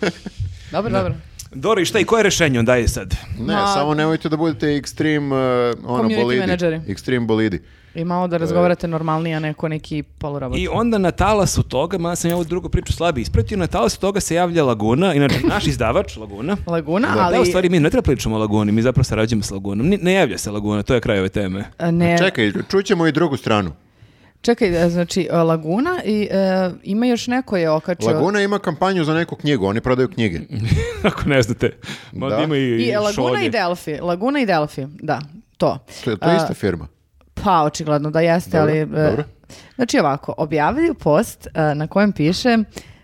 Dobro, dobro.
Dori, šta i koje rešenje onda je sad?
Ne,
Ma-
samo nemojte da budete Extreme uh, ono,
Community
bolidi.
menadžeri.
Extreme bolidi.
I malo da razgovarate normalnije, a ne ko neki polurobot.
I onda na talasu toga, mada sam ja ovu drugu priču slabije ispratio, na talasu toga se javlja Laguna, inače naš izdavač Laguna.
Laguna,
Da,
ali...
u stvari mi ne treba pričamo o Laguni, mi zapravo sarađujemo s Lagunom. Ni- Ne javlja se Laguna, to je kraj ove teme.
a, e, Ne,
Čekaj, čućemo i drugu stranu.
čekaj, a, znači, a, Laguna i e, ima još neko je okačio.
Laguna ima kampanju za neku knjigu, oni prodaju knjige.
Mhm. Ako ne znate. Ma,
Da.
Ima i,
I e, Laguna
šolje.
i Delfi. Laguna i Delfi, da, to.
To je, to je
A,
ista firma.
Pa, očigledno da jeste,
Dobro,
ali... e,
dobro.
Znači ovako, objavljuju post e, na kojem piše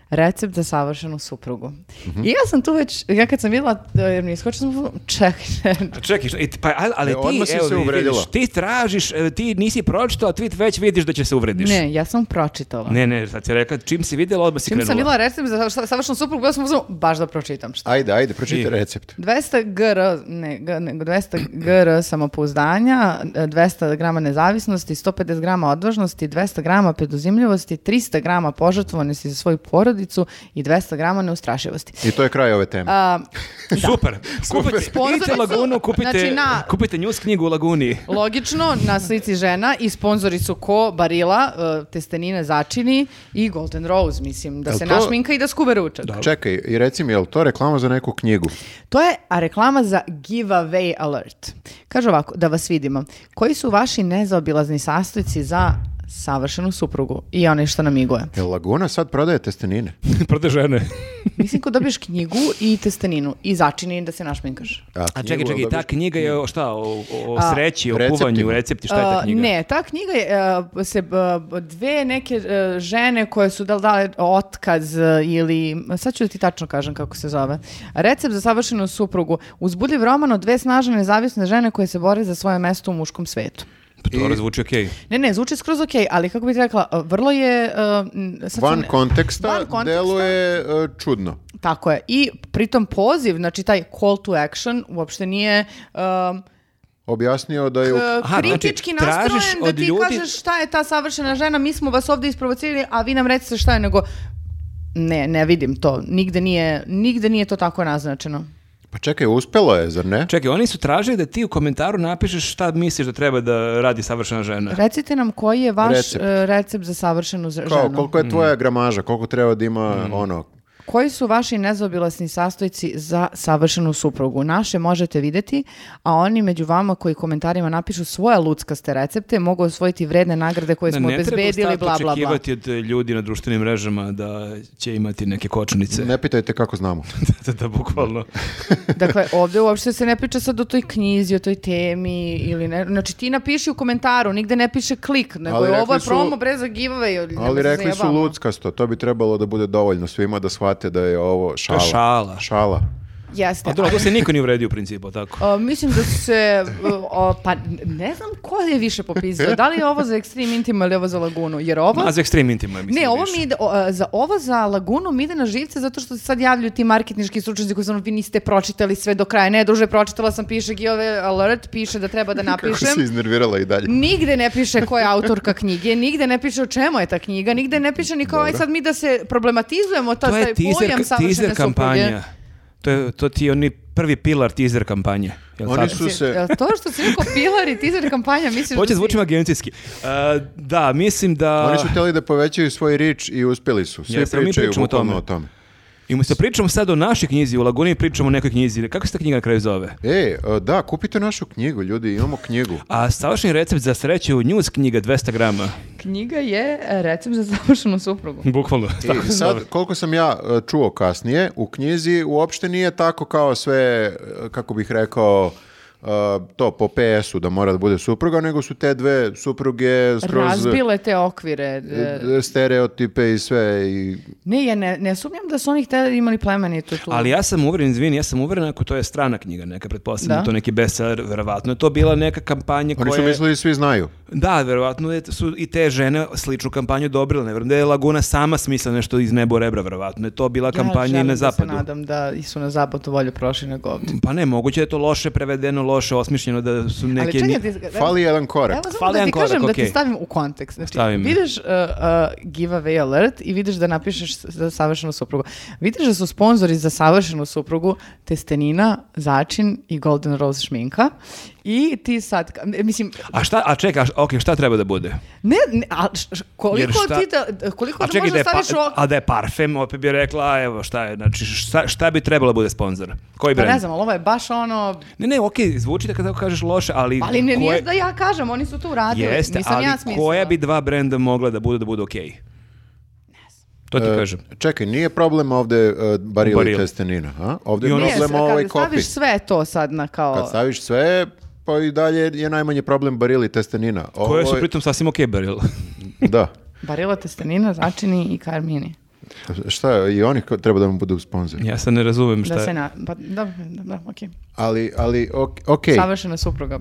recept za savršenu suprugu.
Mhm.
I ja sam tu već, ja kad sam vidjela, e, jer mi je iskočila, sam bila, čekaj, ne,
A Čekaj, šta- i t- pa, a- ali
E, odmah
ti,
si
evo,
se
vidiš,
uvredila.
ti tražiš, e, ti nisi pročitala tweet, već vidiš da će se uvrediš.
ne, ja sam pročitala.
Ne, ne, sad ti rekla, čim si vidjela, odmah si
Čim
krenula.
sam vidjela recept za sa- savršenu suprugu, bila sam u fazonu, baš da pročitam šta.
Ajde, ajde, pročitaj
I-
recept.
200 gr, ne, g- nego 200 gr samopouzdanja, e, 200 grama nezavisnosti, 150 grama odvažnosti, 200 grama preduzimljivosti, 300 grama požrtvovanosti za svoju porodicu i 200 grama neustrašivosti.
I to je kraj ove teme.
A,
Super. Kupite,
Sponzori
idite
su-
Lagunu, kupite,
znači, na-
kupite news knjigu u Laguni.
Logično, na slici žena i sponzori su ko Barila, e, Testenine Začini i Golden Rose, mislim, da
Jel
se
to-
našminka i da skube ručak.
Čekaj, i reci mi, je li to reklama za neku knjigu?
To je a reklama za giveaway alert. Kaže ovako, da vas vidimo. Koji su vaši nezaobilazni sastojci za savršenu suprugu i one što namiguje?
Je li Laguna sad prodaje testenine?
Prode žene.
Mislim ko dobiješ knjigu i testeninu i začini da se našminkaš.
A
knjigu,
čekaj,
jel
čekaj, ta
dobiješ?
knjiga je o šta, o, o
A,
sreći, o
receptima.
kuvanju, recepti, šta je ta
Uh,
knjiga?
ne, ta knjiga je, uh, se uh, dve neke uh, žene koje su da li dale otkaz uh, ili, sad ću da ti tačno kažem kako se zove, recept za savršenu suprugu, uzbudljiv roman o dve snažne nezavisne žene koje se bore za svoje mesto u muškom svetu.
Pa to
I-
zvuči okej.
Ne, ne, zvuči skroz okej, ali kako bih rekla, uh, vrlo je... uh, m, sad sam
Van
ne-
konteksta,
Van konteksta.
deluje e, čudno.
Tako je. I pritom poziv, znači taj call to action, uopšte nije... um,
Objasnio da je... u-
k-
Aha, znači,
kritički
tražiš
nastrojen da
od
ti
ljudi-
kažeš šta je ta savršena žena, mi smo vas ovdje isprovocirali, a vi nam recite šta je, nego ne, ne vidim to. Nigde nije, nigde nije to tako naznačeno.
Pa čekaj, uspelo je, zar ne?
Čekaj, oni su tražili da ti u komentaru napišeš šta misliš da treba da radi savršena žena.
Recite nam koji je vaš
Recept.
e, recept za savršenu z-
Kao,
ženu.
Mm.
koliko je tvoja gramaža, koliko treba da ima ono...
Koji su vaši nezaobilasni sastojci za savršenu suprugu? Naše možete videti, a oni među vama koji komentarima napišu svoje luckaste recepte mogu osvojiti vredne nagrade koje
Da,
smo
ne treba u
obezbedili,
startu
bla, bla, bla.
očekivati od e, ljudi na društvenim mrežama da će imati neke kočnice.
Ne pitajte kako znamo.
da, da, bukvalno.
Dakle, ovdje uopšte se ne priča sad o toj knjizi, o toj temi ili ne. Znači, ti napiši u komentaru, nigde ne piše klik, nego
Ali
je ovo
rekli
je
su-
promo bre za giveaway. ali nemoj
Ali
se
rekli su
zajebamo.
luckasto, to bi trebalo da bude dovoljno svima da shvate da je ovo šala.
šala.
Šala.
Jeste.
Pa dobro, to se niko nije uvredio u principu, tako.
A, mislim da su se, o, o, pa ne znam ko je više popizdao, da li je ovo za Extreme Intima ili ovo za Lagunu, jer ovo...
Ma, za ekstrem intima, je, mislim.
Ne, ovo
više.
mi ide, o, a, za ovo za Lagunu mi ide na živce zato što se sad javljaju ti marketnički stručnjaci koji su ono, vi niste pročitali sve do kraja. Ne, druže, pročitala sam, piše Giove Alert, piše da treba da
Kako si
napišem.
iznervirala i dalje.
Nigde ne piše ko je autorka knjige, nigde ne piše o čemu je ta knjiga, nigde ne piše ni kao aj sad mi da se problematizujemo ta,
To je
taj pojam
teaser,
savršene
teaser
supruge.
kampanja. To, je, to ti je oni prvi pilar teaser kampanje. Jel
Oni
tako?
su se...
Jel to što si rekao pilari, teaser kampanja, misliš
Hoće
da si-
zvučim agencijski. E, da, mislim da...
Oni su htjeli da povećaju svoj rič i uspjeli su. Svi
Jeste, ali mi
pričaju
pričamo o
bukvalno
tome.
o tome.
I mi se pričamo sad o našoj knjizi, u Laguni pričamo o nekoj knjizi. Kako se ta knjiga na kraju zove?
E, e, da, kupite našu knjigu, ljudi, imamo knjigu.
A savršeni recept za sreću, news knjiga 200 grama.
Knjiga je e, recept za savršenu suprugu.
Bukvalno. Tako
I
se zove.
E, sad, koliko sam ja e, čuo kasnije, u knjizi uopšte nije tako kao sve, e, kako bih rekao, e, to po PS-u da mora da bude supruga, nego su te dve supruge skroz
Razbile te okvire. e,
e, stereotipe i sve. I,
Ne, ja ne, ne sumnjam da su oni hteli imali plemenitu tu.
Ali ja sam uveren, izvini, ja sam uveren ako to je strana knjiga neka, pretpostavljam, da.
Da.
to je neki bestseller, verovatno je to bila neka kampanja
oni
koja...
su mislili svi znaju.
Da, verovatno je, su i te žene sličnu kampanju dobrile, ne vjerujem da je Laguna sama smisla nešto iz nebo rebra, verovatno je to bila kampanja i na zapadu.
Ja želim da se nadam da i su na zapadu volju prošli nego ovdje.
Pa ne, moguće je to loše prevedeno, loše osmišljeno da su neke...
Ali čekaj,
ni-
ti- evo-
Fali jedan korak.
Evo samo
Fali
da
jedan
ti
korak,
kažem da
okej.
ti stavim u kontekst. Znači,
Stavi mi.
vidiš uh, uh, giveaway alert i vidiš da napišeš za savršenu suprugu. Vidiš da su sponzori za savršenu suprugu testenina, začin i golden rose šminka. I ti sad, ka- e, mislim,
A šta, a čekaj, a š- okej, šta treba da bude?
ne, ne a š- š-
Jer
koliko
šta-
ti da, koliko
A
da
čekaj,
možeš
da
da
je, pa-
staviš u ok-
a da je parfem, opet bi rekla, a evo šta je, znači šta, šta bi trebalo da bude sponsor? Koji
Pa
brend?
ne znam, ali ovo je baš ono,
Ne, ne, okej, zvuči da kada kažeš loše, ali...
Pa Ali ne,
koje-
nije da ja kažem, oni su to uradili.
Jeste,
Nisam
ali
ja smislila.
koja bi dva brenda mogla da budu da budu okej? To ti
E,
kažem.
Čekaj, nije problem ovde uh, barili
Barili.
testenina, a? Ovde
I
je
ono-
Nije,
problem
sad
ovaj
kad
kopi.
staviš sve to sad na kao...
Kad staviš sve, pa i dalje je najmanji problem barili testenina. Ovo
Koje su
je-
pritom sasvim okej baril.
Da.
Barila testenina, začini i karmini.
Šta je, i oni ko- treba da mu budu sponzor.
ja sad ne razumem šta
Da se
je.
na... Pa, da, da, da, okej.
Ali, ali, ok, okej.
Savršena supruga.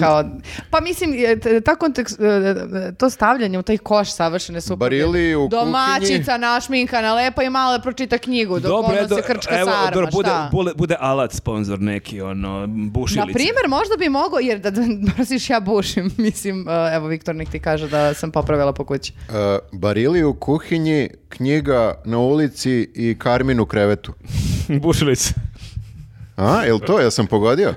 Kao, pa mislim, je, t- ta kontekst, e, e, to stavljanje u taj koš savršene supruge.
Barili u
Domaćica,
kuhinji.
našminkana, lepa i male pročita knjigu dok ono
edo,
se krčka
evo,
sarma,
dobro, bude,
šta?
bude, bude alat sponsor neki, ono, bušilice.
Na primjer, možda bi mogao, jer da, da mrziš ja bušim, mislim, e, evo Viktor nek ti kaže da sam popravila po kući.
E, barili u kuhinji, knjiga na ulici i Karmin u krevetu.
bušilice.
A, jel to? Ja sam pogodio?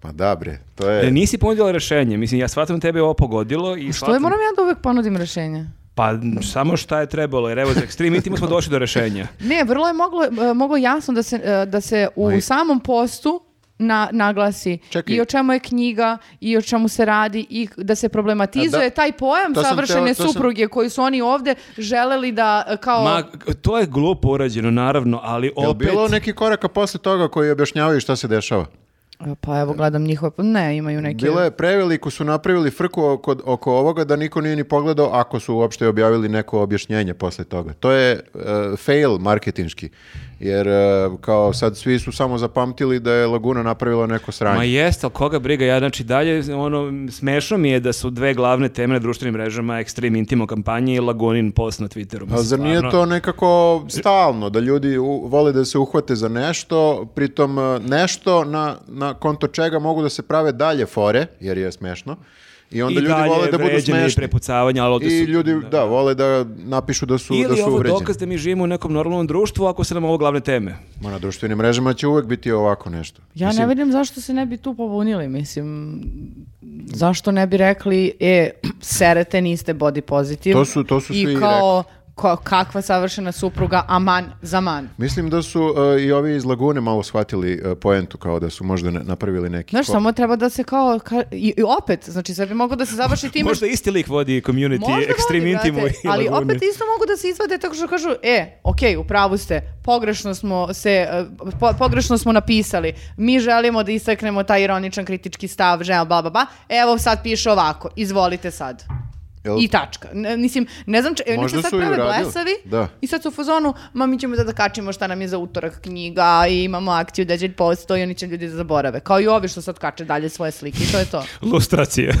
Pa da bre, to
E,
je...
nisi ponudila rešenje, mislim, ja shvatam tebe je ovo pogodilo i
Što je,
shvatam-
moram ja da uvek ponudim rešenje?
Pa n- samo šta je trebalo, jer evo za Extreme Intimu smo došli do rešenja.
Ne, vrlo je moglo, e, moglo jasno da se, e, da se u
Aj.
samom postu na, naglasi
Čekaj.
i o čemu je knjiga i o čemu se radi i da se problematizuje
A E, da,
taj pojam
to sam
savršene
teo- to sam-
supruge koji su oni ovdje želeli da e, kao...
Ma, to je glupo urađeno, naravno, ali
Jel
opet...
bilo neki koraka posle toga koji objašnjavaju šta se dešava?
E, Pa evo gledam njihove, ne, imaju neke...
Bilo je preveliku su napravili frku oko, oko ovoga da niko nije ni pogledao ako su uopšte objavili neko objašnjenje posle toga. To je e, fail marketinški. Jer e, kao sad svi su samo zapamtili da je Laguna napravila neko sranje.
Ma jeste, ali koga briga, ja znači dalje, ono, smešno mi je da su dve glavne teme na društvenim mrežama, Extreme Intimo kampanje i Lagunin post na Twitteru.
A
mislim,
Pa zar nije
stvarno.
to nekako stalno, da ljudi u- vole da se uhvate za nešto, pritom e, nešto na, na konto čega mogu da se prave dalje fore, jer je smešno, I onda ljudi vole da budu
vređanje i
smešni.
prepucavanja, ali ovde
I
su-
ljudi, da, vole da napišu da su, da
Ili je
su
ovo
uvređeni.
dokaz da mi živimo u nekom normalnom društvu ako se nam ovo glavne teme.
Ma, na društvenim mrežama će uvek biti ovako nešto.
Ja ne vidim zašto se ne bi tu pobunili, mislim, zašto ne bi rekli, e, serete, niste body pozitiv.
To su- to su svi
I kao, ko- kakva savršena supruga, aman za man.
Mislim da su e, i ovi iz Lagune malo shvatili e, poentu, kao da su možda ne- napravili neki...
Znaš,
ko-
samo treba da se kao, ka- i, i opet, znači sve bi moglo da se završi time
Možda isti lik vodi community,
Možda
Extreme
vodi,
Intimu
brate,
i
ali
Lagune.
opet isto mogu da se izvade tako što kažu, e, ok, u pravu ste, pogrešno smo se, e, po- pogrešno smo napisali, mi želimo da istaknemo taj ironičan kritički stav, želimo, ba, ba, ba, E, evo sad piše ovako, izvolite sad.
Jel-
I tačka. Ne, mislim, ne znam, če, e, oni
Možda
se sad
su i
prave
uradili.
blesavi
Da.
i sad su u fazonu, ma mi ćemo da da kačimo šta nam je za utorak knjiga i imamo akciju 10% i oni će ljudi da zaborave. Kao i ovi što sad kače dalje svoje slike i to je to.
Lustracije.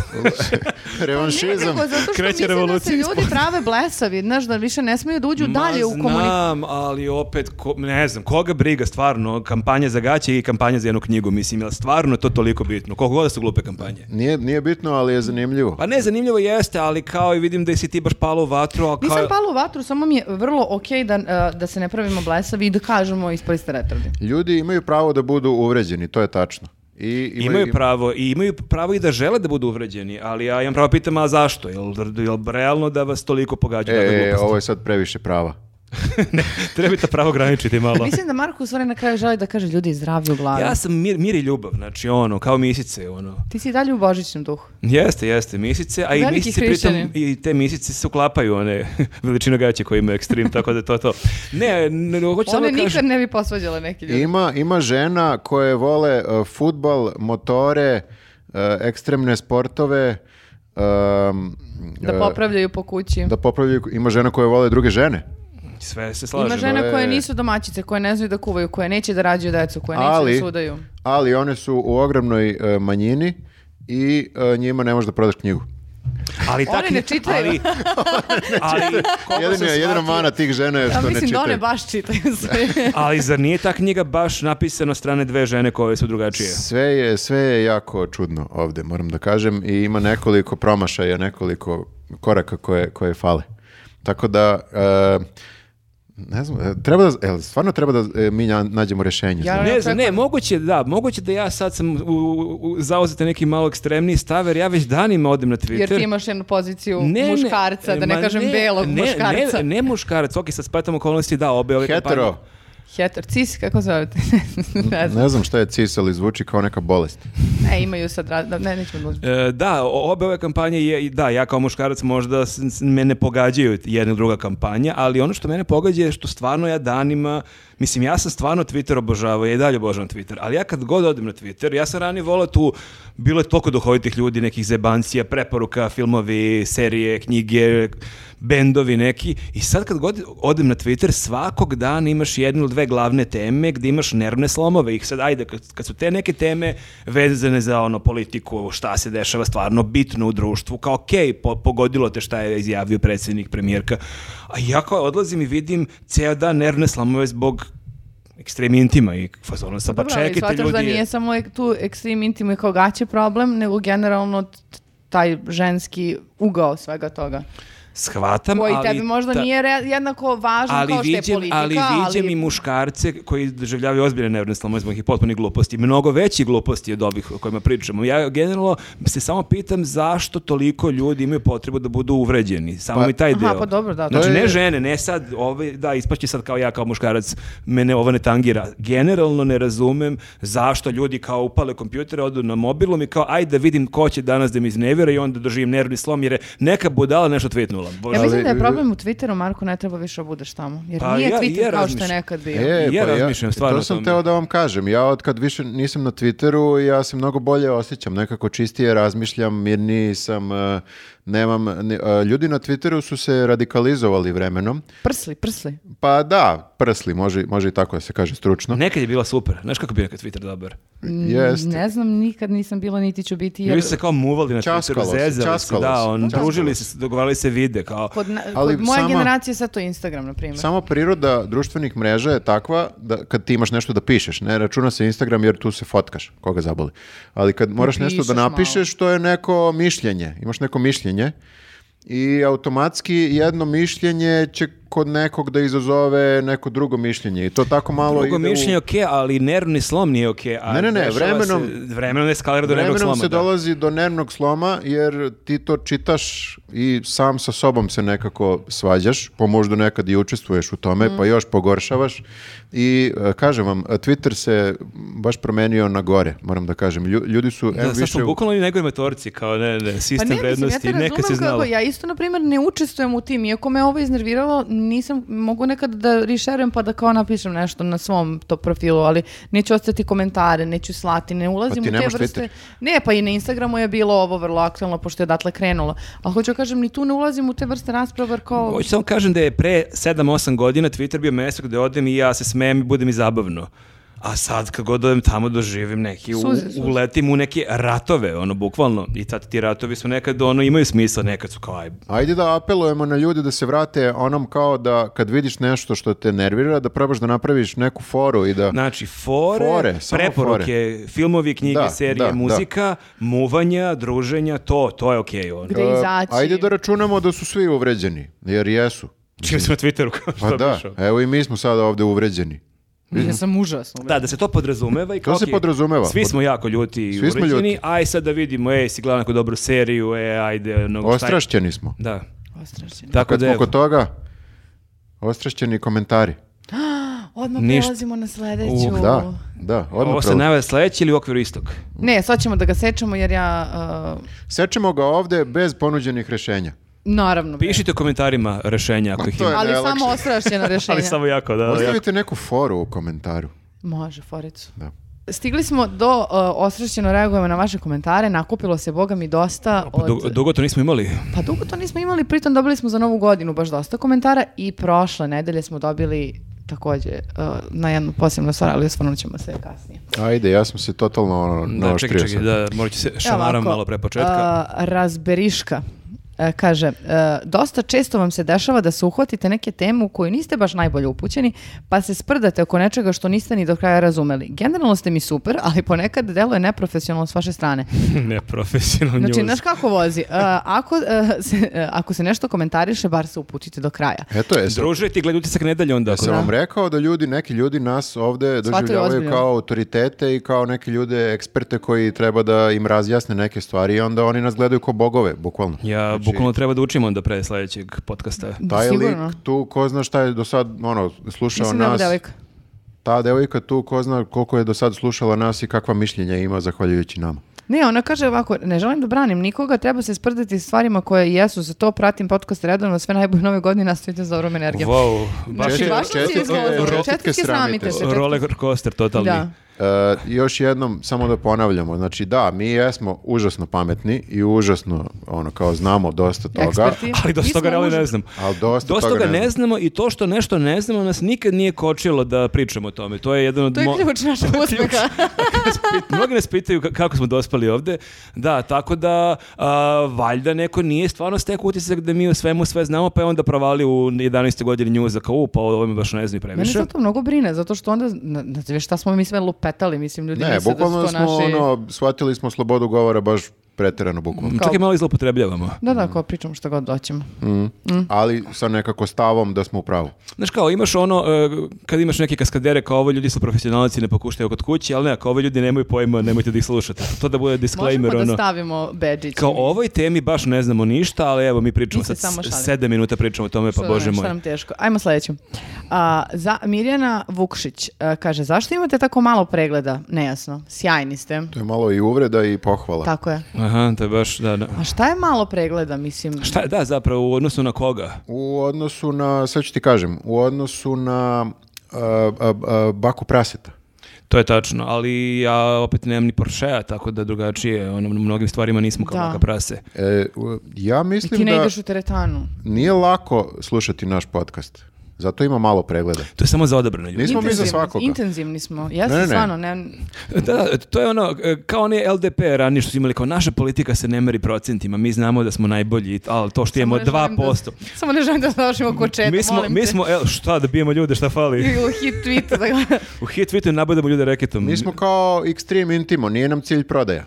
Revanšizam.
Nekako, Pa zato što
Kreće
mislim da se
revolucija
ljudi prave blesavi, znaš, da više ne smiju da uđu dalje u komunikaciju.
Znam, ali opet, ko- ne znam, koga briga stvarno, kampanja za gaće i kampanja za jednu knjigu, mislim, jel stvarno je to toliko bitno, koliko god da su glupe kampanje.
Nije, nije bitno, ali je zanimljivo.
Pa ne, zanimljivo jeste, ali kao i vidim da si ti baš palo u vatru, a
Nisam
kao...
pala u vatru, samo mi je vrlo okej da, e, da se ne pravimo blesavi i da kažemo ispali ste retardi.
Ljudi imaju pravo da budu uvređeni, to je tačno. I
Imaju pravo i imaju pravo i da žele da budu uvređeni, ali ja imam pravo pitam, a zašto? Jel, jel realno da vas toliko pogađa?
E,
takve
e,
gluposti?
ovo je sad previše prava.
ne, treba ta pravo graničiti malo.
Mislim da Marko u stvari na kraju želi da kaže ljudi zdravlje u glavi.
Ja sam mir, mir i ljubav, znači ono, kao misice, ono.
Ti si i dalje u božićnom duhu.
Jeste, jeste, misice, a i
Veliki
misice pritom,
hrišćanin.
i te misice se uklapaju, one veličina gaće koje ima ekstrem, tako da je to to. Ne, ne, hoću samo
One
da
nikad
kažem.
ne bi posvađale neki ljudi.
Ima, ima žena koje vole uh, futbal, motore, uh, ekstremne sportove, um,
Da
uh,
popravljaju po kući.
da popravljaju, ima žena koje vole druge žene,
Sve se
Ima
slažem.
žena
e.
koje nisu domaćice, koje ne znaju da kuvaju, koje neće da rađaju decu, koje Pa neće
Ali-
da sudaju.
ali one su u ogromnoj uh, manjini i uh, njima ne možeš da prodaš knjigu.
Ali
One
tak,
ne čitaju.
Ali, ali, koliko sam
Jedina, jedina
shvatio-
mana tih žena je
Ja
što ne
Pa mislim da one
čitaju.
baš čitaju sve.
ali zar nije ta knjiga baš napisana od strane dve žene koje su drugačije?
Sve je, sve je jako čudno ovde, moram da kažem, i ima nekoliko promašaja, nekoliko koraka koje, koje fale. Tako da, e, ne znam, e, treba da, jel stvarno treba da e, mi na- nađemo rješenje.
Ja-
za-
Ne znam, ne,
očekujem.
moguće da, moguće da ja sad sam u, u, u- zauzete neki malo ekstremniji stav, jer ja već danima odem na Twitter.
Jer ti imaš jednu poziciju muškarca, da ne
ma
kažem belog
ne,
muškarca.
Ne, ne muškarac, ok, sad spetam okolnosti, da, obe ove
Hetero,
kampanje.
Heter, cis, kako zovete? ne znam.
ne znam šta je cis, ali zvuči kao neka bolest.
Ne, imaju sad, ra- da- ne, nećemo da uzmemo.
E, da, o- obe ove kampanje, je, i da, ja kao muškarac možda s- s- me ne pogađaju jedna i druga kampanja, ali ono što mene pogađa je što stvarno ja danima, mislim, ja sam stvarno Twitter obožavao, ja i dalje obožavam Twitter, ali ja kad god odem na Twitter, ja sam ranije volao tu, bilo je toliko duhovitih ljudi, nekih zebancija, preporuka, filmovi, serije, knjige, bendovi neki i sad kad god odem na Twitter svakog dana imaš jednu ili dve glavne teme gdje imaš nervne slomove i sad ajde kad, kad su te neke teme vezane za ono politiku šta se dešava stvarno bitno u društvu kao okej po- pogodilo te šta je izjavio predsjednik premijerka a ja kao odlazim i vidim ceo dan nervne slomove zbog ekstrem intima i fazonu sa pa
Dobro, ali
čekajte
shvataš da
ljudi
nije samo ek- tu ekstrem intim i kao gaće problem, nego generalno t- taj ženski ugao svega toga.
shvatam
Koji
ali
tebi možda
ta-
nije re- jednako važan kao što je
viđem-
politika,
ali viđem i muškarce koji doživljavaju ozbiljne nervne slomove zbog ih potpunih gluposti, mnogo veći gluposti od ovih o kojima pričamo. Ja generalno se samo pitam zašto toliko ljudi imaju potrebu da budu uvređeni. Samo
Pa-
mi taj deo.
Aha, pa dobro, da, to
Znači,
je-
ne žene, ne sad, ove, da, ispašće sad kao ja kao muškarac, mene ovo ne tangira. Generalno ne razumem zašto ljudi kao upale kompjutere, odu na mobilom i kao, ajde da vidim ko će danas da mi iznevira i onda doživim nervni slom jer je neka budala nešto tweetnula. Bože.
Ja mislim
Ali-
da je problem u Twitteru, Marko, ne treba više da budeš tamo. Jer
Pa
nije
ja-
Twitter
ja
kao što je
razmišljam.
nekad bio.
E,
Ja razmišljam stvarno
To
o
sam
tome.
teo da vam kažem. Ja od kad više nisam na Twitteru, ja se mnogo bolje osjećam, nekako čistije razmišljam, mirniji sam, e, nemam... ni- e, Ljudi na Twitteru su se radikalizovali vremenom,
Prsli, prsli.
Pa da, prsli, može, može i tako da se kaže stručno.
Nekad je bila super. Znaš kako je bio nekad Twitter dobar?
Jeste.
Ne znam, nikad nisam bila, niti ću biti.
Jer...
Jer...
Ljudi su se kao muvali na Twitteru,
Ćaskalo se,
zezali se,
ćaskalo
da,
se,
on,
ćaskalo
družili
se.
se, dogovarali se vide kao...
Kod, na,
Ali
kod moje
sama-
generacije sad to Instagram, na primjer.
Samo priroda društvenih mreža je takva da kad ti imaš nešto da pišeš, ne računa se Instagram jer tu se fotkaš, koga zaboli. Ali kad moraš nešto da
Napišeš
napišeš, to je neko mišljenje, imaš neko mišljenje i automatski jedno mišljenje će kod nekog da izazove neko drugo mišljenje i to tako malo
Drugo
ide u-
mišljenje je okej, ali nervni slom nije okej. a
Ne, ne, ne,
dešava
vremenom-
Se, vremenom je skalira do nervnog sloma.
Vremenom se
da.
dolazi do nervnog sloma jer ti to čitaš i sam sa sobom se nekako svađaš, pa možda nekad i učestvuješ u tome, pa još pogoršavaš. I e, kažem vam, e, Twitter se baš promenio na gore, moram da kažem. Lju- Ljudi su em,
Da, sad
više...
smo
u-
bukvalno i negoj metorci, kao ne, ne, sistem
Pa mislim,
vrednosti,
ja te
neka se
razumem
znala.
kako, ja isto, na primjer, ne učestvujem u tim, iako me ovo iznerviralo, nisam, mogu nekad da rešerujem pa da kao napišem nešto na svom to profilu, ali neću ostati komentare, neću slati, ne
Pa
ulazim
ti
u te
nemaš
vrste.
Twitter.
Ne, pa i na Instagramu je bilo ovo vrlo aktualno, pošto je odatle krenulo. A hoću da kažem, ni tu ne ulazim u te vrste rasprava, jer kao...
Hoću samo kažem da je pre 7-8 godina Twitter bio mesto gde odem i ja se smijem i budem i zabavno. A sad kad god odem tamo doživim neki, u-
Suze, suze.
uletim u neke ratove, ono, bukvalno. I tad ti ratovi su nekad, ono, imaju smisla, nekad su kao, aj,
Ajde da apelujemo na ljude da se vrate onom kao da kad vidiš nešto što te nervira, da probaš da napraviš neku foru i da...
Znači, fore,
Fore, samo
preporuke, filmovi, knjige,
Da,
serije,
da,
muzika, muvanja, druženja, to, to je okej. ono.
Gde
E,
izaći.
Ajde da računamo da su svi uvređeni, jer jesu.
Čim sam na Twitteru kao što
Pa da,
pišu.
evo i mi smo sada ovde uvređeni.
Mhm.
Ja sam užasno.
Da, da se to podrazumeva i kao,
To se
okej,
podrazumeva.
Svi smo jako ljuti i
Svi smo
uređeni,
ljuti.
aj sad da vidimo, ej, si gledao neku dobru seriju, e, ajde, ono, šta je-
Ostrašćeni smo.
Da,
Ostrašćeni.
tako
Kad
da
smo
je,
kod toga, ostrašćeni komentari.
Odmah
Ništa.
prelazimo na sledeću.
Uh,
Da, da, odmah
ovo se
prelaz-
najave sledeći ili u okviru istog?
Ne, sad ćemo da ga sečemo jer ja... uh,
Sečemo ga ovde bez ponuđenih rešenja.
naravno. bre.
Pišite u komentarima rešenja ako ih
to je
ima.
Ali
najlakše.
samo ostrašćena rešenja.
Ali samo jako, da, E, jako.
Ostavite neku foru u komentaru.
Može, foricu.
Da.
Stigli smo do uh, osrećeno reagujemo na vaše komentare, nakupilo se, boga mi, dosta
Pa
od...
dugo, dugo to nismo imali.
Pa dugo to nismo imali, pritom dobili smo za novu godinu baš dosta komentara i prošle nedelje smo dobili takođe uh, na jednu posebnu stvar, ali osvrnut ćemo se kasnije.
Ajde, ja sam se totalno ono,
Da, čekaj,
naoštrio
čekaj,
sad.
da, morat ću se šamaram
ovako,
malo pre početka.
a, razberiška. E, kaže, e, dosta često vam se dešava da se uhvatite neke temu u koju niste baš najbolje upućeni, pa se sprdate oko nečega što niste ni do kraja razumeli. Generalno ste mi super, ali ponekad deluje neprofesionalno s vaše strane.
Neprofesional
Znači,
news.
znaš kako vozi? E, ako, e, se, e, ako se nešto komentariše, bar se uputite do kraja.
Eto, je,
Druže ti gledaj utisak nedelje onda. ako-
sam E vam rekao da ljudi, neki ljudi nas ovde doživljavaju
ozbiljno.
kao autoritete i kao neke ljude, eksperte koji treba da im razjasne neke stvari i onda oni nas gledaju ko bogove, bukvalno.
Ja
Znači,
bukvalno treba da učim onda pre sledećeg podcasta.
Taj
Sigurno.
lik tu, ko zna šta je do sad ono, slušao
Mislim da je ovo
nas.
devojka.
Ta devojka tu, ko zna koliko je do sad slušala nas i kakva mišljenja ima zahvaljujući nama.
Ne, ona kaže ovako, ne želim da branim nikoga, treba se sprdati s stvarima koje jesu, za to pratim podcast redovno, sve najbolje nove godine, nastavite s dobrom energijom.
Wow, baš
Znači,
je
baš nas je
četvrtke-
izgozilo.
četvrtke
Četvrtke sramite
sramite
se.
se.
četvrtke-
roller coaster totalni.
Da.
E, još jednom, samo da ponavljamo, znači da, mi jesmo užasno pametni i užasno, ono, kao znamo dosta toga.
Eksperti.
Ali
Mi
dosta toga
smo
realno ne
užas-
znam.
Ali dosta toga
toga
ne
ne znamo i to što nešto ne znamo nas nikad nije kočilo da pričamo o tome. To je jedan od...
To je
mo-
ključ našeg uspeha.
Mnogi nas pitaju ka- kako smo dospali ovde. Da, tako da a, valjda neko nije stvarno stek utisak da mi o svemu sve znamo, pa je onda provali u 11. godini njuza kao, u, pa ovo mi baš ne znam i
Mene
previše.
zato mnogo brine, zato što onda, na- na- znaš šta smo mi sve lupetali, mislim, ljudi
Ne,
misle da su
bukvalno
to
smo,
naši...
ono, shvatili smo slobodu govora baš preterano, bukvalno.
Čak i malo izlopotrebljavamo.
Da, da, kao pričamo šta god doćemo. Mm.
Ali sa nekako stavom da smo u pravu.
Znaš kao, imaš ono, e, kad imaš neke kaskadere kao ovo ljudi su profesionalci, ne pokuštaju kod kući, ali ne, ako ovo ljudi nemaju pojma, nemojte da ih slušate. To da bude disclaimer,
Možemo da
ono.
stavimo bedžić.
Kao o ovoj temi baš ne znamo ništa, ali evo mi pričamo
Mi se
sad
samo šalimo.
sedam minuta pričamo o tome, pa
Šta
bože
nam-
moj.
ono, Šta nam teško. Ajmo sledeću. A, za, Mirjana Vukšić a, kaže, zašto imate tako malo pregleda? Nejasno. Sjajni ste.
To je malo i uvreda i pohvala.
Tako je.
Aha, to je baš, da, da.
A šta je malo pregleda, mislim?
Šta je, da, zapravo, u odnosu na koga?
U odnosu na, sve ću ti kažem, u odnosu na a, a, a, baku praseta.
To je tačno, ali ja opet nemam ni Porschea, tako da drugačije, ono, u mnogim stvarima nismo kao
Da.
baka prase.
E, u- ja
I ti
mislim
ne
da
ideš u teretanu.
nije lako slušati naš podcast. Zato ima malo pregleda.
To je samo za odabrane ljude.
Nismo mi za
Intenzivni-
svakoga.
Intenzivni smo. Ja
Ne,
se
ne, ne.
stvarno ne...
Da, da, to je ono, e, kao oni LDP ranije što su imali, kao naša politika se ne meri procentima, mi znamo da smo najbolji, ali to što imamo
samo ne želim
2%.
Da, samo ne želim da završimo ko četa,
mi smo,
molim
mi
te.
smo, el, šta, da bijemo ljude, šta fali?
I u hit tweetu. Da ga...
U hit tweetu nabadamo ljude reketom.
Mi smo kao Extreme Intimo, nije nam cilj prodaja.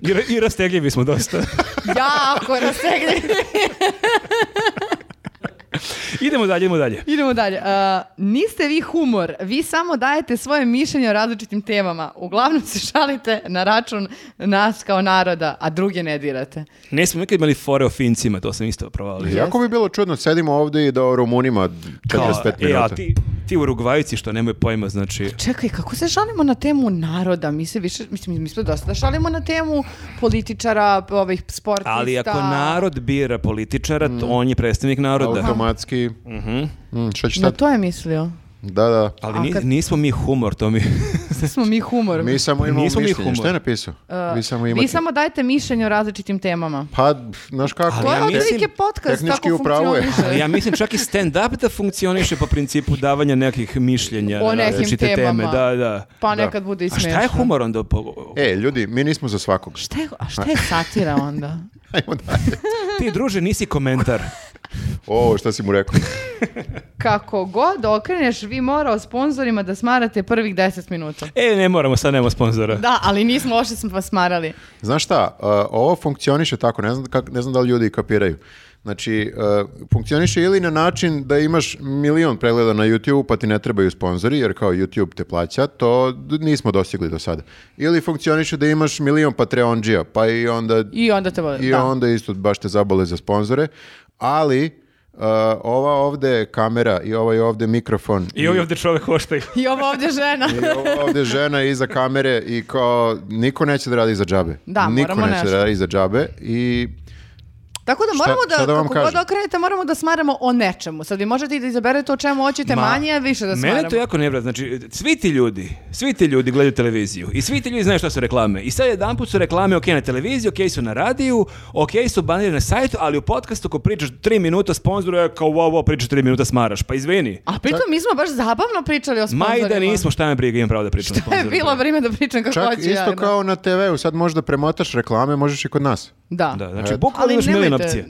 I, ra- i rastegljivi smo dosta.
jako rastegli.
idemo dalje, idemo dalje.
Idemo dalje. A, niste vi humor, vi samo dajete svoje mišljenje o različitim temama. Uglavnom se šalite na račun nas kao naroda, a druge ne dirate.
Nismo nikad imali fore o Fincima, to sam isto provalio.
Jako bi bilo čudno, sedimo ovdje i da o Rumunima 45
e, a
minuta.
ti, ti Urugvajci što nemaju pojma, znači...
Čekaj, kako se šalimo na temu naroda? Mi se više, mislim, mi smo dosta da šalimo na temu političara, p- ovih sportista.
Ali ako narod bira političara,
Mm.
to on je predstavnik naroda.
Automatski.
Mhm.
Mm, šta ćeš
Na
sad?
to je mislio.
Da, da.
Ali
A
ni-
kad-
nismo mi humor, to mi...
Svi smo mi humor.
Mi samo imamo
Nismo mi
mišljenje.
humor.
Šta je napisao? vi samo imate.
Vi samo dajete mišljenje o različitim temama.
Pa, znaš kako?
Ali
E,
To
ja
je
mislim-
otprilike podcast,
Tehnički
kako
u pravu je.
funkcioniše.
Ali ja mislim čak i stand-up da funkcioniše po principu davanja nekih mišljenja
O
na
nekim
različite teme.
temama.
Da, da.
Pa nekad bude i
A
smiješno.
šta je humor onda? po-
E, ljudi, mi nismo za svakog.
Šta je- a šta je satira onda?
Ajmo dalje.
Ti, druže, nisi komentar.
O, šta si mu rekao?
Kako god okreneš, vi mora o sponzorima da smarate prvih 10 minuta.
E, ne moramo, sad nema sponzora.
Da, ali nismo loše smo vas smarali.
Znaš šta, uh, ovo funkcioniše tako, ne znam, kak, ne znam da li ljudi kapiraju. Znači, uh, funkcioniše ili na način da imaš milion pregleda na YouTube pa ti ne trebaju sponzori jer kao YouTube te plaća, to d- nismo dostigli do sada. Ili funkcioniše da imaš milion Patreonđija pa i onda,
I onda te vole.
i
da.
onda isto baš te zabole za sponzore, ali uh, ova ovde kamera i ovaj ovde mikrofon
I ovaj ovdje čovek koštaju.
I ovo ovdje žena.
i ovo ovdje žena iza kamere i kao niko neće da radi za džabe.
Da,
niko
moramo
neće
nešto.
da radi za džabe i
Tako da moramo
šta da
da,
vam
kako god
kažem?
okrenete, moramo da smaramo o nečemu. Sad vi možete i da izaberete o čemu hoćete
Ma,
manje, a više da smaramo.
Mene to jako nevrat, znači svi ti ljudi, svi ti ljudi gledaju televiziju i svi ti ljudi znaju šta su reklame. I sad jedan put su reklame ok na televiziji, ok su na radiju, ok su banirane na sajtu, ali u podcastu ko pričaš tri minuta sponzoru je kao wow, wow, pričaš tri minuta smaraš. Pa izvini,
A pritom mi smo baš zabavno pričali o
ma
sponzorima.
i da nismo, šta me briga, imam pravo da pričam. o
To je
sponzorima.
bilo vrijeme da pričam kako
Čak
hoću ja,
isto
da.
kao na TV-u, sad možda premotaš reklame, možeš i kod nas.
Da.
Da, znači
Eto.
bukvalno
Ali
imaš milion
nemojte-
opcije.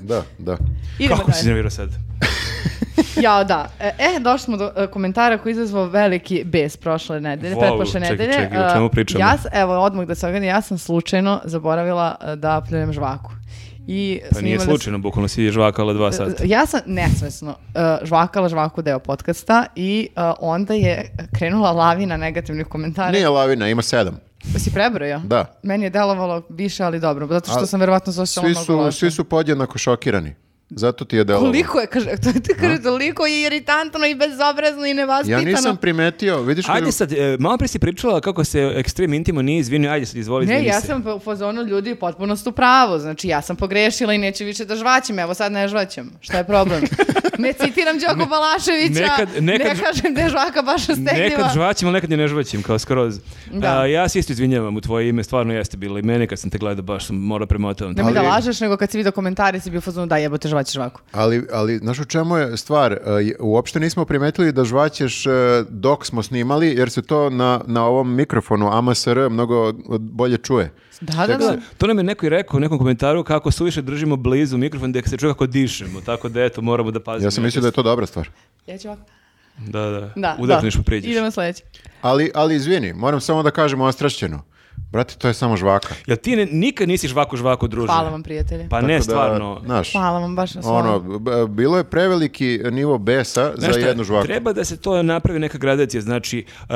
Da, da.
Idemo
Kako si
dalje.
nervirao sad? Pa
Ja, da. E, E, došli smo do e, komentara koji je izazvao veliki bes prošle nedelje,
Wow,
pretprošle
čekaj,
nedelje. E,
čekaj, o čemu pričamo?
Ja, s- evo, odmah da se ogledam, ja sam slučajno zaboravila e, da pljunem žvaku. I
Pa nije
snimali- E,
slučajno, bukvalno si žvakala dva sata.
Ja sam nesvesno e, žvakala žvaku deo podcasta i e, onda je krenula lavina negativnih komentara.
Nije lavina, ima sedam.
Si prebrojao?
Da.
Meni je delovalo više, ali dobro, zato što
A-
sam verovatno zašla
Svi su, svi su podjednako šokirani. Zato ti je delovo.
Koliko je, kaže, ti kaže, toliko je iritantno i bezobrazno i
Ja
nevaspitano.
nisam primetio, vidiš
Ajde
koju-
sad, e, malo pre si pričala kako se Extreme Intimo nije izvinio, ajde sad izvoli,
Ne,
izvini
ja
se.
sam u fazonu ljudi potpuno su pravo. Znači, ja sam pogrešila i neću više da žvaćem. Evo sad ne žvaćem. Šta je problem? ne citiram Đoko Balaševića.
nekad- nekad-
ne kažem da je žvaka baš
Nekad
ostegljiva.
žvaćim, ali nekad i ne žvaćim, kao skroz.
Da.
A, ja se isto izvinjavam u tvoje ime, stvarno jeste bilo i mene kad sam te gledao, baš sam morao premotao.
Ne mi da
Ali-
lažeš, nego kad si vidio komentare si bio u fazonu da jebote žvaćeš žvaku.
Ali, ali, znaš u čemu je stvar? E, je- Uopšte nismo primetili da žvaćeš e, dok smo snimali, jer se to na, na ovom mikrofonu AMSR mnogo bolje čuje.
Da, da,
Da,
da.
to nam je neko i rekao u nekom komentaru kako suviše držimo blizu mikrofon da se čuje kako dišemo, tako da eto moramo da pazimo.
Ja sam mislio da je to dobra stvar.
Ja ću ovako.
Da, da,
Da,
udahneš
da.
pa pređeš.
Idemo sledeći.
Ali, ali izvini, moram samo da kažem ostrašćeno. Brate, to je samo žvaka.
Jel ti ne- nikad nisi žvaku žvaku druže?
Hvala vam, prijatelji.
Pa
Tako
ne,
da,
stvarno.
znaš,
Hvala vam baš na svom.
Ono, b- bilo je preveliki nivo besa
Znaš
za
šta,
jednu žvaku.
Treba da se to napravi neka gradacija, znači uh,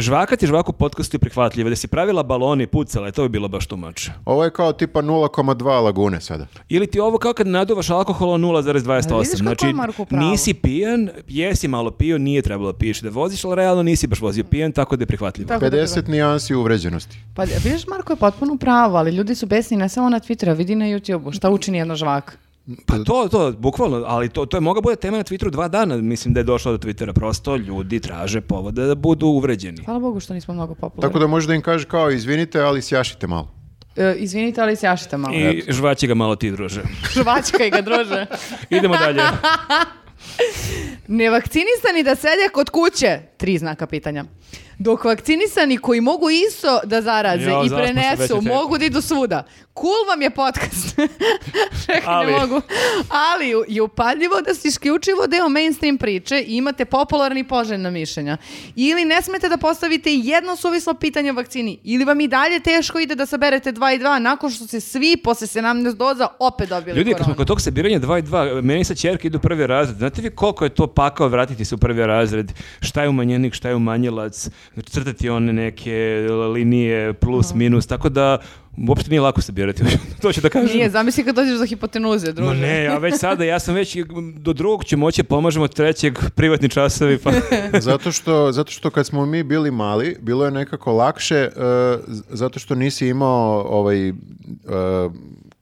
žvaka ti žvaku podcastu je prihvatljiva, da si pravila baloni i pucala, to bi bilo baš tumače.
Ovo je kao tipa 0,2 lagune sada.
Ili ti ovo kao kad naduvaš alkohola
Ali
0,28.
vidiš kako
Znači,
je Marko u pravu.
nisi pijan, jesi malo pio, nije trebalo piješ da voziš, ali realno nisi baš vozio pijan, tako da je prihvatljivo.
Tako da treba.
50 nijansi uvređenosti.
Pa vidiš, Marko je potpuno pravo, ali ljudi su besni ne samo na Twitteru, vidi na YouTube-u. Šta učini jedna žvaka?
Pa to, to, bukvalno, ali to, to je mogla bude tema na Twitteru dva dana, mislim da je došlo do Twittera, prosto ljudi traže povode da budu uvređeni.
Hvala Bogu što nismo mnogo popularni.
Tako da možeš da im kažeš kao izvinite, ali sjašite malo.
E, izvinite, ali sjašite malo.
I žvaći ga malo ti, druže.
Žvačka i ga druže.
Idemo dalje.
Nevakcinisani da sede kod kuće, tri znaka pitanja. Dok vakcinisani koji mogu isto da zaraze
Jo,
i
zaspao sam već
prenesu,
od tebe.
mogu da idu svuda. Cool vam je podcast. Čekaj,
Ali.
ne mogu. Ali u- je upadljivo da ste isključivo deo mainstream priče i imate popularni i poželjna mišljenja. Ili ne smete da postavite jedno suvislo pitanje o vakcini. Ili vam i dalje teško ide da saberete 2 i 2 nakon što ste svi posle 17 doza opet dobili
Ljudi, kad
koronu.
smo kod tog sabiranja 2 i 2, meni sa čerke idu u prvi razred. Znate vi koliko je to pakao vratiti se u prvi razred? Šta je umanjenik, šta je umanjilac, crtati one neke linije, plus, minus, tako da uopšte nije lako sabirati. to ću da kažem.
Nije, zamisli kad dođeš do hipotenuze, druže.
Ma ne, ja već sada, ja sam već do drugog ću moći, pomažemo trećeg, privatni časovi, pa...
Zato što, zato što kad smo mi bili mali, bilo je nekako lakše, e, z- zato što nisi imao ovaj e,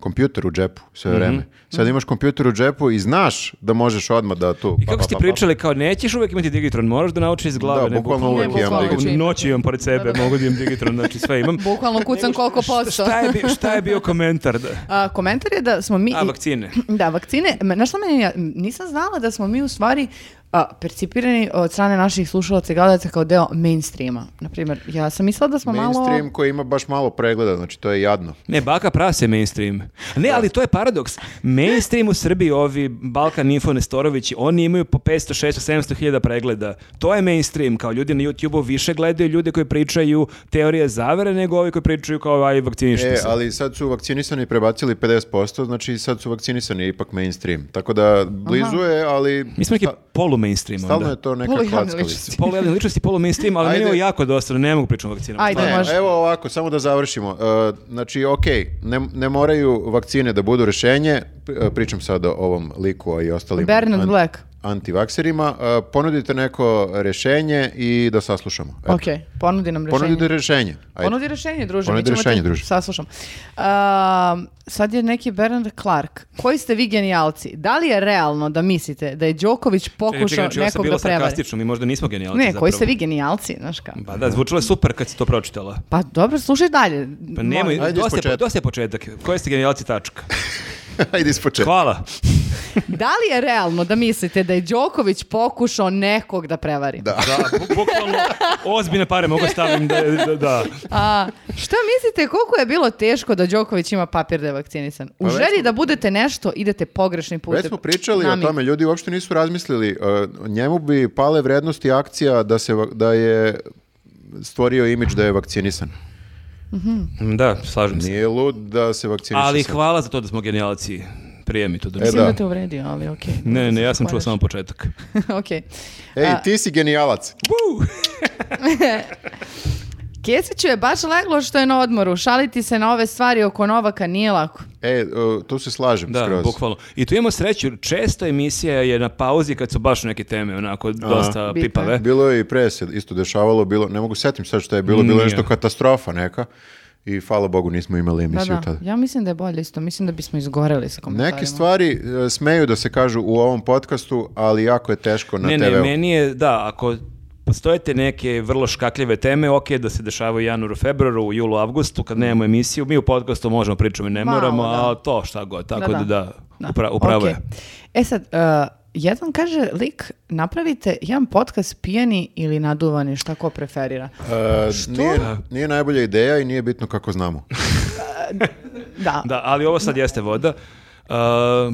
kompjuter u džepu sve
Mhm.
vreme. Sad imaš kompjuter u džepu i znaš da možeš odmah da tu... pa,
I kako ste pričali, kao nećeš uvek imati digitron, moraš da naučiš iz glave.
Da,
ne,
bukvalno
uvek Ne, imam bukvalno digitron.
U Noći imam pored sebe,
Da, da.
mogu da imam digitron, znači sve imam.
Bukvalno kucam koliko posto.
Šta je, bi- šta je bio komentar? Da?
A, komentar je da smo mi...
A, vakcine.
Da, vakcine. Ma, Znaš što meni, ja nisam znala da smo mi u stvari a, percipirani od strane naših slušalaca i gledalaca kao deo mainstreama. Naprimjer, ja sam mislila da smo
Mainstream
Pa malo...
koji ima baš malo pregleda, znači to je jadno.
Ne, baka prase mainstream. Ne, ali to je paradoks. Mainstream u Srbiji, ovi Balkan Info Nestorovići, oni imaju po 500, 600, 700 hiljada pregleda. To je mainstream, kao ljudi na YouTube-u više gledaju ljude koji pričaju teorije zavere nego ovi koji pričaju kao aj vakcinište
E,
se.
ali sad su vakcinisani prebacili 50%, znači sad su vakcinisani ipak mainstream. Tako da blizu je, ali...
Mi smo neki
sta-
polu mainstream
Stalno
onda.
je to neka
Polu javne
klackalica.
ličnosti.
Polu jedne ličnosti, polu mainstream, ali meni je
Ajde.
ovo jako dosta, ne mogu pričati o vakcinama. E,
Ajde,
Ne,
može.
evo ovako, samo da završimo. E, znači, ok, ne, ne moraju vakcine da budu rešenje, Pri- e, pričam sad o ovom liku a i ostalim
Bernard
an-
Black.
antivakserima, E, ponudite neko rešenje i da saslušamo. Eto.
Ok, ponudi nam rešenje.
Ponudite rešenje. Ajde.
Ponudi rešenje, druže.
Ponudi
mi ćemo
rešenje,
te-
druže.
Saslušam. Ehm, sad je neki Bernard Clark. Koji ste vi genijalci? Da li je realno da mislite da je Đoković pokušao
znači,
nekog da prevari?
sarkastično, mi možda nismo genijalci
Ne, koji ste
zapravo.
vi genijalci, znaš kao.
Pa da, zvučilo je super kad si to pročitala.
Pa dobro, slušaj dalje.
Pa nemoj,
Ajde,
dosta, je,
ispočetka.
dosta je početak. Koji ste genijalci tačka?
Ajde ispočetka.
Hvala.
Da li je realno da mislite da je Đoković pokušao nekog da prevari?
Da, bu- bukvalno ozbiljne pare mogu stavim da, da, da.
A, šta mislite koliko je bilo teško da Đoković ima papir da je vakcinisan? U
Pa već
želji
smo-
da budete nešto, idete pogrešni put.
Već smo pričali o tome, ljudi uopšte nisu razmislili. E, njemu bi pale vrednosti akcija da, se, va- da je stvorio imidž da je vakcinisan.
Mm, Da, slažem se.
Nije lud da se vakciniše
Ali
sad.
hvala za to da smo genijalci. Prije mi to da.
E,
Mislim da
da.
te uvredio, ali okej.
Ne, ne, ne, ja sam čuo samo početak.
okej.
Ej, ti si genijalac.
Kesiću je baš leglo što je na odmoru. Šaliti se na ove stvari oko Novaka nije lako.
E, o, tu se slažem
Da,
skroz.
bukvalno. I tu imamo sreću, često emisija je na pauzi kad su baš neke teme, onako, dosta
Bitne.
pipave.
Bilo je i pre se isto dešavalo, bilo, ne mogu setim sad što je bilo, bilo je
Nije.
nešto katastrofa neka i hvala Bogu nismo imali
Da,
emisiju
da.
tada.
Ja mislim da je bolje isto. Mislim da bismo izgoreli sa komentarima.
Neke stvari e, smeju da se kažu u ovom podcastu, ali jako je teško na
ne,
TV.
ne, meni je, da, ako postoje te neke vrlo škakljive teme, ok, da se dešavaju u januaru, februaru, u julu, avgustu, kad nemamo emisiju, mi u podcastu možemo pričati, ne
Malo,
moramo,
da.
a to šta god, tako
Da,
da,
da.
da,
Da.
upra- upravo je.
Okej. E sad, uh, jedan kaže lik, napravite jedan podcast pijani ili naduvani, šta ko preferira.
E, nije, nije najbolja ideja i nije bitno kako znamo.
Da,
Da, ali ovo sad jeste voda. Uh,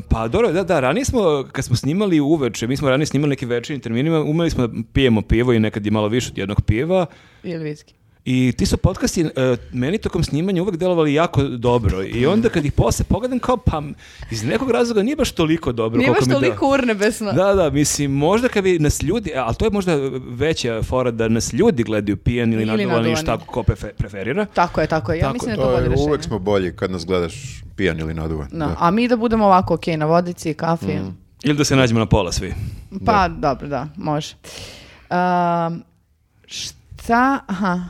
pa dobro, da, da, ranije smo, kad smo snimali uveče, mi smo ranije snimali neki večernji terminima, umeli smo da pijemo pivo i nekad i malo više od jednog piva,
ili viski.
I ti su podcasti e, meni tokom snimanja uvek delovali jako dobro i onda kad ih posle pogledam kao pa m, iz nekog razloga nije baš toliko dobro.
Nije
koliko
baš
mi da-
toliko urnebesno.
Da, da, mislim, možda kad bi nas ljudi, ali to je možda veća fora da nas ljudi gledaju pijan ili,
Ili
naduvani,
naduvani.
šta ko prefe- preferira.
Tako je, tako je. Ja
Tako,
mislim da je to
To
bolje
je,
rešenje.
uvek smo bolji kad nas gledaš pijan ili naduvan.
Da.
Da.
A mi da budemo ovako, ok, na vodici, kafi.
Ili da se nađemo na pola svi.
Pa, dobro, da, može. Um, šta, aha,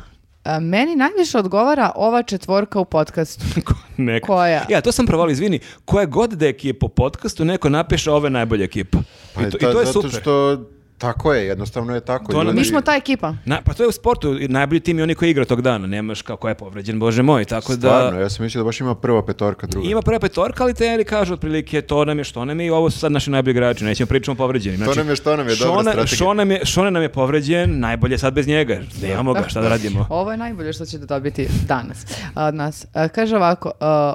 A, meni najviše odgovara ova četvorka u podcastu.
Ko- Neko.
Koja?
Ja, to sam provalio, izvini. Koja god da je ekipa po podcastu, neko napiše ove najbolje ekipa.
Pa
I to,
ta-
i to je
zato
super.
što Tako je, jednostavno je tako.
To nam-
Ljudi-
Mi smo ta ekipa.
Na, pa to je u sportu, najbolji tim je oni koji igra tog dana, nemaš kako je povređen, bože moj, tako Pa da...
Stvarno, ja sam mislio da baš ima prva petorka, druga.
Ima prva petorka, ali treneri kažu otprilike to nam je, što nam je i ovo su sad naši najbolji igrači, nećemo pričati o povređenim. Znači,
nam je, što nam je, dobra
Šona-
strategija.
Šona nam je- Šona nam je povređen, najbolje je sad bez njega, nemamo ga, šta da radimo.
Ovo je najbolje što ćete dobiti danas od nas. E, Kaže ovako,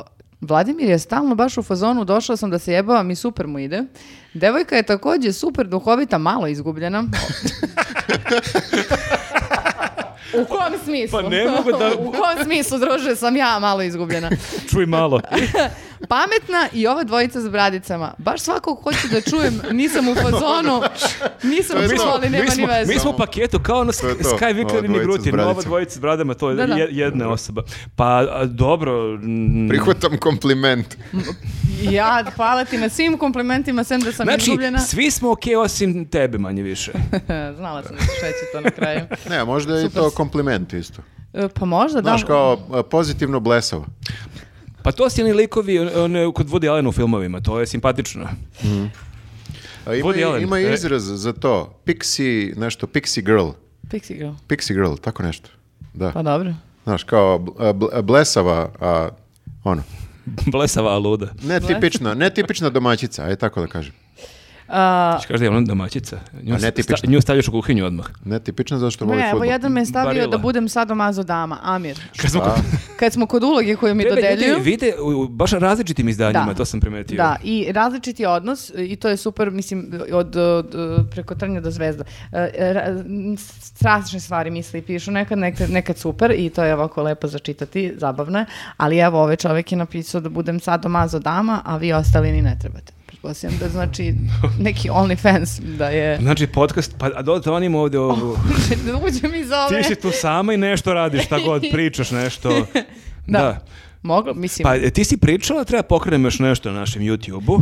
e, Vladimir je stalno baš u fazonu, došao sam da se jebavam i super mu ide. Devojka je takođe super duhovita, malo izgubljena. u kom smislu?
Pa ne mogu da-
u kom smislu, druže, sam ja malo izgubljena.
Čuj malo.
Pametna i ova dvojica s bradicama. Baš svakog hoću da čujem, nisam u fazonu, nisam
To je
u
to.
fazonu, ali nema
mi,
ni
smo,
veze.
mi smo u paketu kao ono
To je to.
Sky Winkler
Ova
i
dvojica s
Migrutin, ova
bradicama.
dvojica s bradama, to je
Da, da.
je- jedna osoba. Pa a, dobro, mm,
Prihvatam kompliment.
Ja, hvala ti na svim komplimentima, sem da sam
znači,
izgubljena.
svi smo okej osim tebe manje više.
Znala sam da će šeći to na kraju.
Ne, možda je i
Super.
to kompliment isto.
E, Pa možda,
Znaš,
da.
kao a, pozitivno blesavo.
Pa to su oni likovi on, on- kod Woody Allena u filmovima, to je simpatično.
A ima,
Woody
i-
Allen,
ima
e.
i izraz za to. Pixie, nešto, pixie girl.
Pixie Girl.
Pixie girl, tako nešto. Da.
Pa dobro.
Znaš, kao bl- a, bl- a, blesava, a, ono,
Blesava luda.
netipična, netipična domaćica, aj tako da kažem.
A,
Kaš da je ona domaćica. Nju,
A
sta-
netipično.
nju stavljaš u kuhinju odmah.
Netipična zato što voli
ne, pa evo
ovaj fudbal.
jedan me je stavio
Barila.
da budem sadomazo dama, Amir.
Kad smo kod-
Kad smo kod uloge koju mi
Tebe ljudi
dodeljuju.
vide u, u baš različitim izdanjima,
Da.
to sam primetio.
Da, i različiti odnos, i to je super, mislim, od, od, od- preko trnja do zvezda. E, e, ra- m, strašne stvari misle i pišu, nekad, nekad, nekad super i to je ovako lepo začitati, zabavno je, ali evo, ovaj čovjek je napisao da budem sad mazo dama, a vi ostali ni ne trebate. Pretpostavljam da znači neki OnlyFans da je...
Znači, podcast, pa a do, zvonimo ovdje ovu...
da uđem iz Oh, ove...
Ti si tu sama i nešto radiš, tako god pričaš nešto.
Da.
da.
Moglo, mislim...
Pa e, ti si pričala, treba pokrenem još nešto na našem YouTube-u.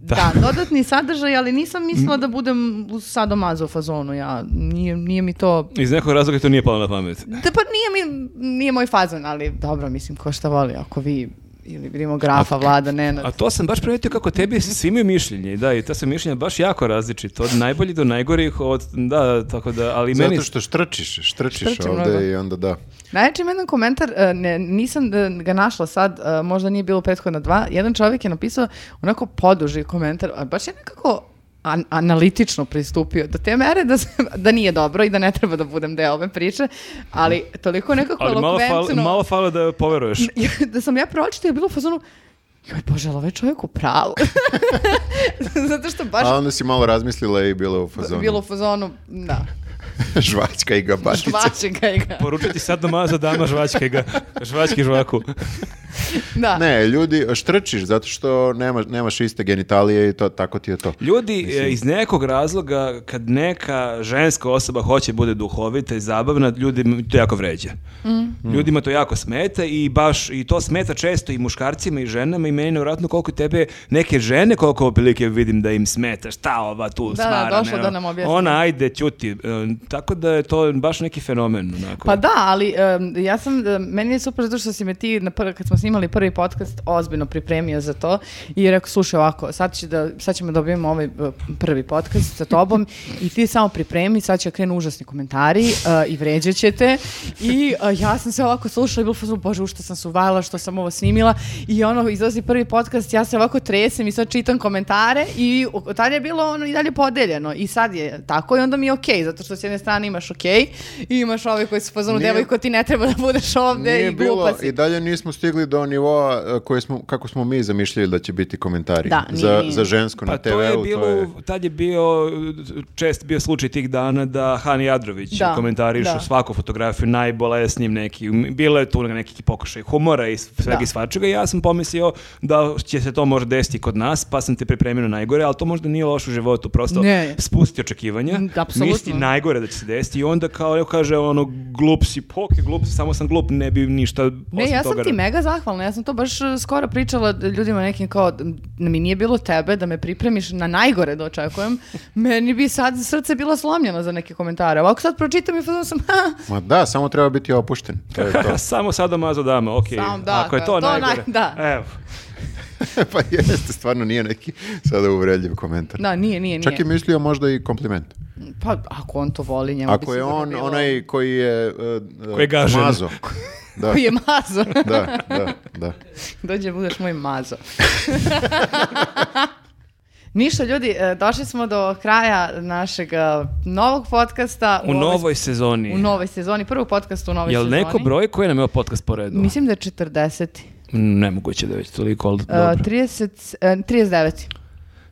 Da. dodatni sadržaj, ali nisam mislila da budem u sadomazo fazonu, ja, nije, nije mi to
Iz nekog razloga to nije palo na pamet.
Da, pa nije, mi, nije moj fazon, ali dobro, mislim, ko šta voli, ako vi ili vidimo grafa, vlada, Nenad.
A to sam baš primetio kako tebi svi imaju mišljenje, da, i ta su mišljenja baš jako različita, od najboljih do najgorih, od, da, tako da, ali meni...
Zato što štrčiš, štrčiš
Štrčim
ovde
mnogo.
i onda da.
Najjači ima jedan komentar, e, ne, nisam e, ga našla sad, e, možda nije bilo prethodna dva, jedan čovjek je napisao onako poduži komentar, a baš je nekako an- analitično pristupio do te mere da, se, da nije dobro i da ne treba da budem deo ove priče, ali toliko nekako
ali malo, fal,
elokventno-
malo falo da poveruješ.
da sam ja pročitala je bilo u fazonu, joj bože, ali ovaj čovjek u pravu. Zato što baš
A onda si malo razmislila i bila u fazonu.
Bilo u fazonu, da.
Žvačka i gabatica.
Švače ga je ga.
Poručiti sad doma za dama žvačke ga, žvački žvaku.
Da.
Ne, ljudi, štrčiš zato što nema, nemaš iste genitalije i to, tako ti je to.
Ljudi, e, iz nekog razloga, kad neka ženska osoba hoće bude duhovita i zabavna, ljudi to jako vređa.
Mm.
Ljudima to jako smeta i baš, i to smeta često i muškarcima i ženama i meni je nevjerojatno koliko tebe neke žene, koliko opilike vidim da im smeta, šta ova tu
Da, da,
smara.
došla
ne, ono.
da nam objasni.
Ona, ajde, ćuti. E, Tako da je to baš neki fenomen. Onako.
Pa da, ali em, ja sam, em, meni je super zato što si me ti, na prv, kad smo snimali prvi podcast, ozbiljno pripremio za to i rekao, slušaj ovako, sad, će da, sad ćemo da objavimo ovaj e, prvi podcast sa tobom i ti samo pripremi, sad će da krenu užasni komentari e, i vređat ćete i e, ja sam se ovako slušala i bilo fazonu, bože, u što sam se uvalila, što sam ovo snimila i ono, izlazi prvi podcast, ja se ovako tresem i sad čitam komentare i u- tad je bilo ono i dalje podeljeno i sad je tako i onda mi je okej, zato što s jedne strane imaš okej i imaš ove koji su fazonu
Nije-
devojko ti ne treba da budeš ovde
Nije
i glupa
bilo,
si.
i dalje nismo stigli do nivoa e, koje smo, kako smo mi zamišljali da će biti komentari
Da, nije,
za,
nije.
za žensko
Pa
na
to je
TV-u.
bilo, tad je bio, čest bio slučaj tih dana da Han Jadrović
Da,
komentariše
da.
svaku fotografiju najbolesnijim neki, bilo je tu neki pokušaj humora i svega
Da.
i svačega i ja sam pomislio da će se to možda desiti kod nas, pa sam te pripremio na najgore, ali to možda nije loše u životu, prosto
Ne.
spusti očekivanja,
Mm, apsolutno.
misli najgore da će se desiti i onda kao evo kaže ono glup si, pok je glup, samo sam glup, ne bi ništa
Ne,
osim
ja sam
toga
ti
ra-
mega zahvalna, ja sam to baš e, skoro pričala d- ljudima nekim kao, d- mi nije bilo tebe da me pripremiš na najgore da očekujem, meni bi sad srce bilo slomljeno za neke komentare. Ovako sad pročitam i fazonu sam, ha,
Ma da, samo treba biti opušten. To je to.
Samo sada mazo dama, okej.
Samo da,
Ako je to,
to naj-
najgore.
da.
Evo.
pa jeste, stvarno nije neki sada uvredljiv komentar.
da, nije, nije, nije.
Čak je mislio možda i kompliment.
Pa, ako on to voli, njemu bi
Ako je
sigurno
on
bilo-
onaj koji je... e, e,
Koji je gažen.
Mazo. Da,
Koji je mazo.
da, da, da.
Dođe, budeš moj mazo. Ništa, ljudi, e, došli smo do kraja našeg e, novog podcasta.
U
ovoj-
novoj sezoni.
U novoj sezoni, prvog podcasta u novoj
Jel
sezoni.
neko broj koji nam je ovaj podcast po redu?
Mislim da je 40.
Nemoguće da je već toliko, ali
E,
dobro.
30, e, 39.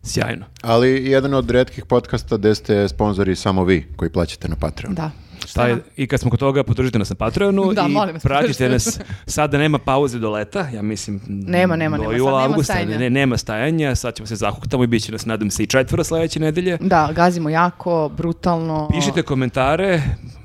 Sjajno.
Ali jedan od redkih podcasta gde ste sponzori samo vi koji plaćate na Patreon.
Da.
Šta je- I kad smo kod toga, podržite nas na Patreonu
Da,
i
molim vas,
pratite
podržite
nas. Sada nema pauze do leta, ja mislim.
Nema, nema,
do
nema,
jula,
sad nema
avgusta,
stajanja.
Ne, nema stajanja, sad ćemo se zahuktamo i bit će nas, nadam se, i četvora sledeće nedelje.
Da, gazimo jako, brutalno.
Pišite komentare,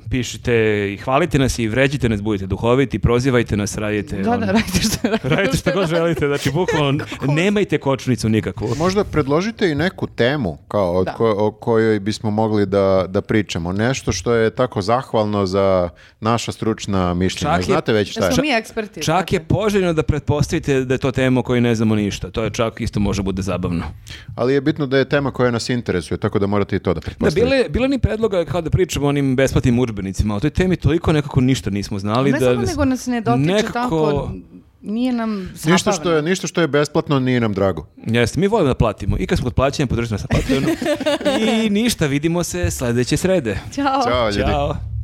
pišite i hvalite nas i vređite nas, budite duhoviti, prozivajte nas, radite...
Da,
ono,
da, radite što radite.
radite šta god želite, znači bukvalno nemajte kočnicu nikakvu.
Možda predložite i neku temu kao od
Da.
ko- o kojoj bismo mogli da, da pričamo. Nešto što je tako zahvalno za naša stručna mišljenja.
Čak je-
Znate već šta
Da
je.
smo mi eksperti.
Čak je
znate.
poželjno da pretpostavite da je to tema o kojoj ne znamo ništa. To je čak isto može bude zabavno.
Ali je bitno da je tema koja nas interesuje, tako da morate i to da
Da,
pretpostavite.
bilo je, bilo je ni predloga kao da pričamo o onim besplatnim udžbenicima. O toj temi toliko nekako ništa nismo znali.
Ne
da,
samo nego nas ne dotiče
nekako-
tako, nije nam zabavno.
Ništa što, je, ništa što je besplatno nije nam drago.
Jeste, mi volimo da platimo. I kad smo kod plaćanja, podržite nas na Patreonu. I ništa, vidimo se sledeće srede.
Ćao.
Ćao ljudi.
Ćao.